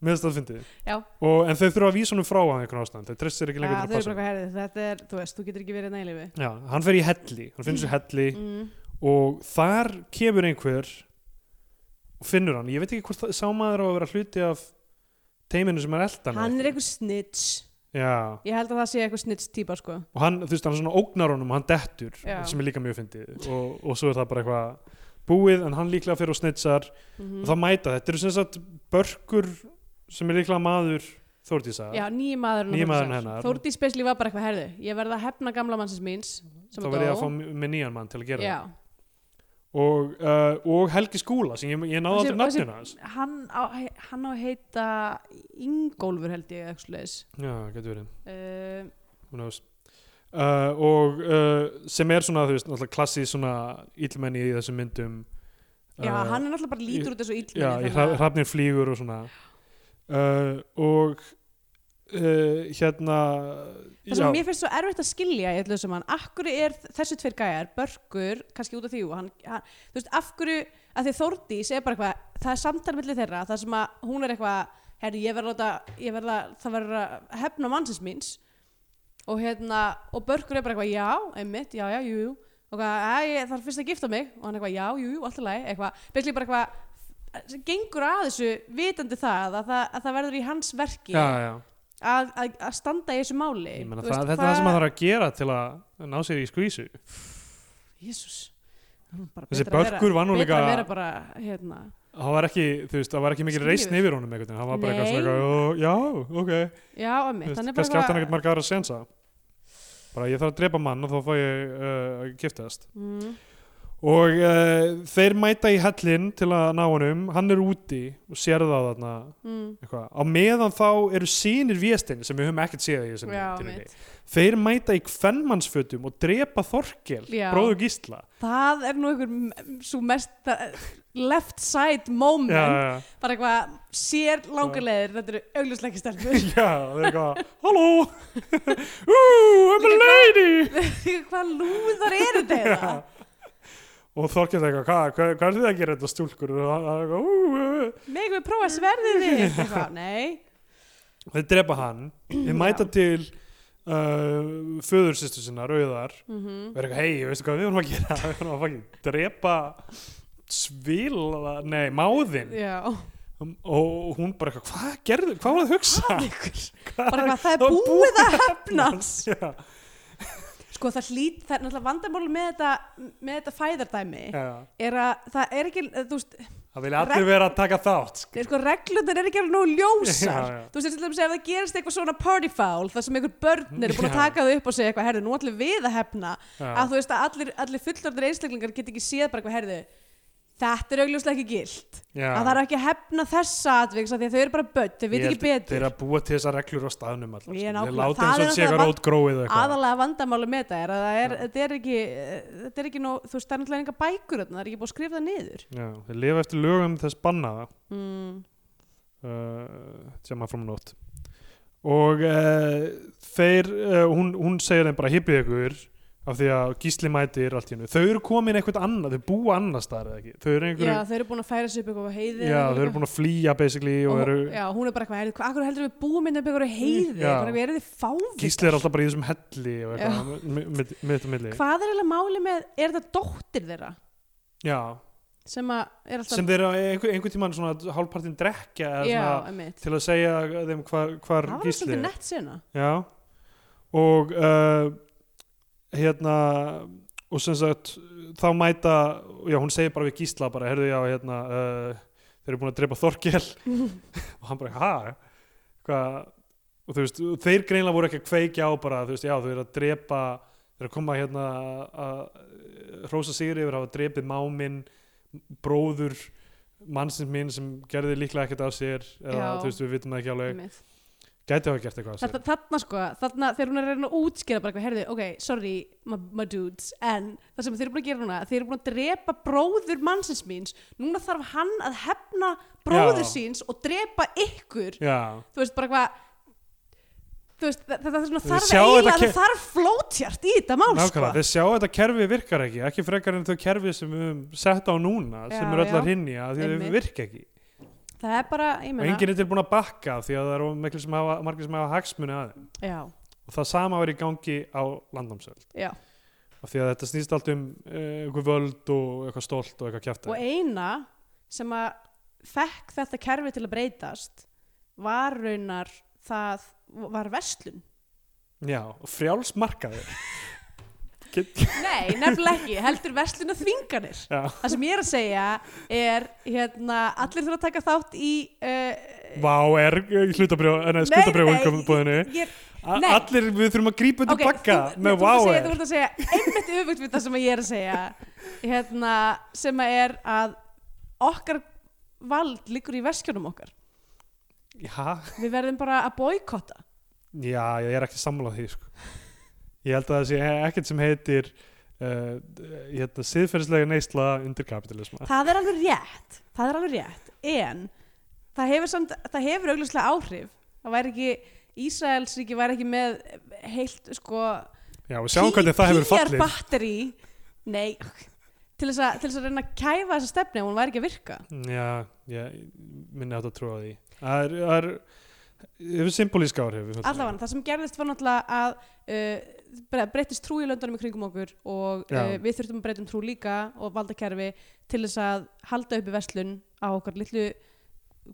[SPEAKER 2] Mér finnst það fyndið.
[SPEAKER 3] Já.
[SPEAKER 2] Og, en þau þurfa að vísa honum frá á einhvern ástæðan, þau treystir ekki
[SPEAKER 3] Já,
[SPEAKER 2] lengur
[SPEAKER 3] þau
[SPEAKER 2] til
[SPEAKER 3] eru
[SPEAKER 2] að
[SPEAKER 3] bara
[SPEAKER 2] passa.
[SPEAKER 3] eitthvað herðið, þetta er, þú veist, þú getur ekki verið nælifi
[SPEAKER 2] Já, hann fer í helli, hann finnst þessu helli,
[SPEAKER 3] mm.
[SPEAKER 2] og þar kemur einhver og finnur hann ég veit ekki hvort það, sá maður á að vera hluti af teiminu sem er eldan
[SPEAKER 3] hann er eitthvað snitch
[SPEAKER 2] já,
[SPEAKER 3] ég held að það sé eitthvað snitch típa sko.
[SPEAKER 2] og hann, þú veist, hann svona ógnar honum og hann dettur,
[SPEAKER 3] Já.
[SPEAKER 2] sem er líka mjög fyndið og, og svo er það bara eitthvað búið en hann líklega fyrir og snitsar
[SPEAKER 3] mm
[SPEAKER 2] og það mæta, þetta eru sem sagt börkur sem er líklega maður Þórdísa,
[SPEAKER 3] já, nýji maðurinn
[SPEAKER 2] Nýji maðurinn hennar.
[SPEAKER 3] Þórdís Besli var bara eitthvað herðu ég verða að hefna gamla mannsins míns sem
[SPEAKER 2] þá verði ég að fá með nýjan mann til að gera
[SPEAKER 3] já,
[SPEAKER 2] það og, uh, og Helgi Skúla sem ég, ég náði
[SPEAKER 3] Þessi-
[SPEAKER 2] aldrei nafnina hans
[SPEAKER 3] hann á, hann á að heita Ingólfur held ég eitthvað leis
[SPEAKER 2] já, getur verið
[SPEAKER 3] uh,
[SPEAKER 2] Who knows uh, og uh, sem er svona þú veist, náttúrulega klassið svona illmenni í þessum myndum Uh,
[SPEAKER 3] já, hann er náttúrulega bara lítur út þessu
[SPEAKER 2] já,
[SPEAKER 3] illmenni
[SPEAKER 2] í hra- hrafnir flýgur og svona uh, og uh, hérna
[SPEAKER 3] Það sem
[SPEAKER 2] já,
[SPEAKER 3] mér finnst svo erfitt að skilja í öllu sem hann, af hverju er þessu tveir gæjar, Börkur, kannski út af því og hann, hann, þú veist, af hverju að því Þórdís er bara eitthvað, það er samtal millir þeirra, það sem að hún er eitthvað herri, ég verð að láta, ég verð að það verður að hefna mannsins míns og hérna, og Börkur er bara eitthvað já, einmitt, já, já, jú, jú og hvað, "Æ, ég- það er fyrst að gifta mig og hann eitthvað, já, jú, jú, alltaf leið, eitthvað basically bara eitthvað, gengur að þessu vitandi það, að það, að það verður í hans verki
[SPEAKER 2] já, já.
[SPEAKER 3] að, að, að standa í þessu máli
[SPEAKER 2] Ég meina,
[SPEAKER 3] Þú
[SPEAKER 2] það,
[SPEAKER 3] veist,
[SPEAKER 2] þetta er það sem maður þarf að gera til að ná sér í skvísu
[SPEAKER 3] Jésús
[SPEAKER 2] Þessi börkur var nú
[SPEAKER 3] Betra að vera
[SPEAKER 2] líka
[SPEAKER 3] bara, hérna
[SPEAKER 2] það var ekki, þú veist, það var ekki mikil
[SPEAKER 3] Sniðugur.
[SPEAKER 2] reisn yfir honum einhvern veginn, hann var bara eitthvað
[SPEAKER 3] Nei.
[SPEAKER 2] svona eitthvað, já, ok
[SPEAKER 3] Já,
[SPEAKER 2] Þú
[SPEAKER 3] emmitt,
[SPEAKER 2] veist,
[SPEAKER 3] hann er bara
[SPEAKER 2] kannski átti hann ekkert marga aðra sensa bara ég þarf að drepa mann og þá fæ ég uh, að giftast
[SPEAKER 3] mm,
[SPEAKER 2] og uh, þeir mæta í hellin til að ná honum, hann er úti og sér það þarna
[SPEAKER 3] mm,
[SPEAKER 2] eitthvað. á meðan þá eru sínir viestein sem við höfum ekkert séð í þessum
[SPEAKER 3] Já,
[SPEAKER 2] tilviki.
[SPEAKER 3] emmitt
[SPEAKER 2] þeir mæta í kvennmannsfötum og drepa Þorkel,
[SPEAKER 3] Já.
[SPEAKER 2] bróður Gísla
[SPEAKER 3] Það er nú einhver svo mest left side moment
[SPEAKER 2] já,
[SPEAKER 3] bara eitthvað sér langarleðir þetta eru augljóslega
[SPEAKER 2] já,
[SPEAKER 3] ekki stelpur
[SPEAKER 2] já, það er eitthvað halló, ooh, I'm a
[SPEAKER 3] Líka
[SPEAKER 2] lady
[SPEAKER 3] Hvað lúðar eru þetta?
[SPEAKER 2] og Þorkel er eitthvað, "Hvað- hvað hvað er þið að gera þetta stúlkur og hann er eitthvað, ooh
[SPEAKER 3] Megum við prófa sverðið þitt? Eitthvað, Nei
[SPEAKER 2] þeir drepa hann þeir mæta til uh, föðursýstu sinna, rauðar
[SPEAKER 3] mm
[SPEAKER 2] og er eitthvað, hei, veistu hvað við vorum að gera við vorum að fucking drepa svila, nei, máðin
[SPEAKER 3] Já
[SPEAKER 2] og hún bara eitthvað, hvað gerðu, hvað var það að hugsa
[SPEAKER 3] Bara eitthvað, það er
[SPEAKER 2] Það er
[SPEAKER 3] búið að hefnast
[SPEAKER 2] já,
[SPEAKER 3] Sko það hlýt, það er náttúrulega vandamáli með þetta, með þetta fæðardæmi
[SPEAKER 2] já,
[SPEAKER 3] er að það er ekki, þú veist,
[SPEAKER 2] það vilja allir vera að taka þátt
[SPEAKER 3] er, sko, reglunar er ekki alveg nógu ljósar.
[SPEAKER 2] Já, já.
[SPEAKER 3] Þú veist, til dæmis ef það gerist eitthvað svona party foul, þar sem einhver börn eru búin að
[SPEAKER 2] Já.
[SPEAKER 3] taka þau upp og segja eitthvað, herðu, nú ætlum við að hefna,
[SPEAKER 2] já,
[SPEAKER 3] að þú veist að allir, allir fullorðnir einstaklingar get ekki séð bara eitthvað, herðu, þetta er augljóslega ekki gilt.
[SPEAKER 2] já.
[SPEAKER 3] Að það er ekki að hefna þessa atviks, af því að þau eru bara börn, þau veit
[SPEAKER 2] Ég
[SPEAKER 3] ekki
[SPEAKER 2] held
[SPEAKER 3] betur.
[SPEAKER 2] þeir eru að búa til þessar reglur á staðnum allar,
[SPEAKER 3] Ég
[SPEAKER 2] sko. þeir
[SPEAKER 3] nákvæmlega.
[SPEAKER 2] láta
[SPEAKER 3] Það
[SPEAKER 2] eins
[SPEAKER 3] er
[SPEAKER 2] og sé
[SPEAKER 3] náttúrulega
[SPEAKER 2] eitthvað rót gróið eitthvað
[SPEAKER 3] aðalega vandamáli með þetta er að það er,
[SPEAKER 2] Já.
[SPEAKER 3] þetta er ekki þetta er ekki nóg, þú veist, það er náttúrulega enga bækur þarna, það er ekki búið að skrifa það niður
[SPEAKER 2] já, þeir lifa eftir lögum þess bannaða
[SPEAKER 3] mm.
[SPEAKER 2] uh, sem að from not og uh, þeir uh, hún, hún segir þeim bara hippið ykkur af því að gísli mætir allt í hennu þau eru komin eitthvað annað, þau búa annað staðar eða ekki, þau eru einhverju
[SPEAKER 3] já, þau eru búin að færa sig upp eitthvað á heiði
[SPEAKER 2] já, þau eru búin að flýja basically og eru, Mm,
[SPEAKER 3] já, hún er bara eitthvað, "Heyrðu, hvað- af hverju heldur við búum inn upp eitthvað á heiði,
[SPEAKER 2] Já.
[SPEAKER 3] hvað er þið fávið
[SPEAKER 2] gísli er alltaf bara í þessum helli og eitthvað, mi- mi- mi- mitt og milli
[SPEAKER 3] hvað er eiginlega máli með, er þetta dóttir þeirra
[SPEAKER 2] já,
[SPEAKER 3] sem að er alltaf
[SPEAKER 2] sem þeir eru einhver, einhver tíman svona hálfpartin drekja eða
[SPEAKER 3] já,
[SPEAKER 2] svona,
[SPEAKER 3] einmitt.
[SPEAKER 2] til að segja þeim hvar,
[SPEAKER 3] það
[SPEAKER 2] hvar
[SPEAKER 3] var alveg
[SPEAKER 2] gísli
[SPEAKER 3] svolítið
[SPEAKER 2] er
[SPEAKER 3] nett sena
[SPEAKER 2] Já og uh, hérna og sem sagt þá mæta, já hún segir bara við Gísla bara, herðu já hérna uh, þeir eru búin að drepa Þorkel og hann bara, hæ? Hvað? Og þú veist, og þeir greinlega voru ekki að kveikja á bara, þú veist, já þau eru að drepa þeir eru að koma hérna að hrósa sigur yfir að hafa drepið máminn bróður mannsins minn sem gerði líklega ekkert af sér eða
[SPEAKER 3] Já.
[SPEAKER 2] þú veist, við vitum það ekki alveg
[SPEAKER 3] einmitt.
[SPEAKER 2] gæti hafa gert eitthvað af sér
[SPEAKER 3] Þetta, þarna sko, þarna þegar hún er að reyna að útskýra bara eitthvað, herðu, ok, sorry my, my dudes, en það sem þeir eru búin að gera núna þeir eru búin að drepa bróður mannsins míns núna þarf hann að hefna bróður
[SPEAKER 2] Já.
[SPEAKER 3] síns og drepa ykkur
[SPEAKER 2] Já,
[SPEAKER 3] þú veist bara hvað þú veist, þetta, þetta er svona
[SPEAKER 2] Þau
[SPEAKER 3] þarf
[SPEAKER 2] sjá þetta
[SPEAKER 3] eiginlega,
[SPEAKER 2] ke-
[SPEAKER 3] það þarf flótjart í þetta mál sko.
[SPEAKER 2] nákvæmlega, þeir sjá að þetta kerfi virkar ekki, ekki frekar en þau kerfi sem við höfum sett á núna, sem
[SPEAKER 3] Já,
[SPEAKER 2] eru öll
[SPEAKER 3] já.
[SPEAKER 2] að rinja, því að
[SPEAKER 3] Einmitt.
[SPEAKER 2] þau virka ekki.
[SPEAKER 3] það er bara, ég
[SPEAKER 2] Og
[SPEAKER 3] meina
[SPEAKER 2] enginn er tilbúin að bakka af því að það eru miklu sem hafa, margir sem hafa hagsmuni að þeim.
[SPEAKER 3] já,
[SPEAKER 2] Og það sama var í gangi á landnámsöld.
[SPEAKER 3] já.
[SPEAKER 2] Af því að þetta snýst allt um eh, eitthvað völd og eitthvað stolt og eitthvað kjæftið.
[SPEAKER 3] og eina sem að fekk þetta kerfi til að breytast var raunar það var verslun
[SPEAKER 2] Já, og frjálsmarkaði. Get,
[SPEAKER 3] nei, nefnilega ekki, heldur verslun að þvinganir
[SPEAKER 2] já,
[SPEAKER 3] það sem ég er að segja er hérna, allir þurfa að taka þátt í uh,
[SPEAKER 2] vá, er hlutabrjóð, skutabrjóðungum
[SPEAKER 3] ég, ég, nei.
[SPEAKER 2] Allir við þurfum að grípa undir
[SPEAKER 3] Ok,
[SPEAKER 2] okay, bakka
[SPEAKER 3] þú-
[SPEAKER 2] með
[SPEAKER 3] þú ert að
[SPEAKER 2] wow
[SPEAKER 3] segja-
[SPEAKER 2] er.
[SPEAKER 3] Þú ert að segja einmitt öfugt við það sem ég er að segja hérna, sem að er að okkar vald liggur í veskjunum okkar
[SPEAKER 2] Já,
[SPEAKER 3] við verðum bara að boykotta
[SPEAKER 2] Já, ég er ekki samlað því sko. Ég held að það sé ekkert sem heitir uh, hérna, siðferðislega neysla undir kapitalisma
[SPEAKER 3] það er alveg rétt það er alveg rétt, en það hefur, samt, það hefur augljóslega áhrif það væri ekki, Ísraelsríki væri ekki með heilt sko
[SPEAKER 2] Já, og sjáum hvernig það hefur fallið
[SPEAKER 3] batteri nei, til þess, að, til þess að reyna að kæfa þessa stefni ef hún væri ekki að virka
[SPEAKER 2] Já, ég minni átt að trúa því Það er, það er hefur symbolíska áhrif við höldum.
[SPEAKER 3] allavega, það sem gerðist var náttúrulega að uh, bara breyttist trú í löndunum í kringum okkur og
[SPEAKER 2] Já.
[SPEAKER 3] uh, við þurftum að breyta um trú líka og valdakerfi til þess að halda uppi verslun á okkar litlu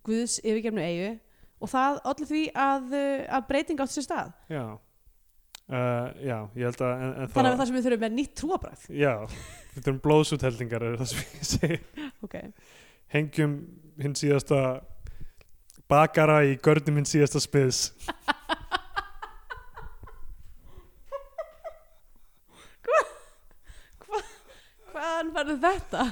[SPEAKER 3] guðs yfirgefnu eigu og það allir því að, uh, að breyting átt sér stað
[SPEAKER 2] Já Uh, já, ég held að, en, en
[SPEAKER 3] þannig að það sem við þurfum er nýtt trúabræð
[SPEAKER 2] Já, við þurfum blóðsútheldingar er það sem ég segi
[SPEAKER 3] okay.
[SPEAKER 2] Hengjum hinn síðasta bakara í görnum hinn síðasta spiðs
[SPEAKER 3] hvaðan verður þetta?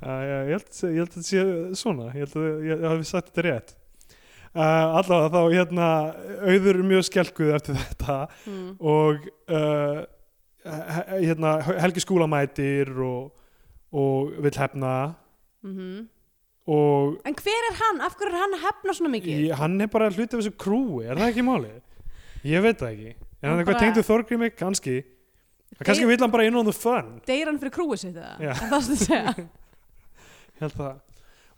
[SPEAKER 2] Uh, já, ég, held, ég held að þetta sé svona ég held að ég, ég hafi sagt þetta rétt uh, allavega þá hérna auður er mjög skelkuð eftir þetta Hmm,
[SPEAKER 3] Mm.
[SPEAKER 2] og uh, he- hérna Helgi skúlamætir og, og vill hefna og
[SPEAKER 3] en hver er hann? af hverju er hann að hefna svona mikið?
[SPEAKER 2] ég, hann er bara hluti af þessu krúi, er það ekki máli? ég veit það ekki er
[SPEAKER 3] Hann
[SPEAKER 2] hann eitthvað
[SPEAKER 3] bara-
[SPEAKER 2] tengdu Þorgrími? Kannski kannski vill hann bara inn on the fun
[SPEAKER 3] deyr hann fyrir krúið sitt eða?
[SPEAKER 2] Já.
[SPEAKER 3] Er það sem þú segja?
[SPEAKER 2] Ég held það.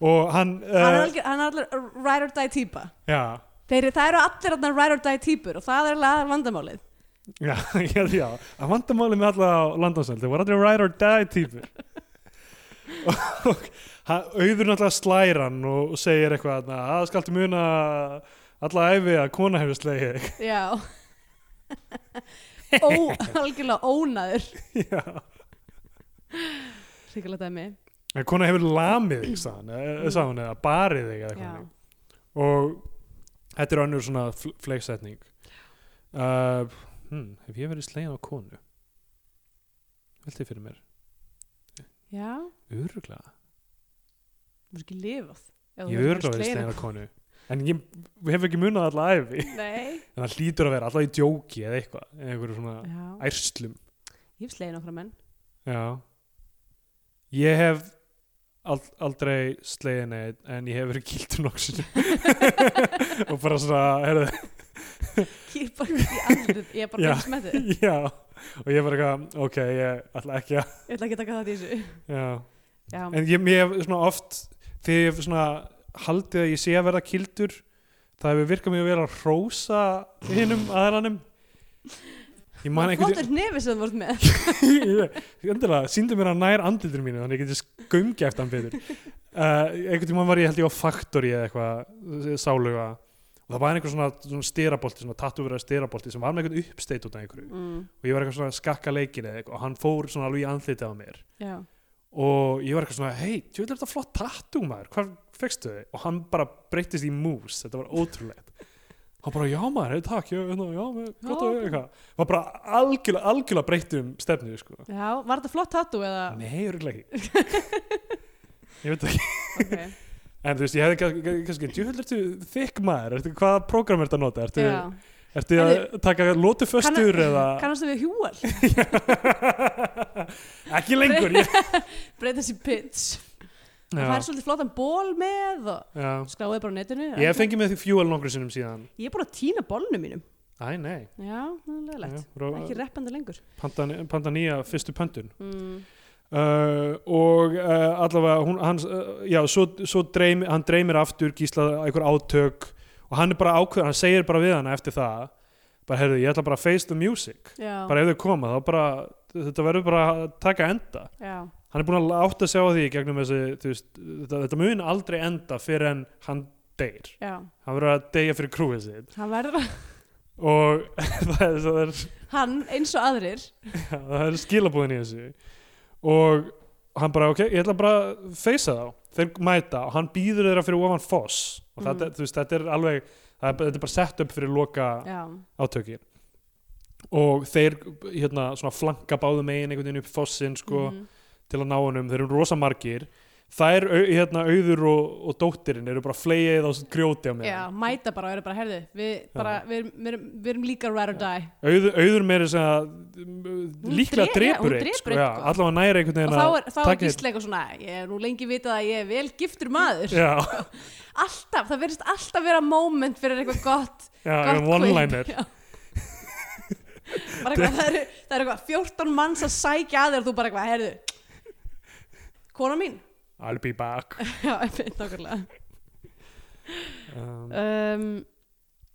[SPEAKER 2] og hann,
[SPEAKER 3] hann er
[SPEAKER 2] uh,
[SPEAKER 3] algjör- hann er allir ride or die típa
[SPEAKER 2] já
[SPEAKER 3] Þeir, það eru allir þarna ride or die típur og það er alveg aðal vandamálið.
[SPEAKER 2] Já, ég held já, að vandamáli með alla á landnámsöld, þau voru aldrei ride or die típur og hann auður náttúrulega slær hann og og segir eitthvað að það skaltu muna alla æfi að kona hefur slegið þig."
[SPEAKER 3] Já. Ó, algjörlega ónaður.
[SPEAKER 2] Já,
[SPEAKER 3] Ríkulega dæmi.
[SPEAKER 2] en kona hefur lamið þig sagði hann, eh, sagði hún, eða barið þig eða
[SPEAKER 3] Já.
[SPEAKER 2] eitthvað og þetta er önnur svona fl- fleiksetning uh, hmm, hef ég verið slegin á konu veltið fyrir mér
[SPEAKER 3] Já,
[SPEAKER 2] öruglega
[SPEAKER 3] þú er ekki lifað. Ef þú
[SPEAKER 2] Ég
[SPEAKER 3] ert
[SPEAKER 2] hef örgláði
[SPEAKER 3] slegin af
[SPEAKER 2] slegin af konu En ég hef ekki munað alla æfi
[SPEAKER 3] konu. Nei.
[SPEAKER 2] En það hlýtur að vera alltaf í djóki eða eitthvað eða einhverju svona
[SPEAKER 3] Já,
[SPEAKER 2] ærslum
[SPEAKER 3] ég hef slegin okkur menn.
[SPEAKER 2] Já Ég hef ald aldrei slegin eitt en ég hef verið kiltur nokksin og bara svona heyrðu,
[SPEAKER 3] kýpa í andlitið, ég er bara
[SPEAKER 2] Já.
[SPEAKER 3] fyrst með þið
[SPEAKER 2] já, og ég var eitthvað ok, ég ætla ekki að
[SPEAKER 3] ég ætla ekki að taka það í þessu
[SPEAKER 2] já.
[SPEAKER 3] já,
[SPEAKER 2] en ég, mér hef svona oft þegar ég hef svona haldið að ég sé að verða kildur það hefur virkað mjög vel að hrósa hinnum aðranum ég man einhvern
[SPEAKER 3] flottur nefi sem þú vart með
[SPEAKER 2] Öndilega, síndu mér að nær andildur mínu þannig að ég geti skömgi eftir hann betur uh, einhvern tímann var ég held ég á Factory eða eitthvað eh, sáluga og það var einhver svona, svona styrabolti svona tattúverða styrabolti sem var með einhvern uppsteit út af einhverju
[SPEAKER 3] mm,
[SPEAKER 2] og ég var eitthvað svona að skakka leikin eða eitthvað og hann fór svona alveg í andlitið á mér
[SPEAKER 3] já,
[SPEAKER 2] og ég var eitthvað svona hei, þú er þetta flott tattú maður hvað fegstu þau? og hann bara breyttist í mús þetta var ótrúlegt hann bara, já maður, hey, takk, já, já, já, gott að
[SPEAKER 3] Já.
[SPEAKER 2] eitthvað var bara algjörlega, algjörlega breytt um stefnu sko.
[SPEAKER 3] já, var þetta flott tattoo eða
[SPEAKER 2] Nei, örugglega ekki Ég veit það ekki
[SPEAKER 3] okay.
[SPEAKER 2] En þú veist, ég hefði kann- kann- kannski Djúhöld, ertu þykk maður, ertu, hvaða prógram ertu að nota? Ertu,
[SPEAKER 3] já.
[SPEAKER 2] ertu að taka lótu föstur eða
[SPEAKER 3] kannast við hjúal
[SPEAKER 2] Ekki lengur ég...
[SPEAKER 3] breyta sér pits það
[SPEAKER 2] já,
[SPEAKER 3] fær svolítið flottan ból með og
[SPEAKER 2] já.
[SPEAKER 3] skráði bara á netinu
[SPEAKER 2] Ég hef fengið með því fjúal nokkru sinnum síðan
[SPEAKER 3] ég er bara að týna bólnum mínum
[SPEAKER 2] Æ, nei
[SPEAKER 3] já, það er leðilegt ekki reppandi lengur
[SPEAKER 2] Pandan, Pandanía, fyrstu pöndun
[SPEAKER 3] mm.
[SPEAKER 2] uh, og uh, allavega hún, hans, uh, já, svo, svo dreym, hann dreymir aftur gísla einhver átök og hann er bara ákveður, hann segir bara við hana eftir það bara heyrðu, ég ætla bara að face the music
[SPEAKER 3] já,
[SPEAKER 2] bara ef þau koma, þá bara þetta verður bara að taka enda
[SPEAKER 3] já,
[SPEAKER 2] hann er búin að átta sig á því í gegnum þessi þú veist, þetta, þetta mun aldrei enda fyrir en hann deyr
[SPEAKER 3] já
[SPEAKER 2] hann verður að deyja fyrir krúið sitt
[SPEAKER 3] hann verður
[SPEAKER 2] og það er, það er
[SPEAKER 3] hann eins og aðrir
[SPEAKER 2] Já, það er skilabúðin í þessu og hann bara, ok, ég ætla bara að feysa þá, þeir mæta og hann býður þeirra fyrir ofan foss og þetta,
[SPEAKER 3] Mhm.
[SPEAKER 2] þú veist, þetta er alveg það er- þetta er bara sett upp fyrir loka
[SPEAKER 3] já,
[SPEAKER 2] átökin og þeir, hérna, svona flanka báðu megin einhvern veginn upp fossin, sko
[SPEAKER 3] Mhm.
[SPEAKER 2] til að ná honum, þeir eru rosa margir þær, au- hérna, auður og, og dóttirinn eru bara fleið á grjóti á mér
[SPEAKER 3] já, mæta bara og eru bara, herðu við, bara, við, erum, við, erum, við erum líka rare or die
[SPEAKER 2] auður, auður meiri sem að líklega
[SPEAKER 3] drep- já, hún
[SPEAKER 2] drepur einn,
[SPEAKER 3] drepur
[SPEAKER 2] sko,
[SPEAKER 3] einn,
[SPEAKER 2] já,
[SPEAKER 3] sko.
[SPEAKER 2] allavega næri einhvern
[SPEAKER 3] og
[SPEAKER 2] veginn
[SPEAKER 3] þá
[SPEAKER 2] að
[SPEAKER 3] er, þá er
[SPEAKER 2] taka-
[SPEAKER 3] Gísli eitthvað svona ég er nú lengi vitað að ég er vel giftur maður
[SPEAKER 2] Já,
[SPEAKER 3] alltaf, það verðist alltaf vera moment fyrir eitthvað gott,
[SPEAKER 2] já,
[SPEAKER 3] gott
[SPEAKER 2] um one-liner
[SPEAKER 3] quip, já. bara eitthvað, það eru, það eru eitthvað 14 manns að sækja að þér og þú bara eitthvað, heyrðu kona mín
[SPEAKER 2] I'll be back
[SPEAKER 3] já, einmitt, nákvæmlega
[SPEAKER 2] um,
[SPEAKER 3] um,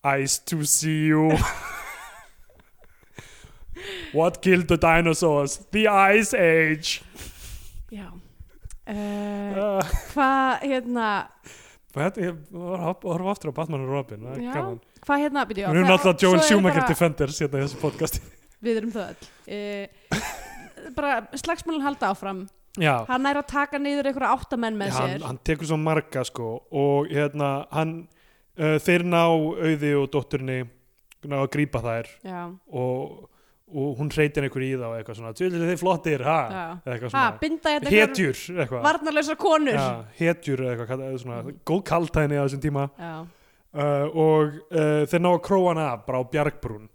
[SPEAKER 2] Eyes to see you What killed the dinosaurs? The Ice Age
[SPEAKER 3] já uh,
[SPEAKER 2] uh,
[SPEAKER 3] hvað hérna
[SPEAKER 2] Þetta er, horfa aftur á Batman og Robin það er
[SPEAKER 3] Já,
[SPEAKER 2] gaman.
[SPEAKER 3] hvað hérna byrju, já,
[SPEAKER 2] Við erum
[SPEAKER 3] það-
[SPEAKER 2] alltaf
[SPEAKER 3] svo
[SPEAKER 2] Joel
[SPEAKER 3] er
[SPEAKER 2] Schumacher
[SPEAKER 3] bara-
[SPEAKER 2] Defenders hérna í þessu podcasti
[SPEAKER 3] við erum það öll uh, bara slagsmálun halda áfram
[SPEAKER 2] Já,
[SPEAKER 3] hann er að taka niður einhverja áttamenn með
[SPEAKER 2] Já, hann,
[SPEAKER 3] sér
[SPEAKER 2] hann tekur svo marga sko og hérna hann uh, þeir ná auði og dótturinni ná að grípa þær
[SPEAKER 3] já,
[SPEAKER 2] og, og hún hreytir einhver í þá eitthvað svona, tjóðlega þið flottir ha,
[SPEAKER 3] já
[SPEAKER 2] Eða eitthvað
[SPEAKER 3] ha,
[SPEAKER 2] svona,
[SPEAKER 3] binda hérna einhverjar
[SPEAKER 2] hetjur eitthvað
[SPEAKER 3] varnarlausar konur
[SPEAKER 2] Já, hetjur eða eitthvað, kallað- eða svona, góð kaltæðinni á þessum tíma
[SPEAKER 3] já,
[SPEAKER 2] uh, og uh, þeir ná að króa hann af bara á bjargbrún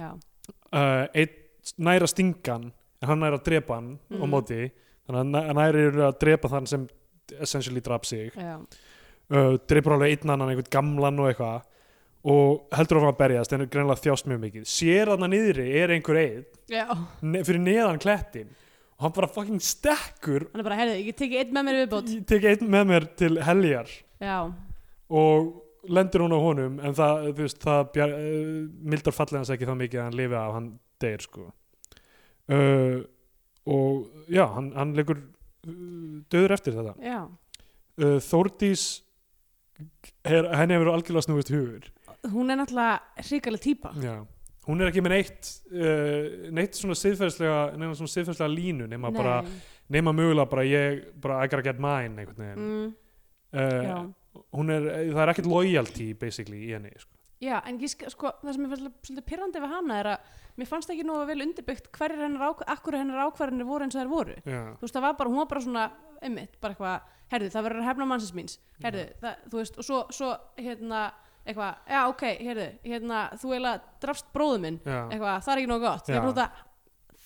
[SPEAKER 3] já,
[SPEAKER 2] uh, einn næra stingan en hann næra að drepa hann á
[SPEAKER 3] Mhm.
[SPEAKER 2] móti þannig að hann næri eru að drepa þann sem essentially draf sig
[SPEAKER 3] já.
[SPEAKER 2] uh, dreipur alveg einn annan einhvern gamlan og eitthvað og heldur áfram að berjast en er greinlega þjást mjög mikið sér þarna niðri er einhver einn
[SPEAKER 3] já.
[SPEAKER 2] ne fyrir neðan klettin og hann bara fucking stekkur
[SPEAKER 3] hann er bara, heyrðu, ég teki einn með mér í viðbót
[SPEAKER 2] ég tek einn með mér til heljar
[SPEAKER 3] já,
[SPEAKER 2] og lendir hún á honum en það, þú veist, það bjar, uh, mildar fallið hans ekki það mikið að hann lifi af hann deyr sko uh, og já, hann, hann leikur döður eftir þetta
[SPEAKER 3] já
[SPEAKER 2] uh, Þórdís her, henni hefur algjörlega snúist hugur
[SPEAKER 3] hún er náttúrulega hrikalega típa
[SPEAKER 2] Já, hún er ekki með neitt uh, neitt svona siðferðslega neina svona siðferðslega línu nema
[SPEAKER 3] Nei.
[SPEAKER 2] bara nema mögulega bara ég bara I gotta get mine einhvern veginn
[SPEAKER 3] mm, já.
[SPEAKER 2] mm. hún er, það er ekkert loyalty basically í henni sko.
[SPEAKER 3] já, en ég, sk- sko, það sem ég fannst svolítið pirrandi við hana er að mér fannst ekki nú vel undirbyggt hverjir hennar, ák akkur hennar ákvarðinir voru eins og þær voru
[SPEAKER 2] Já,
[SPEAKER 3] þú veist, það var bara, hún var bara svona einmitt, bara eitthvað, herðu, það verður að hefna mannsins míns herðu, það, þú veist, og svo, svo hérna, eitthvað, já, ok herðu, hérna, þú eiginlega drafst bróðu minn
[SPEAKER 2] já.
[SPEAKER 3] eitthvað, það er ekki nóg gott
[SPEAKER 2] Já.
[SPEAKER 3] það, það,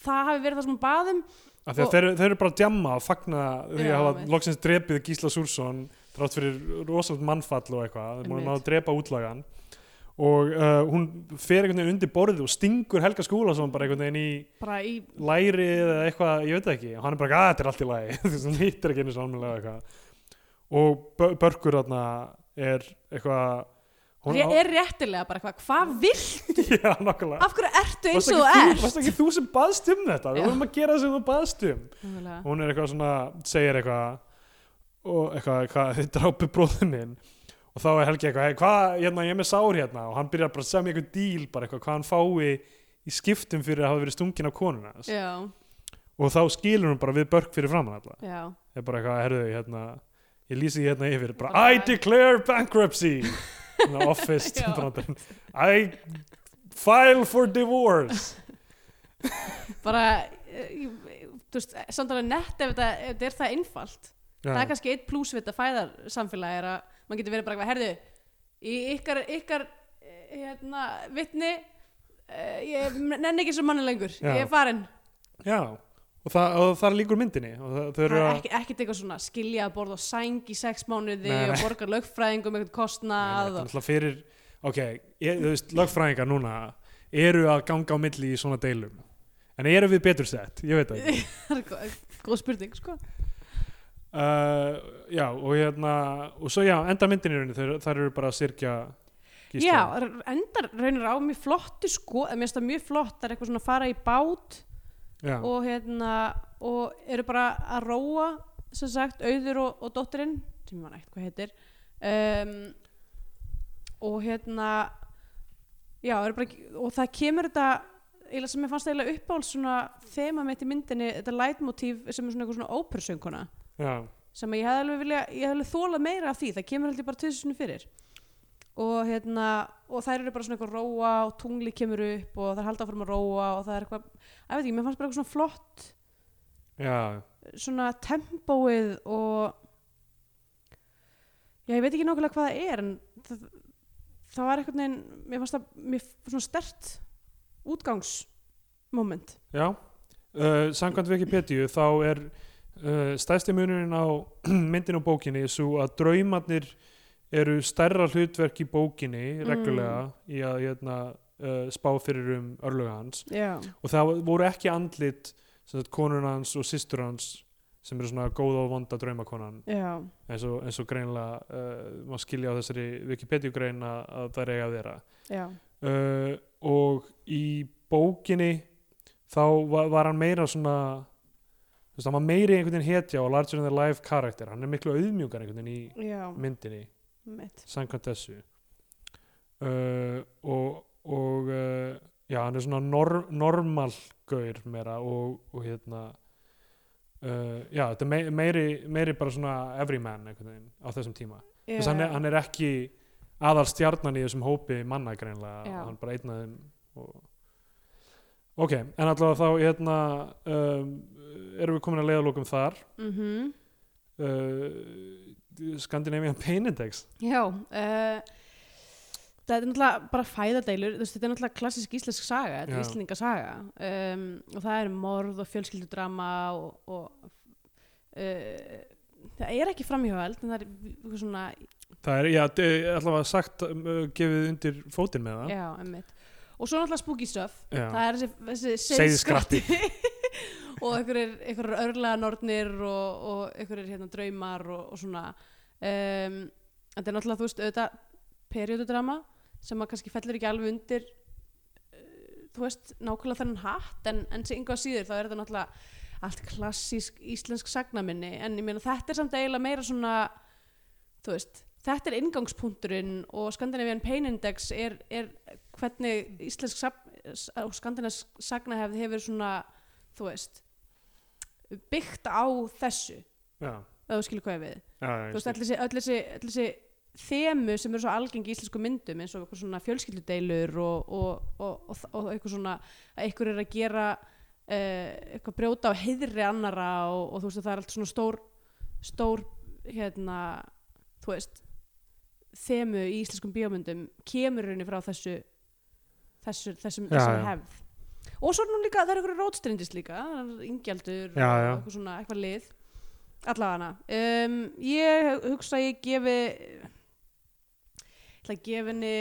[SPEAKER 3] það hafi verið það sem hún um, baðum
[SPEAKER 2] Af því
[SPEAKER 3] og-
[SPEAKER 2] að þeir, þeir eru bara að djamma og fagna því
[SPEAKER 3] Já,
[SPEAKER 2] að hafa
[SPEAKER 3] einmitt.
[SPEAKER 2] loksins drepið Gísla Súrsson þrátt fyrir rosalega mannfall og eitthvað, þeir múin að ná
[SPEAKER 3] Einmitt.
[SPEAKER 2] að drepa útlagan og uh, hún fer einhvern veginn undir borðið og stingur Helga Skúlason bara einhvern veginn í
[SPEAKER 3] bara í
[SPEAKER 2] læri eða eitthvað, ég veit það ekki og hann er bara, að þetta er allt í lægi þú veist, hann hittir ekki einu sálmulega eitthvað og Bör- Börkur þarna er eitthvað hún
[SPEAKER 3] Ég er réttilega bara eitthvað, hvað vill,
[SPEAKER 2] já, nokkulega
[SPEAKER 3] af hverju ertu eins
[SPEAKER 2] Varst
[SPEAKER 3] og
[SPEAKER 2] ekki þú-
[SPEAKER 3] þú ert?
[SPEAKER 2] varst ekki þú sem baðst um þetta við
[SPEAKER 3] Já.
[SPEAKER 2] vorum að gera það sem þú baðst um
[SPEAKER 3] Nákvæmlega.
[SPEAKER 2] hún er eitthvað svona, segir eitthvað og eitthvað, eitthvað þið drápi bróðum minn og þá er Helgi eitthvað, hey, hvað, hérna, ég er með sár hérna og hann byrjar bara að segja mér eitthvað díl bara eitthvað, hvað hann fái í skiptum fyrir að hafa verið stungin af konuna hans.
[SPEAKER 3] Já,
[SPEAKER 2] og þá skilur hún bara við börk fyrir framann alla
[SPEAKER 3] já,
[SPEAKER 2] er bara eitthvað, herðu, hérna ég lýsi því hérna yfir, bara I
[SPEAKER 3] Bara-
[SPEAKER 2] declare bankruptcy Svona office
[SPEAKER 3] Já.
[SPEAKER 2] brandarinn. I file for divorce
[SPEAKER 3] bara, eh, ég- þú veist, samt alveg nett ef þetta, ef þetta er það einfalt. það er
[SPEAKER 2] Já.
[SPEAKER 3] kannski eitt pluss við þetta fæðarsamfélagi er að maður getur verið bara eitthvað, herðu í ykkar, ykkar eh, hérna, vitni eh, ég nenni ekki sem manni lengur
[SPEAKER 2] Já.
[SPEAKER 3] ég er farin,
[SPEAKER 2] Já. og það, og það líkur myndinni og það, þau
[SPEAKER 3] það
[SPEAKER 2] eru
[SPEAKER 3] er
[SPEAKER 2] að
[SPEAKER 3] ekki, ekkert eitthvað svona skilja að borða á sæng í sex mánuði
[SPEAKER 2] Nei, nei.
[SPEAKER 3] og borga lögfræðingum eitthvað
[SPEAKER 2] Nei,
[SPEAKER 3] kostnað
[SPEAKER 2] þetta er
[SPEAKER 3] og,
[SPEAKER 2] náttúrulega fyrir ok, ég, þú veist, lögfræðingar núna eru að ganga á milli í svona deilum en eru við betur sett, ég veit það ekki
[SPEAKER 3] það er góð, góð spurning sko.
[SPEAKER 2] uh, já, og hérna og svo já, enda myndin í rauninni þær, þær eru bara að sirkja
[SPEAKER 3] já, r- endar raunir á mjög flottu sko, eða mér finnst það mjög flott það er eitthvað svona að fara í bát
[SPEAKER 2] já,
[SPEAKER 3] og hérna og eru bara að róa sem sagt, auður og, og dóttirinn sem ég man ekkert hvað heitir um, og hérna já, eru bara, og það kemur þetta eiginlega sem ég fannst eiginlega uppáhald svona þema mitt í myndinni, þetta leitmotív sem er svona eitthvað svona ópersönguna
[SPEAKER 2] já,
[SPEAKER 3] sem ég hefði alveg vilja, ég hefði alveg þólað meira af því, það kemur heldur bara tvisinu fyrir og hérna og þær eru bara svona eitthvað að róa og tungli kemur upp og þær halda áfram að róa og það er eitthvað, að veit ekki, mér fannst bara eitthvað svona flott
[SPEAKER 2] já
[SPEAKER 3] svona tempóið og já, ég veit ekki nákvæmlega hvað það er en það, það var eitthvað neginn, mér fannst það mér svona stert útgangsmoment
[SPEAKER 2] já uh, samkvæmt Wikipedia þá er uh, stæsti munurinn á myndin og bókinni svo að draumarnir eru stærra hlutverk í bókinni reglulega í að hérna, uh, spá fyrir um örlöga hans
[SPEAKER 3] já,
[SPEAKER 2] og það voru ekki andlit sem sagt, konur hans og systur hans sem eru svona góða og vonda draumakonan
[SPEAKER 3] já,
[SPEAKER 2] eins og, eins og greinlega uh, maður skilja á þessari Wikipedia grein að að það er eiga að vera
[SPEAKER 3] já
[SPEAKER 2] uh, og í bókinni þá var, var hann meira svona þú veist, hann var meiri einhvern veginn hetja og larger than the life karakter hann er miklu auðmjúkar einhvern veginn í
[SPEAKER 3] já,
[SPEAKER 2] myndinni
[SPEAKER 3] mitt
[SPEAKER 2] samkvæmt þessu uh, og, og uh, já, hann er svona nor normal gaur meira og, og hérna uh, já, þetta er mei- meiri, meiri bara svona everyman einhvern veginn á þessum tíma
[SPEAKER 3] já,
[SPEAKER 2] þess að hann, er- hann er ekki aðal stjarnan í þessum hópi manna greinlega,
[SPEAKER 3] Já.
[SPEAKER 2] hann er bara einn af þeim og ok, en allavega þá hérna um, erum við komin að leiðalókum þar
[SPEAKER 3] Mhm.
[SPEAKER 2] uh, Scandinavian Pain Index
[SPEAKER 3] Já, uh, þetta er náttúrulega bara fæðadeilur, þú veist, þetta er náttúrulega klassísk íslensk saga, þetta
[SPEAKER 2] Já.
[SPEAKER 3] er íslendinga saga um, og það er morð og fjölskyldudrama og, og uh, það er ekki framhjóðald, en það er eitthvað svona,
[SPEAKER 2] Það er, já, d- allavega sagt um, uh, gefið undir fótinn með það.
[SPEAKER 3] já, emmitt. Og svo náttúrulega spooky stuff,
[SPEAKER 2] Já.
[SPEAKER 3] það er þessi, þessi
[SPEAKER 2] Seiðskratti.
[SPEAKER 3] og einhverjir, einhverjir örlaðanornir og, og einhverjir hérna, draumar og, og svona um, þetta er náttúrulega þú veist auðvitað periodudrama sem að kannski fellur ekki alveg undir uh, þú veist nákvæmlega þennan hatt en, en sem yngvað síður þá er þetta náttúrulega allt klassísk íslensk sagnaminni en ég meina þetta er samt eiginlega meira svona þú veist þetta er inngangspunkturinn og Scandinavian Pain Index er, er hvernig íslensk safn- s- og skandinavisk sagnahefð hefur svona þú veist byggt á þessu
[SPEAKER 2] Já,
[SPEAKER 3] ef þú skilur hvað ég við
[SPEAKER 2] já,
[SPEAKER 3] þú veist, öll þessi, öll þessi, öll þessi þemu sem eru svo algengi í íslensku myndum eins og eitthvað svona fjölskyldudeilur og, og, og, og, og eitthvað svona að einhver er að gera uh, eitthvað brjóta á heiðri annara og, og þú veist það er allt svona stór stór hérna þú veist þemu í íslenskum bíómyndum kemur í rauninni frá þessu þessu, þessum,
[SPEAKER 2] Já,
[SPEAKER 3] þessum
[SPEAKER 2] já.
[SPEAKER 3] hefð og svo er nú líka, það er eitthvað rótstrindist líka
[SPEAKER 2] Já,
[SPEAKER 3] ingjaldur og
[SPEAKER 2] já.
[SPEAKER 3] eitthvað svona eitthvað lið allavega um, ég hugsa að ég gefi ég ætla að gefa henni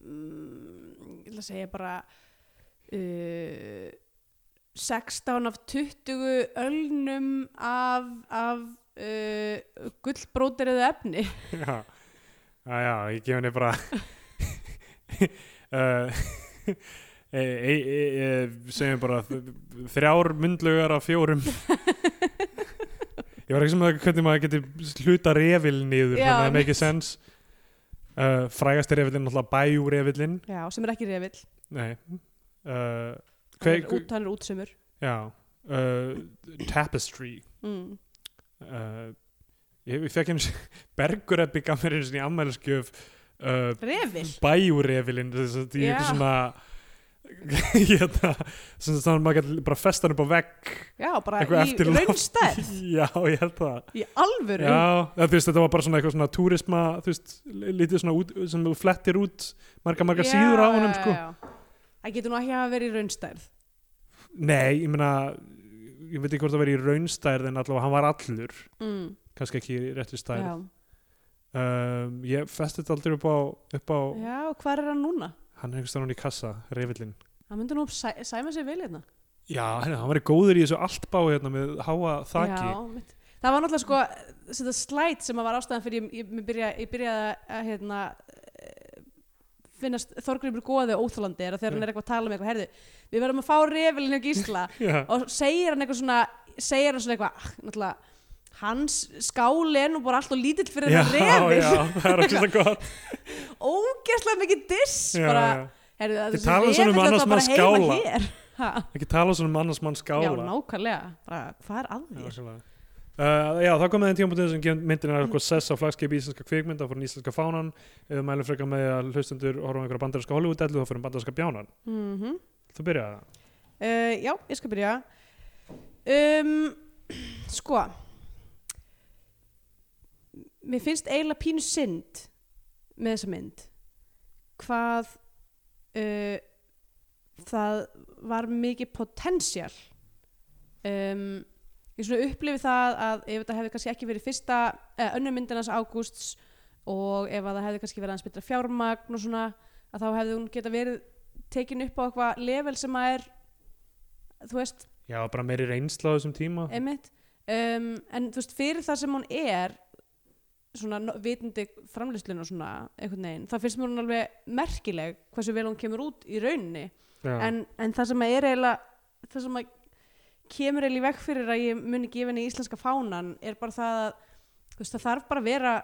[SPEAKER 3] mm, ég ætla að segja bara uh, 16 af 20 ölnum af, af uh, gullbróteriðu efni
[SPEAKER 2] já, já, já, ég gef henni bara uh, e, e, e, e, segjum bara þ- þrjár myndlugar af fjórum ég var ekki sem að hvernig maður getur hluta refil niður
[SPEAKER 3] Já,
[SPEAKER 2] þannig að það
[SPEAKER 3] mitt.
[SPEAKER 2] make sense uh, frægasti refilinn náttúrulega bæjúrefilinn
[SPEAKER 3] já, sem er ekki revill
[SPEAKER 2] nei uh,
[SPEAKER 3] hann
[SPEAKER 2] hver,
[SPEAKER 3] er, út, hann er útsumur
[SPEAKER 2] já uh, tapestry
[SPEAKER 3] mm.
[SPEAKER 2] uh, ég, ég fekk eins bergureppi gaf mér eins og í ammælskjöf uh,
[SPEAKER 3] revill
[SPEAKER 2] bæjurefilinn þess að ég
[SPEAKER 3] Já.
[SPEAKER 2] eitthvað svona hérna, sem þannig að maður gæti bara festa hann upp á vegg
[SPEAKER 3] já, bara
[SPEAKER 2] Eitthvað
[SPEAKER 3] í
[SPEAKER 2] eftirlát.
[SPEAKER 3] raunstærð
[SPEAKER 2] já, ég held það
[SPEAKER 3] í alvöru
[SPEAKER 2] já, það, þú veist, þetta var bara svona eitthvað svona túrisma þú veist, lítið svona út, sem þú flettir út marga marga
[SPEAKER 3] Já,
[SPEAKER 2] síður á honum
[SPEAKER 3] já,
[SPEAKER 2] sko.
[SPEAKER 3] já. það getur nú ekki að vera í raunstærð
[SPEAKER 2] nei, ég meina ég veit ekki hvort það verið í raunstærð en allavega hann var allur
[SPEAKER 3] mm.
[SPEAKER 2] kannski ekki í réttu stærð
[SPEAKER 3] já.
[SPEAKER 2] um, ég festi þetta aldrei upp á, upp á
[SPEAKER 3] já, hvað er hann núna?
[SPEAKER 2] hann er einhvers þar hún í kassa, reyfillin
[SPEAKER 3] hann myndi nú sæ, sæma sér vel hérna
[SPEAKER 2] Já, hérna, hann verið góður í þessu altbá hérna með háa þaki.
[SPEAKER 3] Já, mitt. það var náttúrulega sko þetta slæt sem að var ástæðan fyrir ég, ég, ég, byrja, ég byrjaði að hérna, eh, finnast Þorgrymur góði óþólandi er að þegar hann er eitthvað að tala um eitthvað herðu, við verðum að fá refilin hjá Gísla
[SPEAKER 2] Já.
[SPEAKER 3] og segir hann eitthvað svona segir hann svona eitthvað, "Ah, náttúrulega hans skáli er nú bara alltaf lítill fyrir
[SPEAKER 2] já,
[SPEAKER 3] þetta refil,
[SPEAKER 2] já, það er okkur það gott.
[SPEAKER 3] ógeðslega mikið diss
[SPEAKER 2] Já,
[SPEAKER 3] bara,
[SPEAKER 2] já.
[SPEAKER 3] herðu,
[SPEAKER 2] Þið
[SPEAKER 3] þessi
[SPEAKER 2] talið svona um
[SPEAKER 3] refill
[SPEAKER 2] annars
[SPEAKER 3] ætla bara
[SPEAKER 2] manns
[SPEAKER 3] heima
[SPEAKER 2] skála.
[SPEAKER 3] hér. Ha?
[SPEAKER 2] Ekki tala svona um annars mann skála.
[SPEAKER 3] Já, nákvæmlega, bara, hvað er að
[SPEAKER 2] Já,
[SPEAKER 3] þér?
[SPEAKER 2] nákvæmlega. Uh, já, þá kom það einn tímapunktið sem gefur myndin er eitthvað sess á flagskipi íslenska kvikmynda fór íslenska fánan, ef við mælum frekar með því að hlustendur horfum einhverja bandarinska Hollywood-dellu þá fyrir bandarinska bjánan.
[SPEAKER 3] Mm
[SPEAKER 2] Þú byrjaði það.
[SPEAKER 3] Uh, já, ég skal byrja. Um, sko, mér finnst eiginlega pínu synd með þessa mynd. Hvað uh, það var mikið potential. Um, ég svona upplifi það að ef þetta hefði kannski ekki verið fyrsta, eh, önnur myndinans ágústs og ef að það hefði kannski verið aðeins betra fjármagn og svona, að þá hefði hún geta verið tekin upp á eitthvað level sem að er þú veist,
[SPEAKER 2] Já, bara meiri reynsla á þessum tíma.
[SPEAKER 3] einmitt um, en þú veist, fyrir það sem hún er svona no- vitandi framlýslun og svona einhvern veginn, þá finnst mér hún alveg merkileg hversu vel hún kemur út í rauninni
[SPEAKER 2] já.
[SPEAKER 3] en, en það sem að er eiginlega það sem að kemur eiginlega í veg fyrir að ég muni gefa henni íslenska fánan er bara það að þú veist, það þarf bara að vera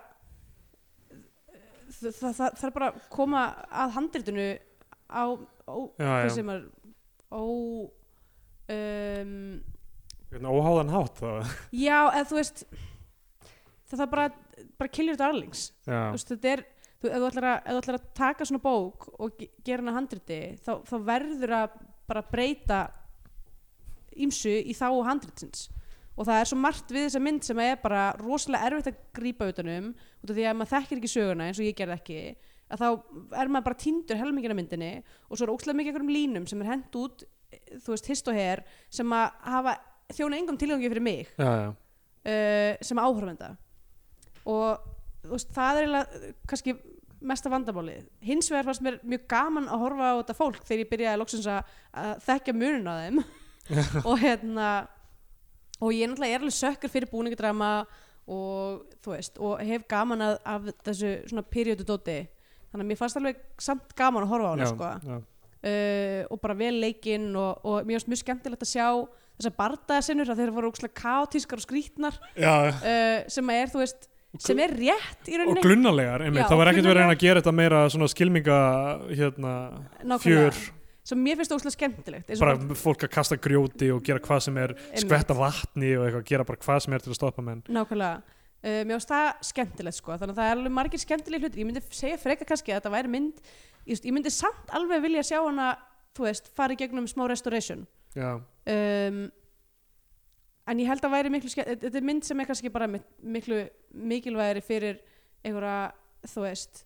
[SPEAKER 3] það, það, það þarf bara að koma að handritinu á, á
[SPEAKER 2] já,
[SPEAKER 3] hvað
[SPEAKER 2] já.
[SPEAKER 3] sem er ó um,
[SPEAKER 2] Hérna, Óháðan hátt þá.
[SPEAKER 3] já, eða þú veist það er bara, bara killir þetta arlings
[SPEAKER 2] Já,
[SPEAKER 3] þú veist, þetta er þú, ef, þú ætlar að, ef þú ætlar að taka svona bók og ge- gera hana handriti þá, þá verður að bara breyta ímsu í þá handritsins og það er svo margt við þessa mynd sem er bara rosalega erfitt að grípa utanum út af því að ef maður þekkir ekki söguna eins og ég gerði ekki að þá er maður bara tindur helmingina myndinni og svo er ókslega mikið einhverjum línum sem er hent út eh, þú veist, hist og her sem að hafa þjóna engum tilgangi fyrir mig
[SPEAKER 2] já, já.
[SPEAKER 3] uh, sem áhörfenda og þú veist, það er eiginlega eh, kannski mesta vandamálið hins vegar fannst mér mjög gaman að horfa á þetta fólk þegar ég byrjaði loksins að, að þekkja munun á þeim og hérna og ég náttúrulega er alveg sökkur fyrir búningadrama og þú veist og hef gaman að, af þessu svona periodu dóti þannig að mér fannst alveg samt gaman að horfa á hana
[SPEAKER 2] já,
[SPEAKER 3] sko
[SPEAKER 2] já.
[SPEAKER 3] uh, og bara vel leikinn og, og mér finnst mjög skemmtilegt að sjá þessar bardaðasinnur að þeir voru ókslega kaotískar og skrítnar
[SPEAKER 2] Já,
[SPEAKER 3] uh, sem er, þú veist, sem er rétt í
[SPEAKER 2] og
[SPEAKER 3] rauninni
[SPEAKER 2] glunnalegar, einmitt,
[SPEAKER 3] Já,
[SPEAKER 2] það var ekkert verið að reyna
[SPEAKER 3] klunnalegar.
[SPEAKER 2] að gera þetta meira svona skilminga hérna,
[SPEAKER 3] Nákvæmlega.
[SPEAKER 2] fjör,
[SPEAKER 3] sem mér finnst ókslega skemmtilegt eins og
[SPEAKER 2] bara fólk að kasta grjóti og gera hvað sem er,
[SPEAKER 3] Einmitt.
[SPEAKER 2] skvetta vatni og eitthvað, gera bara hvað sem er til að stoppa menn
[SPEAKER 3] Nákvæmlega uh, Mér finnst það skemmtilegt sko Þannig að það er alveg margir skemmtileg hlutir Ég myndi segja frekar kannski að þetta væri mynd Ég, veist, ég myndi samt alveg vilja sjá hana Þú veist, fara í gegnum smá restoration
[SPEAKER 2] Já,
[SPEAKER 3] um, En ég held að væri miklu skemmt Þetta er mynd sem er kannski bara mik- miklu mikilvægri fyrir einhverja, þú veist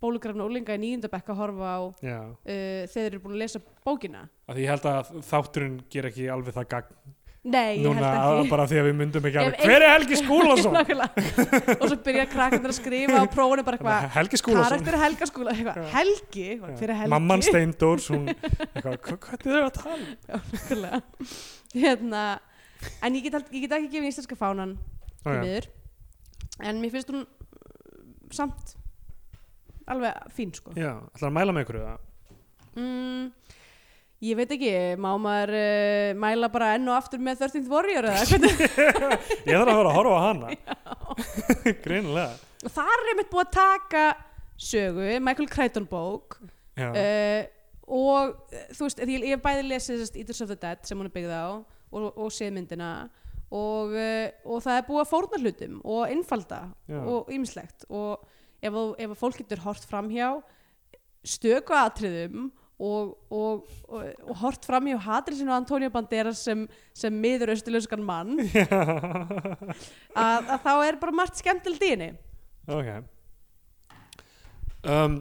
[SPEAKER 3] bólugrafna úlinga í nýjöndabekk að horfa á uh,
[SPEAKER 2] já,
[SPEAKER 3] þegar þeir eru búin að lesa bókina
[SPEAKER 2] af því ég held að þátturinn ger ekki alveg það gagn
[SPEAKER 3] Nei, ég
[SPEAKER 2] núna að-
[SPEAKER 3] held ekki
[SPEAKER 2] bara því að við myndum ekki
[SPEAKER 3] Ef
[SPEAKER 2] alveg
[SPEAKER 3] ein-
[SPEAKER 2] hver er Helgi Skúlason?
[SPEAKER 3] Nákvæmlega. og svo byrja krakkandur að skrifa og prófinu bara
[SPEAKER 2] Þannig að
[SPEAKER 3] eitthvað
[SPEAKER 2] Hérna, Helgi Skúlason
[SPEAKER 3] karakter Helga skúla
[SPEAKER 2] Já.
[SPEAKER 3] eitthvað, Helgi, eitthvað, fyrir Helgi
[SPEAKER 2] mamman Steindórs hún, eitthvað, hva- hvað er það að tala? um?
[SPEAKER 3] Já, nákvæmlega. hérna, en ég get, held- ég get ekki gefið íslenska fánan
[SPEAKER 2] Ó, já.
[SPEAKER 3] okay. miður, en mér finnst hún uh, samt alveg fín sko
[SPEAKER 2] já, ætlar að mæla með ykkur það?
[SPEAKER 3] mm, ég veit ekki, má maður uh, mæla bara enn og aftur með 13th Warrior eða hvernig
[SPEAKER 2] ég þarf að fara að horfa á hana greinilega
[SPEAKER 3] og þar er mitt búið að taka sögu, Michael Crichton bók
[SPEAKER 2] já,
[SPEAKER 3] uh, og eh, þú veist, því ég ég hef bæði lesið sest, Eaters of the Dead sem hún er byggð á og, og séð myndina og, uh, og það er búið að fórna hlutum og einfalda
[SPEAKER 2] Já.
[SPEAKER 3] og ýmislegt og ef, þú- ef að fólk getur hort framhjá stöku atriðum og, og, og, og hort framhjá hatrisinn og Antonio Banderas sem, sem miður austurlöskan mann að, að þá er bara margt skemmtild í henni
[SPEAKER 2] ok um,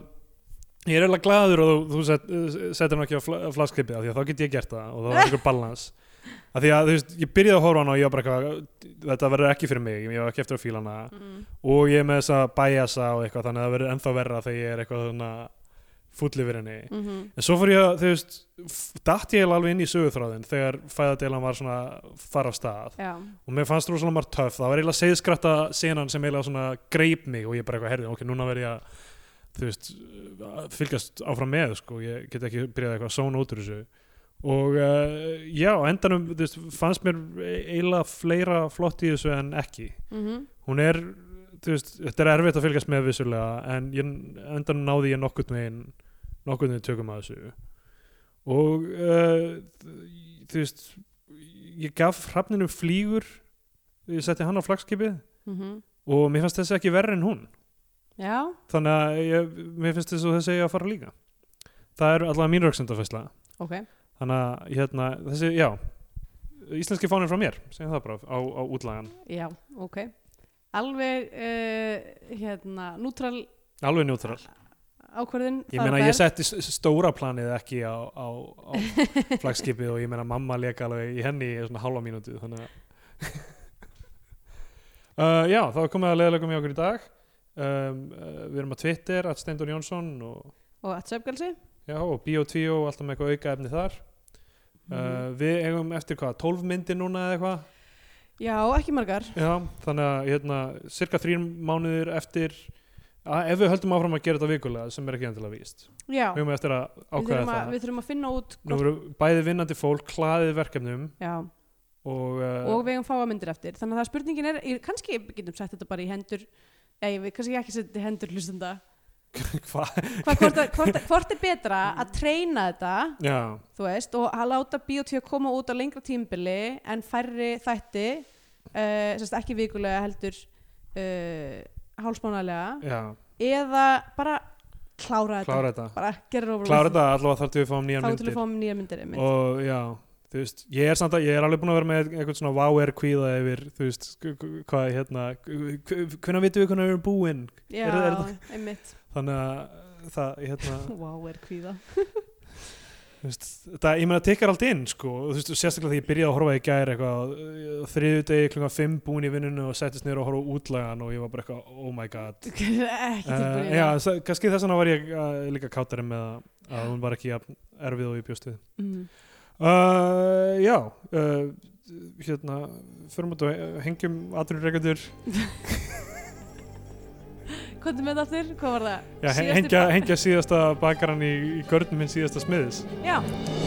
[SPEAKER 2] ég er eiginlega glaður og þú, þú set, setur hann ekki á fla, flaskripi af því að þá get ég gert það og þá er ykkur balans af því að þú veist, ég byrjaði að horfa á hana og ég var bara eitthvað, þetta verður ekki fyrir mig ég var ekki eftir að fíla hana og ég er með þess að bæjasa og eitthvað þannig að það verður ennþá verra þegar ég er eitthvað svona fúll yfir henni
[SPEAKER 3] mm -hmm.
[SPEAKER 2] En svo fór ég að, þú veist, f- datt ég eiginlega alveg inn í söguþráðin þegar fæðadeilan var svona að fara af stað
[SPEAKER 3] Já,
[SPEAKER 2] og mér fannst rosalega margt töff, það var eiginlega seiðskratta senan sem eiginlega svona greip mig og ég bara eitthvað herðið, ok, núna verð ég að, þú veist, að fylgjast áfram með, sko, ég get ekki byrjað eitthvað að sóna út úr þessu og uh, já, á endanum, þú veist, fannst mér e-, eiginlega fleira flott í þessu en ekki
[SPEAKER 3] mm
[SPEAKER 2] hún er þú veist, þetta er erfitt að fylgjast með vissulega en ég, endan náði ég nokkurn veginn nokkurn veginn tökum að þessu og uh, þú veist ég gaf hrafninu flýgur ég setti hann á flagskipið og mér fannst þessi ekki verri en hún
[SPEAKER 3] Mhm. Já,
[SPEAKER 2] þannig að ég, mér finnst þessi og þessi eigi að fara líka það er allavega mín röksendafæsla
[SPEAKER 3] ok
[SPEAKER 2] þannig að hérna, þessi, já íslenski fánir frá mér, segjum það bara á, á útlagan,
[SPEAKER 3] Já, ok. Alveg, uh, hérna, nútral
[SPEAKER 2] alveg njútrál
[SPEAKER 3] ákvörðin.
[SPEAKER 2] Ég meina, ég setti s- s- stóra planið ekki á, á, á flagskipið og ég meina, mamma leka alveg í henni í svona hálfa mínútu, þannig að uh, Já, þá er komið að leðalegum hjá okkur í dag um, uh, Við erum á Twitter, að Steindor Jónsson og,
[SPEAKER 3] Og að söfgalsi.
[SPEAKER 2] já, og Bio2 og alltaf með eitthvað auka efni þar uh,
[SPEAKER 3] Mhm.
[SPEAKER 2] Við eigum eftir hvað, 12 myndir núna eða eitthvað
[SPEAKER 3] Já, ekki margar.
[SPEAKER 2] Já, þannig að hérna, cirka þrír mánuðir eftir að, ef við höldum áfram að gera þetta vikulega sem er ekki endilega víst
[SPEAKER 3] Já,
[SPEAKER 2] Við
[SPEAKER 3] við
[SPEAKER 2] höfum eftir að ákveða
[SPEAKER 3] þurfum
[SPEAKER 2] það
[SPEAKER 3] að, við þurfum að finna út.
[SPEAKER 2] Nú eru bæði vinnandi fólk hlaðið verkefnum
[SPEAKER 3] Já,
[SPEAKER 2] og, uh,
[SPEAKER 3] og við eigum fáa myndir eftir. Þannig að það spurningin er, ég, kannski getum sett þetta bara í hendur, nei, við kannski ekki setja þetta í hendur hlustenda.
[SPEAKER 2] hvað?
[SPEAKER 3] Hva, hvort, að- hvort, að- hvort er betra að treyna þetta,
[SPEAKER 2] Já,
[SPEAKER 3] þú veist, og að láta Bíotvíu koma út á lengra tímbili en færri þætti, uh, sérst ekki vikulega heldur uh, hálsmánalega.
[SPEAKER 2] já,
[SPEAKER 3] eða bara klára þetta
[SPEAKER 2] klára þetta
[SPEAKER 3] bara gera over
[SPEAKER 2] Klára þetta allavega þar til við fáum nýjan
[SPEAKER 3] þá til að
[SPEAKER 2] myndir
[SPEAKER 3] fáum nýja myndir einmitt.
[SPEAKER 2] og já, þú veist, ég er samt að ég er alveg búin að vera með eitthvað svona wow-air kvíða yfir, þú veist, k- k- hvað hérna hvernig vitum við hvernig við erum búin
[SPEAKER 3] já,
[SPEAKER 2] er- er það-
[SPEAKER 3] einmitt
[SPEAKER 2] þannig að það, hérna
[SPEAKER 3] wow, er kvíða
[SPEAKER 2] Þú veist, þetta, ég meina, tekkar allt inn sko, og þú veist, sérstaklega þegar ég byrjaði að horfa í gær eitthvað, eh, þriðu degi klunga 5 búin í vinnunni og settist niður og horfa á útlagan og ég var bara eitthvað, oh my god
[SPEAKER 3] ekki tilbúin
[SPEAKER 2] Uh,
[SPEAKER 3] í
[SPEAKER 2] já,
[SPEAKER 3] það.
[SPEAKER 2] þess- kannski þess vegna var ég uh, líka kátari með að, að hún var ekki jafn erfið og ég bjóst við.
[SPEAKER 3] Mhm.
[SPEAKER 2] Uh, já, uh, hérna, förum út og he- hengjum aðrir reikandur.
[SPEAKER 3] hvað er með það aftur, hvað var það
[SPEAKER 2] Já, he-
[SPEAKER 3] Síðasti
[SPEAKER 2] hengja,
[SPEAKER 3] ba-
[SPEAKER 2] hengja síðasta bakarann í, í görnum minn síðasta smiðis.
[SPEAKER 3] já,